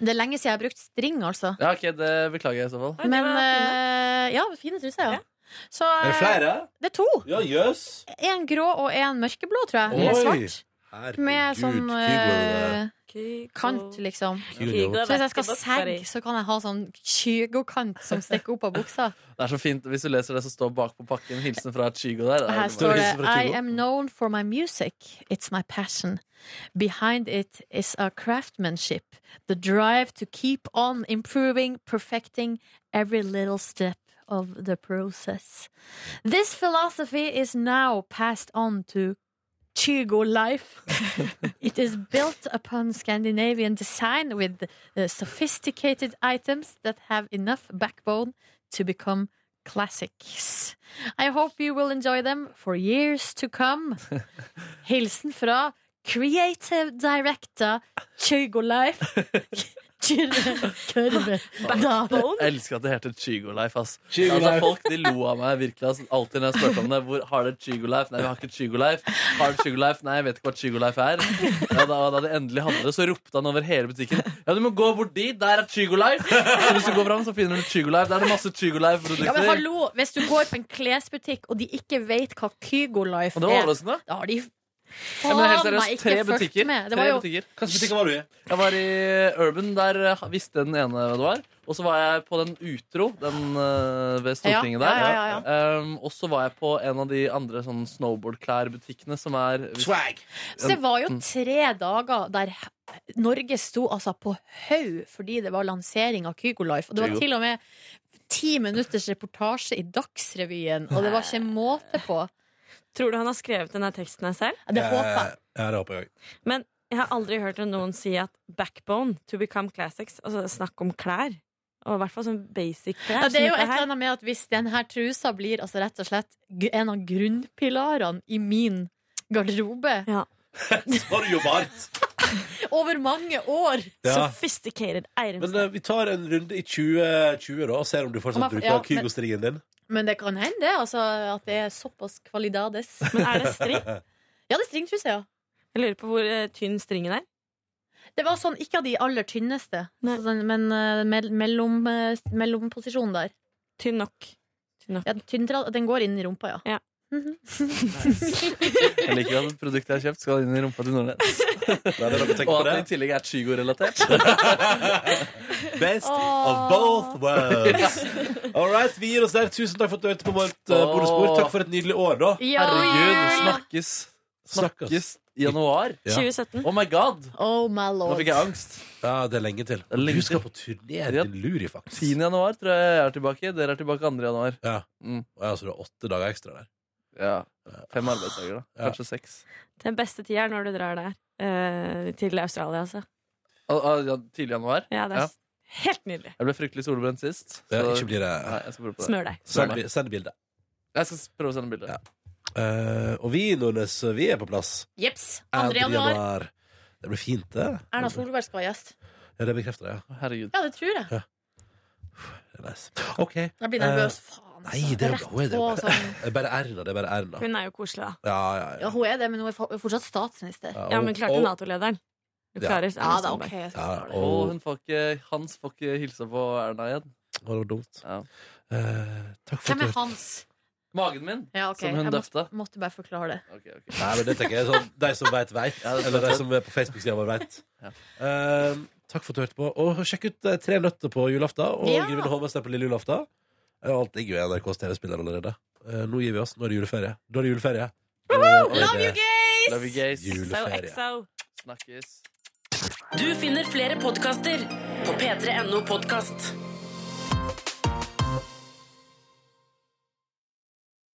[SPEAKER 4] Det er lenge siden jeg har brukt string, altså.
[SPEAKER 3] Ja, ok, det beklager jeg i så fall.
[SPEAKER 8] Oi, det
[SPEAKER 4] Men
[SPEAKER 8] var fint.
[SPEAKER 4] eh, ja, fine truser, ja.
[SPEAKER 8] Ja.
[SPEAKER 4] Så
[SPEAKER 2] Er det
[SPEAKER 4] eh,
[SPEAKER 2] flere?
[SPEAKER 4] det er to.
[SPEAKER 2] Ja, jøs.
[SPEAKER 4] En grå og en mørkeblå, tror jeg. Eller
[SPEAKER 2] Oi.
[SPEAKER 4] svart. Med sånn eh, kant, liksom. Så hvis jeg skal segge, så kan jeg ha sånn kygokant som stikker opp av buksa.
[SPEAKER 3] Det er så fint, Hvis du leser det som står bak på pakken, hilsen fra et Kygo der.
[SPEAKER 4] Og
[SPEAKER 3] er
[SPEAKER 4] her
[SPEAKER 3] jo
[SPEAKER 4] står
[SPEAKER 3] bare-
[SPEAKER 4] det
[SPEAKER 2] hilsen fra
[SPEAKER 4] I
[SPEAKER 2] Kygo.
[SPEAKER 4] am known for my music. It's my passion. Behind it is a craftsmanship. The drive to keep on improving, perfecting every little step of the process. This philosophy is now passed on to Chigo life. it is built upon Scandinavian design with uh, sophisticated items that have enough backbone to become classics. I hope you will enjoy them for years to come. Hilsen fra Creative Director Chigo Life. Kyrre Kørve Dale.
[SPEAKER 8] Backbone?
[SPEAKER 3] Jeg elsker at det heter Kygo Life. ass
[SPEAKER 2] Kygo
[SPEAKER 3] altså,
[SPEAKER 2] Life.
[SPEAKER 3] Folk de lo av meg virkelig ass. alltid når jeg spurte om det. Hvor Har dere Kygo Life? Nei, vi har ikke Kygo Life. Har dere Kygo Life? Nei, jeg vet ikke hva Kygo Life er. Ja, da, da de endelig hadde det, så ropte han over hele butikken Ja, du må gå bort dit! Der er Kygo Life! Så hvis du går fram, så finner du Kygo Life. Der er det masse Kygo
[SPEAKER 4] Ja, men
[SPEAKER 3] Life-produkter.
[SPEAKER 4] hallo, Hvis du går på en klesbutikk og de ikke vet hva Kygo Life
[SPEAKER 3] Og det var
[SPEAKER 4] er,
[SPEAKER 3] overraskende.
[SPEAKER 4] da har de
[SPEAKER 3] Ja, men helt
[SPEAKER 4] faen meg
[SPEAKER 3] seriøst,
[SPEAKER 4] ikke
[SPEAKER 3] tre
[SPEAKER 4] fulgt
[SPEAKER 3] butikker.
[SPEAKER 4] med. Det
[SPEAKER 3] Tre
[SPEAKER 4] var jo
[SPEAKER 3] butikker.
[SPEAKER 2] Hvilken butikk var du i?
[SPEAKER 3] Jeg var i Urban, der eh, visste den ene hva det var. Og så var jeg på den utro, den eh, ved Stortinget
[SPEAKER 4] Ja,
[SPEAKER 3] der.
[SPEAKER 4] ja, ja,
[SPEAKER 3] Um, og så var jeg på en av de andre sånn snowboardklærbutikkene som er
[SPEAKER 2] Swag.
[SPEAKER 4] Så det var jo tre dager der Norge sto altså på haug fordi det var lansering av Kygo Life. Og det var
[SPEAKER 3] Kygo.
[SPEAKER 4] til og med ti minutters reportasje i Dagsrevyen, og det var ikke måte på.
[SPEAKER 8] Tror du han har skrevet denne teksten her selv?
[SPEAKER 4] Det håper jeg.
[SPEAKER 2] Eh, Ja, det håper jeg òg.
[SPEAKER 8] Men jeg har aldri hørt noen si at backbone to become classics. Altså snakk om klær. Og i hvert fall sånn basic klær.
[SPEAKER 4] Ja, det er jo et
[SPEAKER 8] som dette
[SPEAKER 4] eller
[SPEAKER 8] her.
[SPEAKER 4] annet med at Hvis denne trusa blir altså rett og slett gr- en av grunnpilarene i min garderobe
[SPEAKER 2] Har du jobbart?
[SPEAKER 4] over mange år
[SPEAKER 2] Ja.
[SPEAKER 8] Sophisticated
[SPEAKER 2] Men
[SPEAKER 8] Eiremstad.
[SPEAKER 2] eh, vi tar en runde i 2020 da, og ser om du
[SPEAKER 4] Om jeg-
[SPEAKER 2] fortsatt bruker
[SPEAKER 4] ja, men-
[SPEAKER 2] Kygo-strien din.
[SPEAKER 4] Men det kan hende det, altså, at det er såpass kvalidades.
[SPEAKER 8] Men, er det string?
[SPEAKER 4] Ja, det er stringtruse, ja.
[SPEAKER 8] Jeg lurer på hvor eh, tynn stringen er.
[SPEAKER 4] Det var sånn, ikke av de aller tynneste,
[SPEAKER 8] Nei.
[SPEAKER 4] sånn, men eh, mell- mellom, eh, mellomposisjonen der.
[SPEAKER 8] Tynn nok. Tynn nok.
[SPEAKER 4] Ja, tynntra- den går inn i rumpa, ja.
[SPEAKER 8] Ja.
[SPEAKER 4] Mhm.
[SPEAKER 3] Jeg liker at produktet jeg har kjøpt, skal inn i rumpa til Nordnes.
[SPEAKER 2] Nei, det er dere
[SPEAKER 3] Og
[SPEAKER 2] tenker på
[SPEAKER 3] at det i
[SPEAKER 2] det.
[SPEAKER 3] tillegg er Chigo-relatert.
[SPEAKER 2] Best
[SPEAKER 4] Åh.
[SPEAKER 2] of both worlds. All right, vi gir oss der. Tusen takk for at du hørte på vårt eh, bonusbord. Takk for et nydelig år, da.
[SPEAKER 4] Ja.
[SPEAKER 3] Herregud, snakkes, snakkes
[SPEAKER 2] Snakkes.
[SPEAKER 3] i januar.
[SPEAKER 2] Ja.
[SPEAKER 8] 2017.
[SPEAKER 3] Oh my god!
[SPEAKER 4] Oh my
[SPEAKER 3] Nå
[SPEAKER 4] lord.
[SPEAKER 3] fikk jeg angst.
[SPEAKER 2] Ja, det er lenge til.
[SPEAKER 3] er lenge
[SPEAKER 2] Du skal
[SPEAKER 3] til.
[SPEAKER 2] på turné,
[SPEAKER 3] Ja.
[SPEAKER 2] din lurifaks.
[SPEAKER 3] 10. januar tror jeg jeg er tilbake. Dere er tilbake 2. januar.
[SPEAKER 2] Ja.
[SPEAKER 3] Mm.
[SPEAKER 2] Ja, så du har åtte dager ekstra der.
[SPEAKER 3] Ja. Fem arbeidsdager, da.
[SPEAKER 2] Ja.
[SPEAKER 3] Kanskje seks.
[SPEAKER 8] Den beste tida er når du drar der. eh, til Australia, altså.
[SPEAKER 3] Ah, ah, ja, tidlig januar.
[SPEAKER 8] Ja, det er
[SPEAKER 3] Ja.
[SPEAKER 8] s- helt nydelig.
[SPEAKER 3] Jeg ble fryktelig solbrent sist.
[SPEAKER 2] Ja,
[SPEAKER 3] så-
[SPEAKER 2] ikke blir det
[SPEAKER 3] Nei, jeg skal prøve på det.
[SPEAKER 8] Smør deg.
[SPEAKER 2] Send, bi- send bilde.
[SPEAKER 3] Jeg skal s- prøve å sende bilde.
[SPEAKER 2] Ja. Eh, og vi, Nordnes, vi er på plass.
[SPEAKER 4] Jeps. 2. januar. altså?
[SPEAKER 2] Det blir fint, det.
[SPEAKER 4] Erna Solberg skal være gjest.
[SPEAKER 2] Ja, det bekrefter det, ja.
[SPEAKER 3] Herregud.
[SPEAKER 4] Ja, det tror jeg.
[SPEAKER 2] Det er nice. OK.
[SPEAKER 4] Jeg blir nervøs. Faen.
[SPEAKER 2] Eh,
[SPEAKER 4] altså.
[SPEAKER 2] Nei, det er jo hun er det
[SPEAKER 4] Rett på
[SPEAKER 2] jo bare,
[SPEAKER 4] sånn.
[SPEAKER 2] det er bare Erna. Det er bare Erna.
[SPEAKER 8] Hun er jo koselig, da.
[SPEAKER 2] Ja, ja,
[SPEAKER 4] Ja,
[SPEAKER 2] ja.
[SPEAKER 4] hun er det, men hun er for- fortsatt statsminister.
[SPEAKER 2] Ja,
[SPEAKER 8] Ja,
[SPEAKER 2] og-
[SPEAKER 8] men klarte
[SPEAKER 2] og-
[SPEAKER 8] Nato-lederen. Du
[SPEAKER 2] Ja.
[SPEAKER 8] klarer
[SPEAKER 4] Ja, da,
[SPEAKER 8] Erna
[SPEAKER 4] ok.
[SPEAKER 8] Solberg.
[SPEAKER 4] jeg
[SPEAKER 2] Ja,
[SPEAKER 4] skal klare det.
[SPEAKER 3] Og
[SPEAKER 2] og,
[SPEAKER 3] hun får ikke, Hans får ikke hilse på Erna
[SPEAKER 2] og
[SPEAKER 3] igjen.
[SPEAKER 2] det var dumt.
[SPEAKER 3] Ja.
[SPEAKER 2] Eh, takk for
[SPEAKER 4] Hvem
[SPEAKER 2] at
[SPEAKER 4] er
[SPEAKER 2] du
[SPEAKER 4] Hans?
[SPEAKER 3] Magen min,
[SPEAKER 4] Ja, ok.
[SPEAKER 3] som hun
[SPEAKER 4] Jeg måtte,
[SPEAKER 3] døpte.
[SPEAKER 4] måtte bare forklare det.
[SPEAKER 3] Ok, ok.
[SPEAKER 2] Nei, men det tenker jeg er sånn De som vet, vet.
[SPEAKER 3] Ja, det er
[SPEAKER 2] Eller de
[SPEAKER 3] sant.
[SPEAKER 2] som er på Facebook-sida vår, vet.
[SPEAKER 3] Ja.
[SPEAKER 2] Eh, takk for at du hørte på. Og sjekk ut eh, Tre nøtter på julaften. Og
[SPEAKER 4] Ja.
[SPEAKER 2] Grevinne Holmestad på lille julaften. Eh, Alt ligger jo i NRKs TV-spiller allerede. Eh, nå gir vi oss. Nå er det juleferie. Da er det juleferie. Love you, gays!
[SPEAKER 3] Love you, guys.
[SPEAKER 2] Juleferie.
[SPEAKER 8] XO.
[SPEAKER 3] Snakkes.
[SPEAKER 1] Du finner flere podkaster på p3.no podkast.